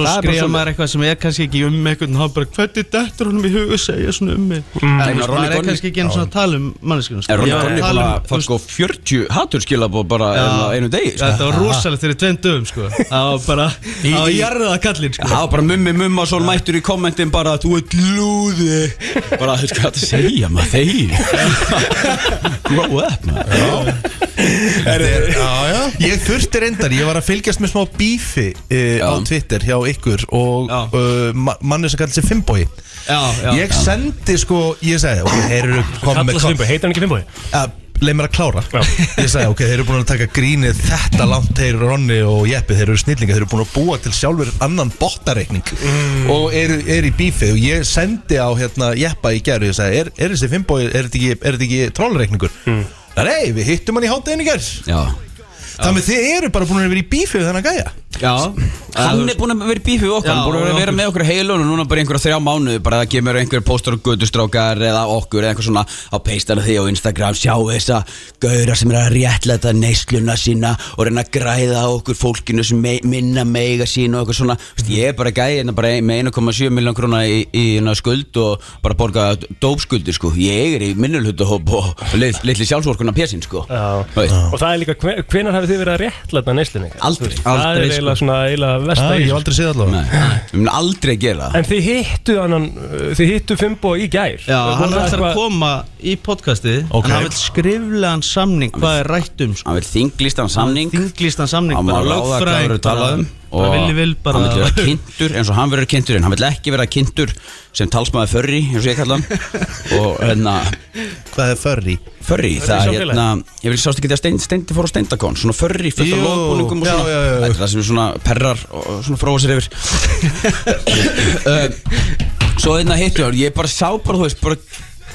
N: Það er bara
O: skrifa
N: svoleiðis.
O: maður eitthvað sem er kannski ekki um einhvern hann bara hvernig dettur honum í hug að segja svona um mig
N: Mm.
O: En
N: Ég meina,
O: þú veist,
N: Ronny
O: maður er
N: Gonny-
O: kannski ekki einu svona að tala um manneskinu
N: Er Ronny Gunni búin
O: tala
N: að fá sko 40 haturskilabó bara
O: Já.
N: á einu degi sko?
O: Þetta var rosalegt fyrir tveim dögum sko Það var bara Það var jarðaða kallinn sko
N: Já, bara mummi mumma svo mættur í kommentin bara Þú ert lúði Bara, þú veist hvað þetta segja maður, þeir Grow up maður
A: Er, já, já. Ég þurfti reyndar, ég var að fylgjast með smá bífi uh, á Twitter hjá ykkur og uh, ma manni sem kallar sér Fimboi
O: já,
A: Ég
B: já.
A: sendi sko, ég segi ok, þeir eru komið
B: Kallast Fimboi, heitir hann ekki Fimboi?
A: Leif mér að klára Ég segi ok, þeir eru búin að taka grínið þetta langt Þeir eru Ronni og Jeppi, þeir eru snillinga Þeir eru búin að búa til sjálfur annan bottareikning Og eru er í bífið Og ég sendi á hérna Jeppa í gerð Ég segi, er, er þessi Fimboi, er þetta ekki, er þetta ekki trollreikningur?
B: Hmm.
A: Nei, við hittum hann í hátæðinu gerð
N: Já
A: Þannig að þið eru bara búin að vera í bífið við þennan gæja
N: Já Hann er búin að vera í bífið okkur Hann er búin að vera með okkur heilun og núna bara einhverja þrjá mánuði bara það kemur einhver póstur og gutustrákar eða okkur eða eitthvað svona á peistana því á Instagram sjá þessa gauðra sem er að réttlæta neysluna sína og reyna að græða á okkur fólkinu sem me minna meiga sín og eitthvað svona Vist, ég er bara gæði hérna bara ein- með 1,7 miljón krona í, í hérna skuld og bara borga dópskuldi sko ég er í minnulhutahóp og lit- litli sjálfsvorkunna pjasinn sko
B: Já.
N: Veist.
B: Og það er líka, hvenar hafið þið verið að réttlæta neyslinni?
N: Aldrei.
B: Það er
N: Aldrei, sko.
B: eiginlega svona, eiginlega versta í þessu.
A: séð allavega
N: Við munum aldrei gera það
B: En þið hittu annan, uh, þið hittu Fimbo í gær
O: Já, hann ætlar að koma í podcastið
B: Ok.
O: En hann vil skriflegan samning Hvað er rætt um sko
N: Hann vil þinglistan samning
O: Þinglistan samning
N: Hann má
O: bara,
N: ráða hvað
O: lögfræðing
N: verður
O: bara-
N: talað um
O: bara vilji vil bara-
N: Hann vil vera kynntur eins og hann verður kynntur En hann vil ekki vera kynntur sem talsmaður förri eins og ég kalla hann Og hérna
A: Hvað er förri?
N: Förri,
L: Furry
N: það er
L: samfélagið?
N: hérna Ég vil sást ekki þegar steindi steind fór á steindakon Svona förri fullt af
L: Jú,
N: loðbúningum og
L: já,
N: svona
L: já, já, já.
N: Þetta er það sem er svona perrar og og svona fróa sér yfir um, Svo hérna hittu hann Ég bara sá bara, þú veist, bara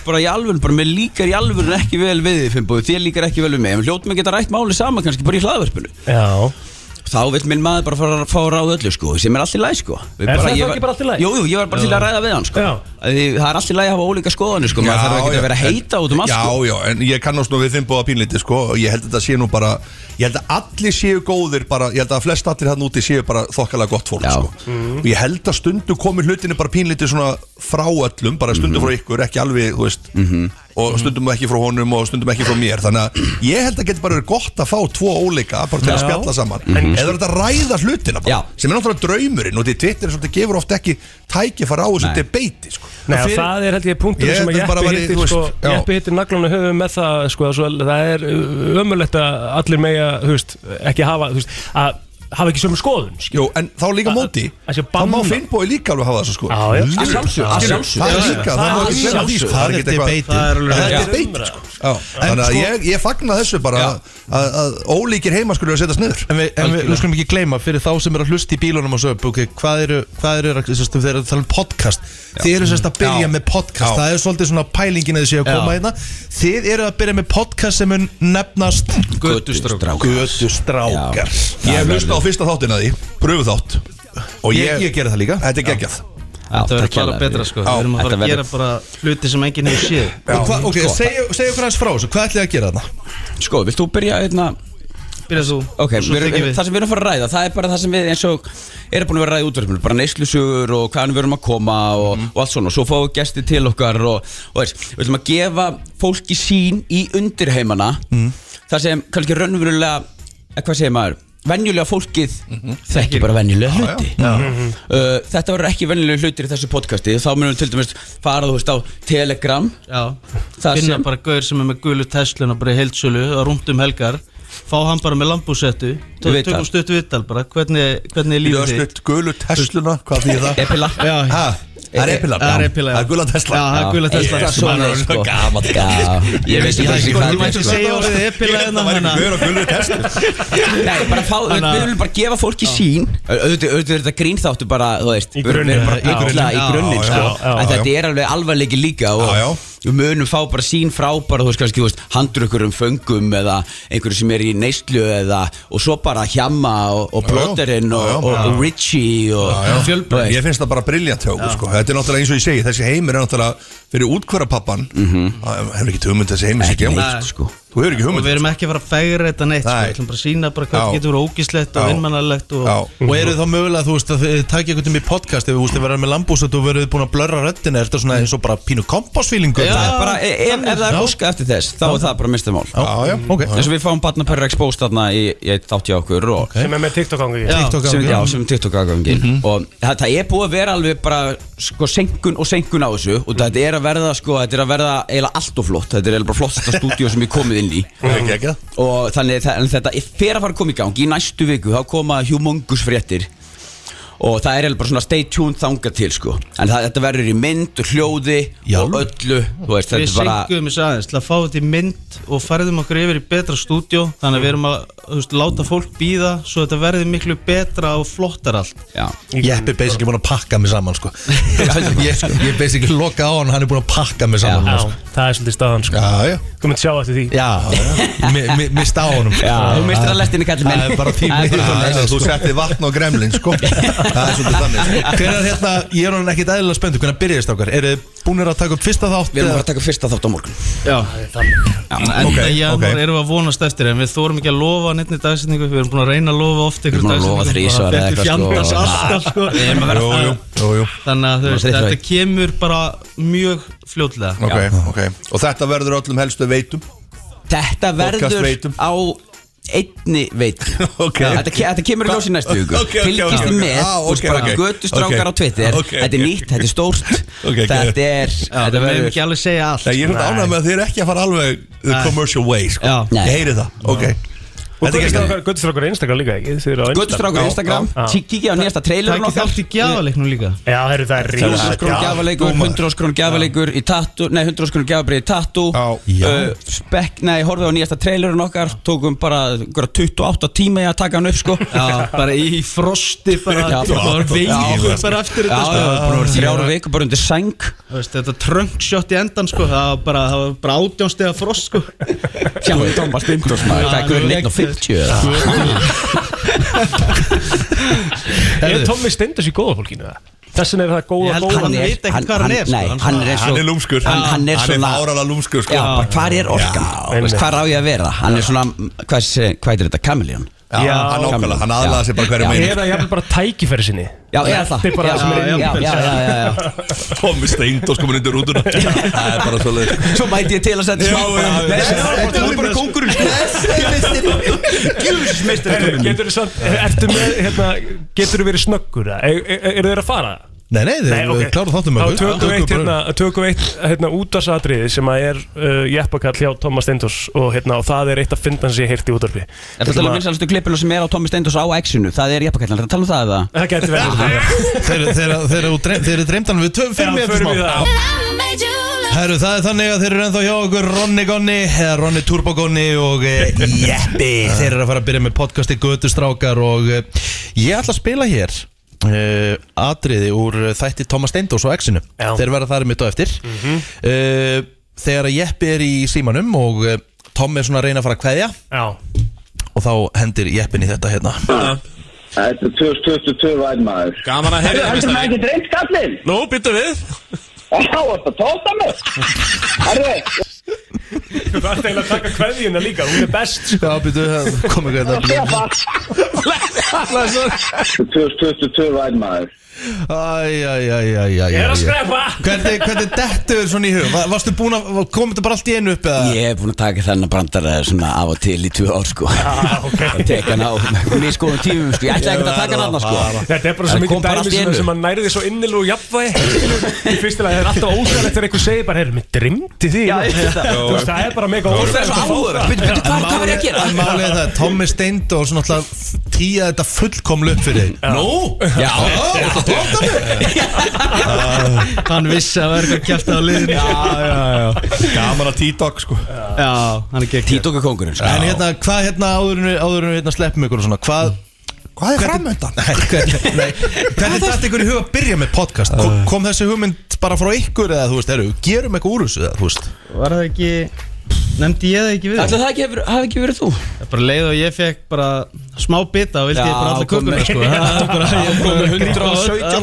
N: bara í alvöru, bara mér líkar í alvöru ekki vel við þið Fimboðu, þér líkar ekki vel við mig en hljótt mig geta rætt máli saman kannski bara í hlaðverfinu
B: Já
N: Þá vill minn maður bara fara að fá ráð öllu sko sem er allt í læg sko Við
B: Er
N: ég
B: það þá
N: var-
B: ekki bara allt í lagi?
N: Jú, jú, ég var bara
B: Já.
N: til að ræða við hann sko Að því, Það er allt í læg að hafa ólíka skoðanir sko maður þarf ekki að vera að heita út um allt
K: Já,
N: sko
K: já, en ég kannast nú við þeim bóða pínleiti sko, og ég held að þetta sé nú bara ég held að allir séu góðir bara, ég held að flest allir hann úti séu bara þokkalega gott fólk sko. og ég held að stundu komi hlutinu bara pínleiti svona frá öllum bara stundu
N: Mhm.
K: frá ykkur, ekki alveg, þú veist og stundum ekki frá honum og stundum ekki frá mér þannig að ég held að geta bara verið gott að fá tvo óleika bara til að
B: Já.
K: spjalla saman
N: Mhm.
B: En-
K: eða er þetta að ræða hlutina bara, sem er náttúrulega draumurinn og því Twitter er svolítið gefur oft ekki tækifæra á þessu debati sko.
B: Nei,
K: Og
B: og
K: fyrir-
B: það er held ég punktum
K: Ég
B: sem að
K: held bara
B: Jeppi
K: væri,
B: hittir
K: þú
B: sko,
K: veist, já.
B: Jeppi hittir naglan og höfum með það sko, svo, það er uh, ömurlegt að allir mega þú veist, ekki hafa þú veist, að hafa ekki sömu skoðun skil.
K: Jó, en þá líka móti þá má Finnbói líka alveg hafa þessa sko
B: Já, já. Að sjálfsögðu, að sjálfsögðu.
K: Það er
B: Já, já.
K: líka,
B: Það
K: það
B: er
K: má ekki
B: alveg
K: glemma því, sko,
B: sjálfsögðu.
K: það er ekki
A: Það er
K: eitthvað-
A: debatið.
K: það er alveg-
A: Já.
K: það er debatið sko. Já, Þannig að
A: sko-
K: ég, ég fagna þessu bara að, að ólíkir heima skulle vera að setjast niður
A: En við, en við nú skulum ekki gleyma fyrir þá sem eru að hlusta í bílunum og svo upp, okay, hvað eru, hvað eru, sérst, þeir eru að tala um podcast Þið eru sérst að byrja
K: Já.
A: með podcast,
K: Já.
A: það er svolítið svona pælingin að þið séu að
K: Já.
A: koma hérna Þið eru að byrja með podcast sem mun nefnast
N: Götustrákar
A: Götustrákar
K: Ég hef hlusta á fyrsta þáttin að því, pröfu þátt
A: Ég- ég gerði það líka
K: Þetta er geggjað
O: Þetta verður bara betra sko Við erum að fara að gera bara hluti sem enginn hefur séð
A: Og hvað- ok, segja- segja okkur hans frá þessu, hvað ætlið þið að gera þarna?
N: Sko, vilt þú byrja einna
O: Byrja þú
N: Ok,
O: Svo
N: við, erum-
O: tekjum við.
N: það sem við erum að fara að ræða Það er bara það sem við eins og Erum búin að vera að ræða útverfum Bara neyslusugur og hvaðan við erum að koma og,
O: Mhm.
N: og allt svona Og svo fáum við gesti til okkar Og, og veist, við ætlum að gefa fólki sín í undirheimana
J: Mhm.
N: Það sem kannski raunverulega eh, Hvað segir maður? Venjulega fólkið
O: Mhm.
N: Þekkir bara venjulega hluti
J: já.
N: Uh, þetta verður ekki venjulega hlutir í þessu podcasti þá munum við til dæmis fara þú veist á Telegram
O: Já,
N: Það
O: finna
N: sem-
O: bara gaur sem er með gulu Tesluna bara í heildsölu og rúmt um helgar fá hann bara með lambúsettu
N: Ég veit
O: tökum
N: það.
O: stutt viðtal bara hvernig, hvernig er
K: Ég
O: lífið
K: var
O: þitt
K: stutt gulu Tesluna, hvað þýðir það?
N: Epila
O: Já,
K: Ha, Það er epila
O: Eh, Það er epila, já.
K: Það er gula Tesla
O: Já, það er gula Tesla.
K: Eitthvað svona,
O: Maður er
K: sko.
O: svo
K: Gamall.
N: Já. Ég vissi bara ekki hvað
K: sko,
N: þetta
K: þú
N: er,
K: mættir
N: sko.
K: segja orðið epila
N: Ég held
K: hérna,
N: að væri
K: hana.
N: gaur á gulu testi. Nei, bara fá, við
K: Hana-
N: við viljum bara gefa fólki sín Au- auðvitað auðvitað er þetta grín þáttu bara, þú veist Við erum- við erum bara
J: grunninn,
N: að
J: já.
N: bylla í
J: Já,
N: grunnin,
J: já,
N: sko
J: já, já,
N: En þetta
J: já.
N: er alveg alvarleiki líka og við munum fá bara sín frá bara, þú veist, kannski, þú veist, handrukur um föngum eða einhverju sem er í neyslu eða, og svo bara hjama og, og plóterinn og, og, og, Richie og
K: Fjölbreytt Ég finnst það bara briljant hjá okkur sko Þetta er náttúrulega eins og ég segi Þessi heimur er náttúrulega fyrir útkvarapappan Hefur ekki hugmynd þessi heimur sem
O: Mhm. Ekki
K: gemur
O: neitt,
K: sko Þú hefur ekki
O: og
K: hugmynd
O: við erum ekki að fara að fegra þetta neitt sko.
K: Nei.
O: við ætlum bara að sína bara hvað
K: Já.
O: þetta getur verið ógíslegt og
K: Já.
O: innmannalegt og,
A: Og eru þá mögulega, þú veist, að þið takja eitthvað í podcast ef þú veist, þið verður með lambúsat og verður búin að blörra röddina, er þetta svona eins og bara pínu kompásfílingu?
N: Það er bara, e- ef, ef það er óska eftir þess þá er það bara mistið mál
A: Já, já, ok.
N: eins og við fáum Batnapörra Exposed þarna í, í eitt þátt hjá okkur og,
B: Sem er með TikTok-gangi
N: Já, sem, já, sem TikTok-gangin
A: Mhm.
N: og það, það er búið að vera alveg bara sko senkun og senkun á þessu og þetta er að verða sko, þetta er að verða eiginlega allt og flott, þetta er eiginlega bara flottasta stúdíu sem ég komið inn í
K: Ekki, ekki.
N: og þannig það, en þetta er fer að fara að koma í gang í næstu viku, þá koma humongous fréttir og það er eiginlega bara svona stay tuned þanga til sko en það, þetta verður í mynd og hljóði og öllu, þú veist, þetta
O: við
N: er bara
O: senkum þessu aðeins til að fá þetta í mynd og færðum okkur yfir í betra stúdjó þannig að við erum að þú veist, láta fólk býða svo þetta verði miklu betra og flottar allt
N: Já.
A: Jeppi er basically búin að pakka mig saman sko. ég, ég er basically loka á hann Hann er búin að pakka mig saman
B: Já,
A: sko.
B: það er svolítið staðan sko
A: Já, já
B: Þú myndir sjá eftir því
A: Já, já Mista á honum sko.
B: Já. Þú misstir
A: Það-
B: að lestinni, kallinn minn.
A: Það er bara
B: Það er
A: tímið
B: bara svoleiðis,
K: Þú settir vatn og gremlin sko Það er svolítið þannig sko.
A: Hvernig hérna, ég er hann ekkit eðlilega spöndu Hvernig byrjaðist okkar? Eru þið búinir að taka upp fyrsta þátt?
N: Við erum bara að taka upp fyrsta þátt á morgun
O: Já, En
A: ok,
O: okay, janúar
A: ok.
O: erum við að vonast eftir en við þórum ekki að lofa nefnir dagsetningu við erum búin að reyna að lofa oft ykkur
N: búin að lofa þrisvar eða
O: þetta
N: eitthvað,
O: fjandans
N: sko.
O: alltaf sko.
N: Við erum að vera- Jú, jú,
O: þannig að þú
K: Maður
O: veist,
K: þreytur á
O: þetta
K: því.
O: kemur bara mjög fljótlega
K: Ok, ok Og þetta verður öllum helstu veitum
N: Þetta verður
K: Podcastveitum.
N: á einni veit
K: okay.
N: þetta, ke þetta kemur í ljós í næstu viku
K: Ok, ok, ok,
N: Fylgist þið
K: ok.
N: með,
K: Ah,
N: þú veist
K: ok,
N: bara
K: ok.
N: götustrákar
K: Ok.
N: á Twitter
K: Ok,
N: Þetta er
K: ok.
N: nýtt, þetta er stórt
K: Ok, ok.
N: Þetta er
K: við
N: Þetta
K: megum
N: verður
K: ekki
O: alveg segja allt
K: Nei, ég er
N: Nei.
K: ánægð með að þið eru ekki að fara alveg The
N: Nei.
K: commercial way sko
N: Já. Nei.
K: Ég heyri það, ok
B: Og
K: Þetta er ekki
B: Göttustrákar Instagram líka, ekki? Þið eru á
N: Götustrákar á Instagram, tí- kíkja á nýjasta trailerinn
O: Takk þátt í gjafaleiknum líka
B: Já, það eru það rísa
N: 1000 krónu gjafaleikur, 100 krónu gjafaleikur í tattu, nei 100 krónu gjafabrið í tattu uh, Spekk, nei, horfið á nýjasta trailerinn okkar Tókum bara einhverja 28 tíma í að taka hann upp sko
O: Já, bara í frosti bara,
N: Já,
O: bara, bara veikur bara eftir þetta
N: Já, já, búin að vera þrjára veikur bara undir sæng
O: Þú veist, þetta tröngsjótt í endan sko, það var bara, það var bara átjónstega frost sko
N: Sjáðu Thomas Bindros maður, það er guðurinn 1 og 50 eða?
B: Er Tommy Stenders í góða fólkinu það? Þessin er það góða góða
N: Nei, hann er eins og Hann, hann er svona
K: lúmskur
N: Já, bara hvar er orkan? Þú veist, Hvar á ég að vera? Hann er svona, hvað, sé- hvað er þetta, kamiljón?
B: Eða ég hefði bara tækifæri sinni
N: Já, eða það.
B: Þetta er bara
N: Já,
B: það sem er
N: já,
B: innbils
N: já, já, já, já.
K: Tommi Steindós komin undir rútuna Það er bara svo leið
N: Svo mæti ég til að setja smá bara Þetta er bara kóngurinn
B: Gjöfsmeistarinn Getur þið samt, ertu með, hérna, getur þið verið snöggur eða? Er, er, er þið að fara?
A: Nei, nei, þið eru
B: ok.
A: klára þáttum
B: Þá tökum við eitt, hérna, tökum við eitt, hérna, útarsatriði sem að er uh, jeppakall hjá Thomas Stendors og hérna, og það er eitt að finna sem ég heyrti í útarpi
N: Er það tala um vinsalustu klippinu sem er á Tommy Steindors á X-inu? Það er jæppakallin, er það að tala um það eða?
B: Það getur verið
A: Þeir eru dreymdan við töfum fyrir mig eftir smá Herru, það er þannig að þeir eru ennþá hjá okkur Ronni Gonni, eða Ronni Turbo Gonni og eh, Jeppi Þeir eru að fara að byrja með podcasti Götustrákar og eh, ég ætla að spila hér uh, atriði úr eh, þætti Thomas Steindós og Exinu
B: Já.
A: Þeir verða þar mitt á eftir mm Þegar að Jeppi er í símanum og uh, Tom er svona að reyna að fara að kveðja
B: Já
A: og þá hendir Jeppin í þetta hérna
J: Þetta er 2022 væn maður
B: Gaman að heyra það,
J: Heldur maður
B: meistari.
J: ekki dreint kallinn?
B: Nú, byttu við
J: Já, þetta tóta mig Herru,
B: Þú ætti eiginlega að taka kveðjuna líka, hún er best
A: Já, byrju, komið gæta
J: Þetta er 2022 væn maður
A: Æjæjæjæjæjæjæ
J: Ég er að skrepa.
A: Hvernig, hvernig dettur þér svona í hug? Va- Varstu búin að, komið þetta bara allt í einu upp eða?
N: Ég hef búin að taka þennan brandara svona af og til í tvö ár sko okay. Tek hann á misgóðum tímum sko Ég ætla ekkert að taka hann annars sko
B: Þetta er bara svo
N: En
B: mikið
N: kom bara
B: dæmi
N: allt í
B: sem,
N: einu.
B: sem að næri því svo innil og jafnvægi Í fyrsta lagi, það er alltaf óþægilegt þegar einhver segir bara, heyrðu, mér drimdi því
A: ég veit það.
B: Þú veist, það er bara mega
A: Þú veist,
B: óþægilegt að
A: það er svo
B: fá
A: áhugavert.
B: það.
A: Bíddu, bíddu, hvað- hvað var ég að gera? En málið er það, Tommi Steind og svona alltaf tíja þetta fullkomlu upp fyrir þig Nú? Já, þetta tóta mig
O: Hann vissi að verður að kjæfta á liðinu Já, já, já
K: Gaman að T-Dog sko
O: Já, hann er gegn
N: T-Dog er kongurinn
A: sko En hérna, hvað hérna áður en við- áður en við hérna sleppum ykkur og svona Hvað
K: Hvað er framöndan?
A: Hvernig dætt ykkur í hug að byrja með podcast? Kom, kom þessi hugmynd bara frá ykkur eða þú veist, eru, gerum eitthvað úr þessu eða þú veist?
O: Var það ekki Nefndi ég það ekki við
A: Ætli það
O: ekki
N: hafi ekki verið þú?
O: Bara leið og ég fekk bara smá bita og
L: Já,
O: vildi ég bara alla
L: kom
O: kökuna
L: með-
O: sko Það er bara- ég er
L: Kom
O: bara
L: með
O: að grípa
L: 117
O: öll- allar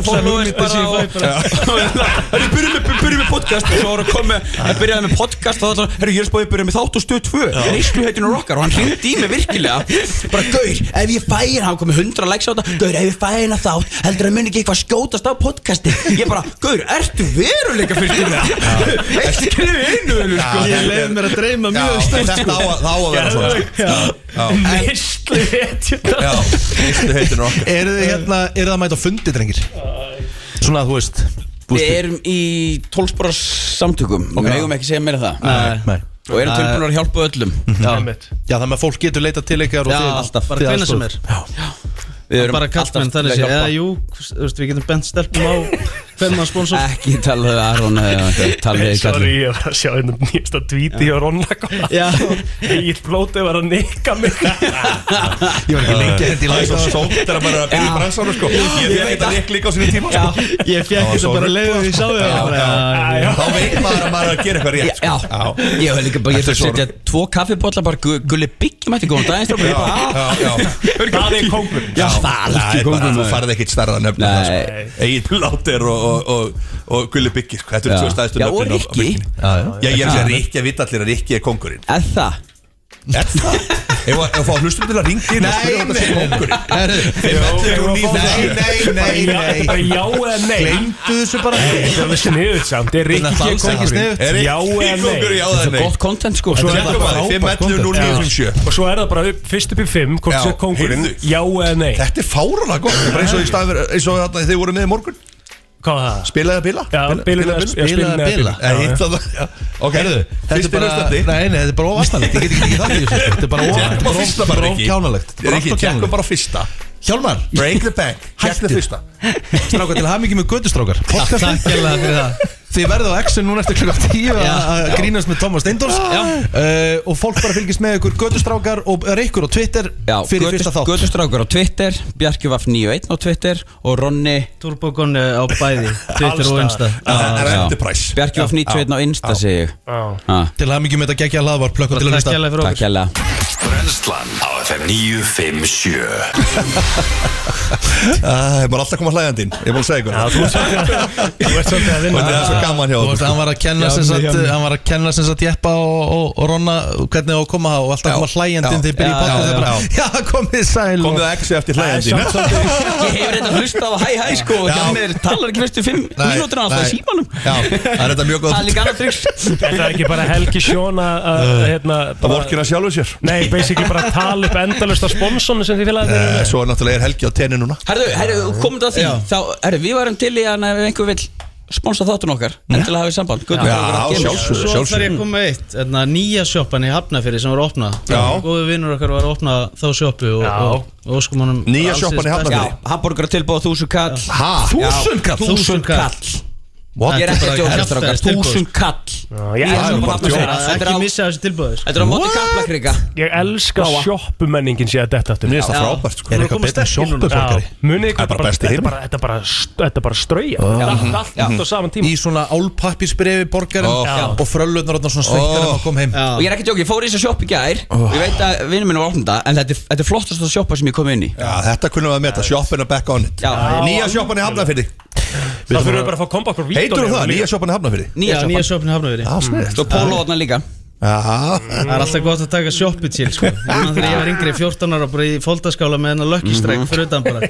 L: followers
O: hugmyndir sem ég
L: bara
O: fæ bara.
L: Herri, byrjum með, byrjum með podcast og svo voru að koma með, að byrjaði með podcast og þá ætlar, herri, ég er spáðið að byrja með þátt og stöð 2 Neyslu heitinu rockar og hann hringdi í mig virkilega bara, gaur, ef ég fæ hérna, hann komið 100 likes á þetta gaur, ef ég fæ hérna þátt, heldur að muni ekki eitthvað skjótast á podcasti ég bara, gaur, ertu veruleika fyrir þetta eitt skrif einu, vinur, sko
O: Ég leið mér að dreyma mjög stórt sko.
K: Þetta á að- það á að vera svona
B: Neyslu hetjurnar
K: Já, neyslu hetjurnar okkar
A: Eru þið hérna, eru það að mæta á fundi, drengir? Svona, þú veist
N: Við erum í tólsporas samtökum Við megum ekki segja meira um það
A: Nei. Nei.
N: Og erum tilbúin að hjálpa öllum
L: Mhm.
A: Já. Já, þannig að fólk getur leitað til ykkar og
N: Já,
A: þið-
N: alltaf.
A: þið
N: Bara hvenær sem
A: aðstoð.
N: er.
O: Við erum
N: erum
O: bara kallmenn
N: alltaf
O: þannig
N: til
O: sé
N: að hjálpa.
O: Eða jú, þú veist, við getum bent stelpum á Hvem að sponsor
N: Ekki talaðu við Aron eða talaðu við
B: Sorry,
N: kallinn.
B: ég var að sjá einu nýjasta tweeti og Ronna kom Egil Blótið var að nikka mig
A: Ég var ekki lengi að hendi í
K: Það er
A: læsa
K: svo sótt þegar maður er að byrja í bransanum sko Ég
A: ég
K: fekk
A: veit
K: þetta
A: það.
K: lík líka á sínu tíma sko
O: Ég
K: Það
O: fekk
K: var
O: þetta
K: svo
O: bara leið og ég sá
K: Já, já,
O: þig
K: já. Þá veit maður að maður er að gera eitthvað rétt
N: Já, ég hef líka bara, ég
K: Þetta er
N: þurfti að setja tvo kaffibotla bara gu- gulli byggjum eftir góðan daginn strákur. Ég bara, ah.
B: Það er kókur
N: Já, það er
K: Það
N: ekki
K: er bara
N: kókur
K: að þú farið ekkit starra nöfn sko. Egil Láter og, og, og, og Gulli Byggir sko. Þetta eru
N: Já.
K: tvö stæðstu
N: Já,
K: nöfnin
N: og
K: á- á
N: Rikki.
K: bylgjunni.
N: Já, já.
K: Já, ég er að segja
N: Já.
K: Rikki að vita allir að Rikki er kongurinn
N: Er það?
K: Er það? Ef að- ef að fá hlustum til að ringi inn og spyrja hvort það sé kóngurinn
A: Nei, nei, nei, nei
B: Bara já eða nei
A: Gleymdu þessu bara
B: Nei, þetta er alveg sniðut samt Er Rikki
A: Þetta er alls ekki sniðugt.
B: kókurinn? Já eða nei
N: content
B: sko
K: Svo er það bara 5, 11, 0, 9, 7
B: Og svo er það bara upp, fyrst upp í 5 Hvort
K: Já,
B: sé kókurinn
K: heyrðu.
B: Já eða nei
K: Þetta er fáralega gott Bara eins og í staðver Eins og þarna þið voru með í morgun
B: Hvað var það?
K: Spilaði að bila?
B: Já, bilun eða- já,
A: Spila
B: spilun
A: eða
B: eða
A: bila
B: bilun. Já,
K: hitt
B: já.
K: það já. Ok,
A: Herðu, þetta er
K: fyrsti
A: bara
K: hlustandi.
A: Nei, nei, þetta er bara ofastanlegt Ég get ekki ekki það í þessu Þetta er bara of-
K: Tjekkum á
A: of-
K: fyrsta
A: bara
K: bara Rikki
A: ofkjánalegt
K: Rikki, tjekkum bara á fyrsta
A: Hjálmar
K: Break the bank Tjekkum á
A: Hættu.
K: fyrsta
A: Strákar til hamingi með gödustrákar Podcast
O: takk hérlega fyrir það.
A: Þið verðu á X-un núna eftir klukka 10 að-
O: Já.
A: að grínast með Thomas Steindors uh, og fólk bara fylgist með ykkur gödustrákar og reykur á Twitter
N: Já,
A: fyrir fyrsta þátt
N: Götustrákur á Twitter Bjarki Vaff 91 á Twitter og Ronni
O: Turbokon eh, á bæði Twitter og Insta
N: Bjarki Vaff 91 á Insta segi ég Ha.
A: Til hamingi með þetta geggja hlaðvar Plökkum til að hlusta
N: Takk hella
P: Brennslan á FM 957
K: Það er bara alltaf að koma hlægandi inn Ég er búin að segja ykkur
B: þú ert svolítið að vinna.
K: Og þetta er svo gaman hjá
A: Þú veist,
K: okkur.
A: hann var að kenna
K: Já,
A: sem sagt,
K: já, já.
A: hann var að kenna sem sagt jeppa og, og, og ronna hvernig á að koma það og alltaf koma hlægjandinn þegar byrja í podcast og bara, já, komið sæl
K: Komið að exi eftir hlægjandi
A: Það er samt
N: Ég hefur reynda hlustað á hæ hæ sko og hjá mér talar ekki fyrstu 5
K: Nei,
N: mínútur alltaf
K: nei.
N: í símanum
K: Já, það er þetta mjög góð
N: Það er líka annað tryggs
B: Þetta er ekki bara Helgi Sjón að- að hérna,
K: Það
B: bara-
K: vorkina sjálfu sér
B: Nei, basically bara tala upp endalust á sponsonu sem þið félagar
K: Eh, Svo er náttúrulega er Helgi á tenni núna
N: Herðu, herðu, komum þetta að því Þá, herðu, við varum til í að ef einhver vill sponsa þáttun okkar endilega hafið samband
O: Svo þarf ég að koma með eitt hérna, Nýja sjoppan í Hafnafyrir sem var að opna
N: Já.
O: Góðu vinnur okkar var að opna þá sjoppu og, og, og óskum honum alls hins besta.
N: Hamburger tilbúið 1000 kall
O: Ha? 1000 kall?
N: 1000 kall
O: What?
N: Ég er ekki að
O: Þetta er bara
N: djóka
O: kjaftaðist
N: strákar
O: tilboð. sko.
N: 1000 kall
J: ég
B: Ég
J: elska
B: er bara
J: bara
B: aftur að segja
J: djók.
B: Þetta er á-
J: Ekki
O: missa sko. þessu tilbúið
B: Þetta er á móti kaplakrika
J: Ég elska
B: Bláa.
J: sjoppumenningin sé að detta aftur
B: Mér finnst það Já. frábært, sko. Er eitthvað betra en sjoppu, Þorgeir?
J: Já, munið
B: Það er
J: ykkur
B: bara
J: bara
B: besti
J: Þetta er
B: heimur.
J: bara- þetta er bara st- þetta er bara strauja
A: Já.
O: Mhm.
J: Allt- Allt allt á saman tíma
A: Í svona álpappisbrefi borgarinn
J: Ó. Já.
A: Og fröllurnar þarna svona sveittar oh. að koma heim
N: Og ég er ekki að djóka, ég fór í þess að sjoppa í gær Og ég veit að vinnum minn var opnum þetta En þetta er, þetta er flottast að sjoppa sem ég kom inn í
K: Já, þetta kunnum við að meta, shoppin er back on it
N: Já.
K: Nýja shoppin er hafnafyrði
J: Þá þurfum við bara að fá kompakt frá
K: Heitur þú það, nýja shoppin er hafnafyrði
N: Nýja sjoppan.
O: Nýja sjoppin hafnaður
K: Já, sniðugt.
N: Og pólóðna líka
O: Það er alltaf gott að taka sjoppi til sko. Ég man Þegar ég var yngri 14 ára bara í fóldaskála með hennar Lucky Strike fyrir utan bara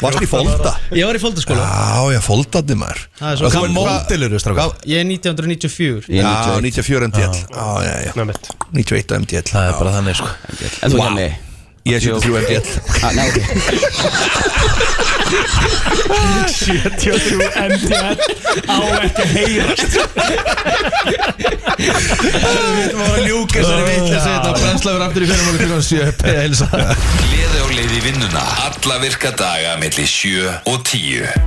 K: Varst í folda?
O: Ég var í fóldaskóla
K: Já, já, foldandi maður
O: Það er svo
K: Hvað
O: gaman.
K: mótil eru, strákar?
O: Ég er 1994
K: Já, 94 MDL Já, já, já 91 MDL Það er bara þannig, sko
N: En þú
K: Vá.
N: Hjalli?
K: Ég er 73 MDL
N: Ah, Nei, ok
J: 73 MDL á ekki að heyrast
A: Þetta var að ljúka þessari vitlega Þetta brennslaður aftur í fyrirmáli klukkan 7 Beðið að heilsa
H: Gleði og leiði vinnuna Alla virka daga melli 7 og 10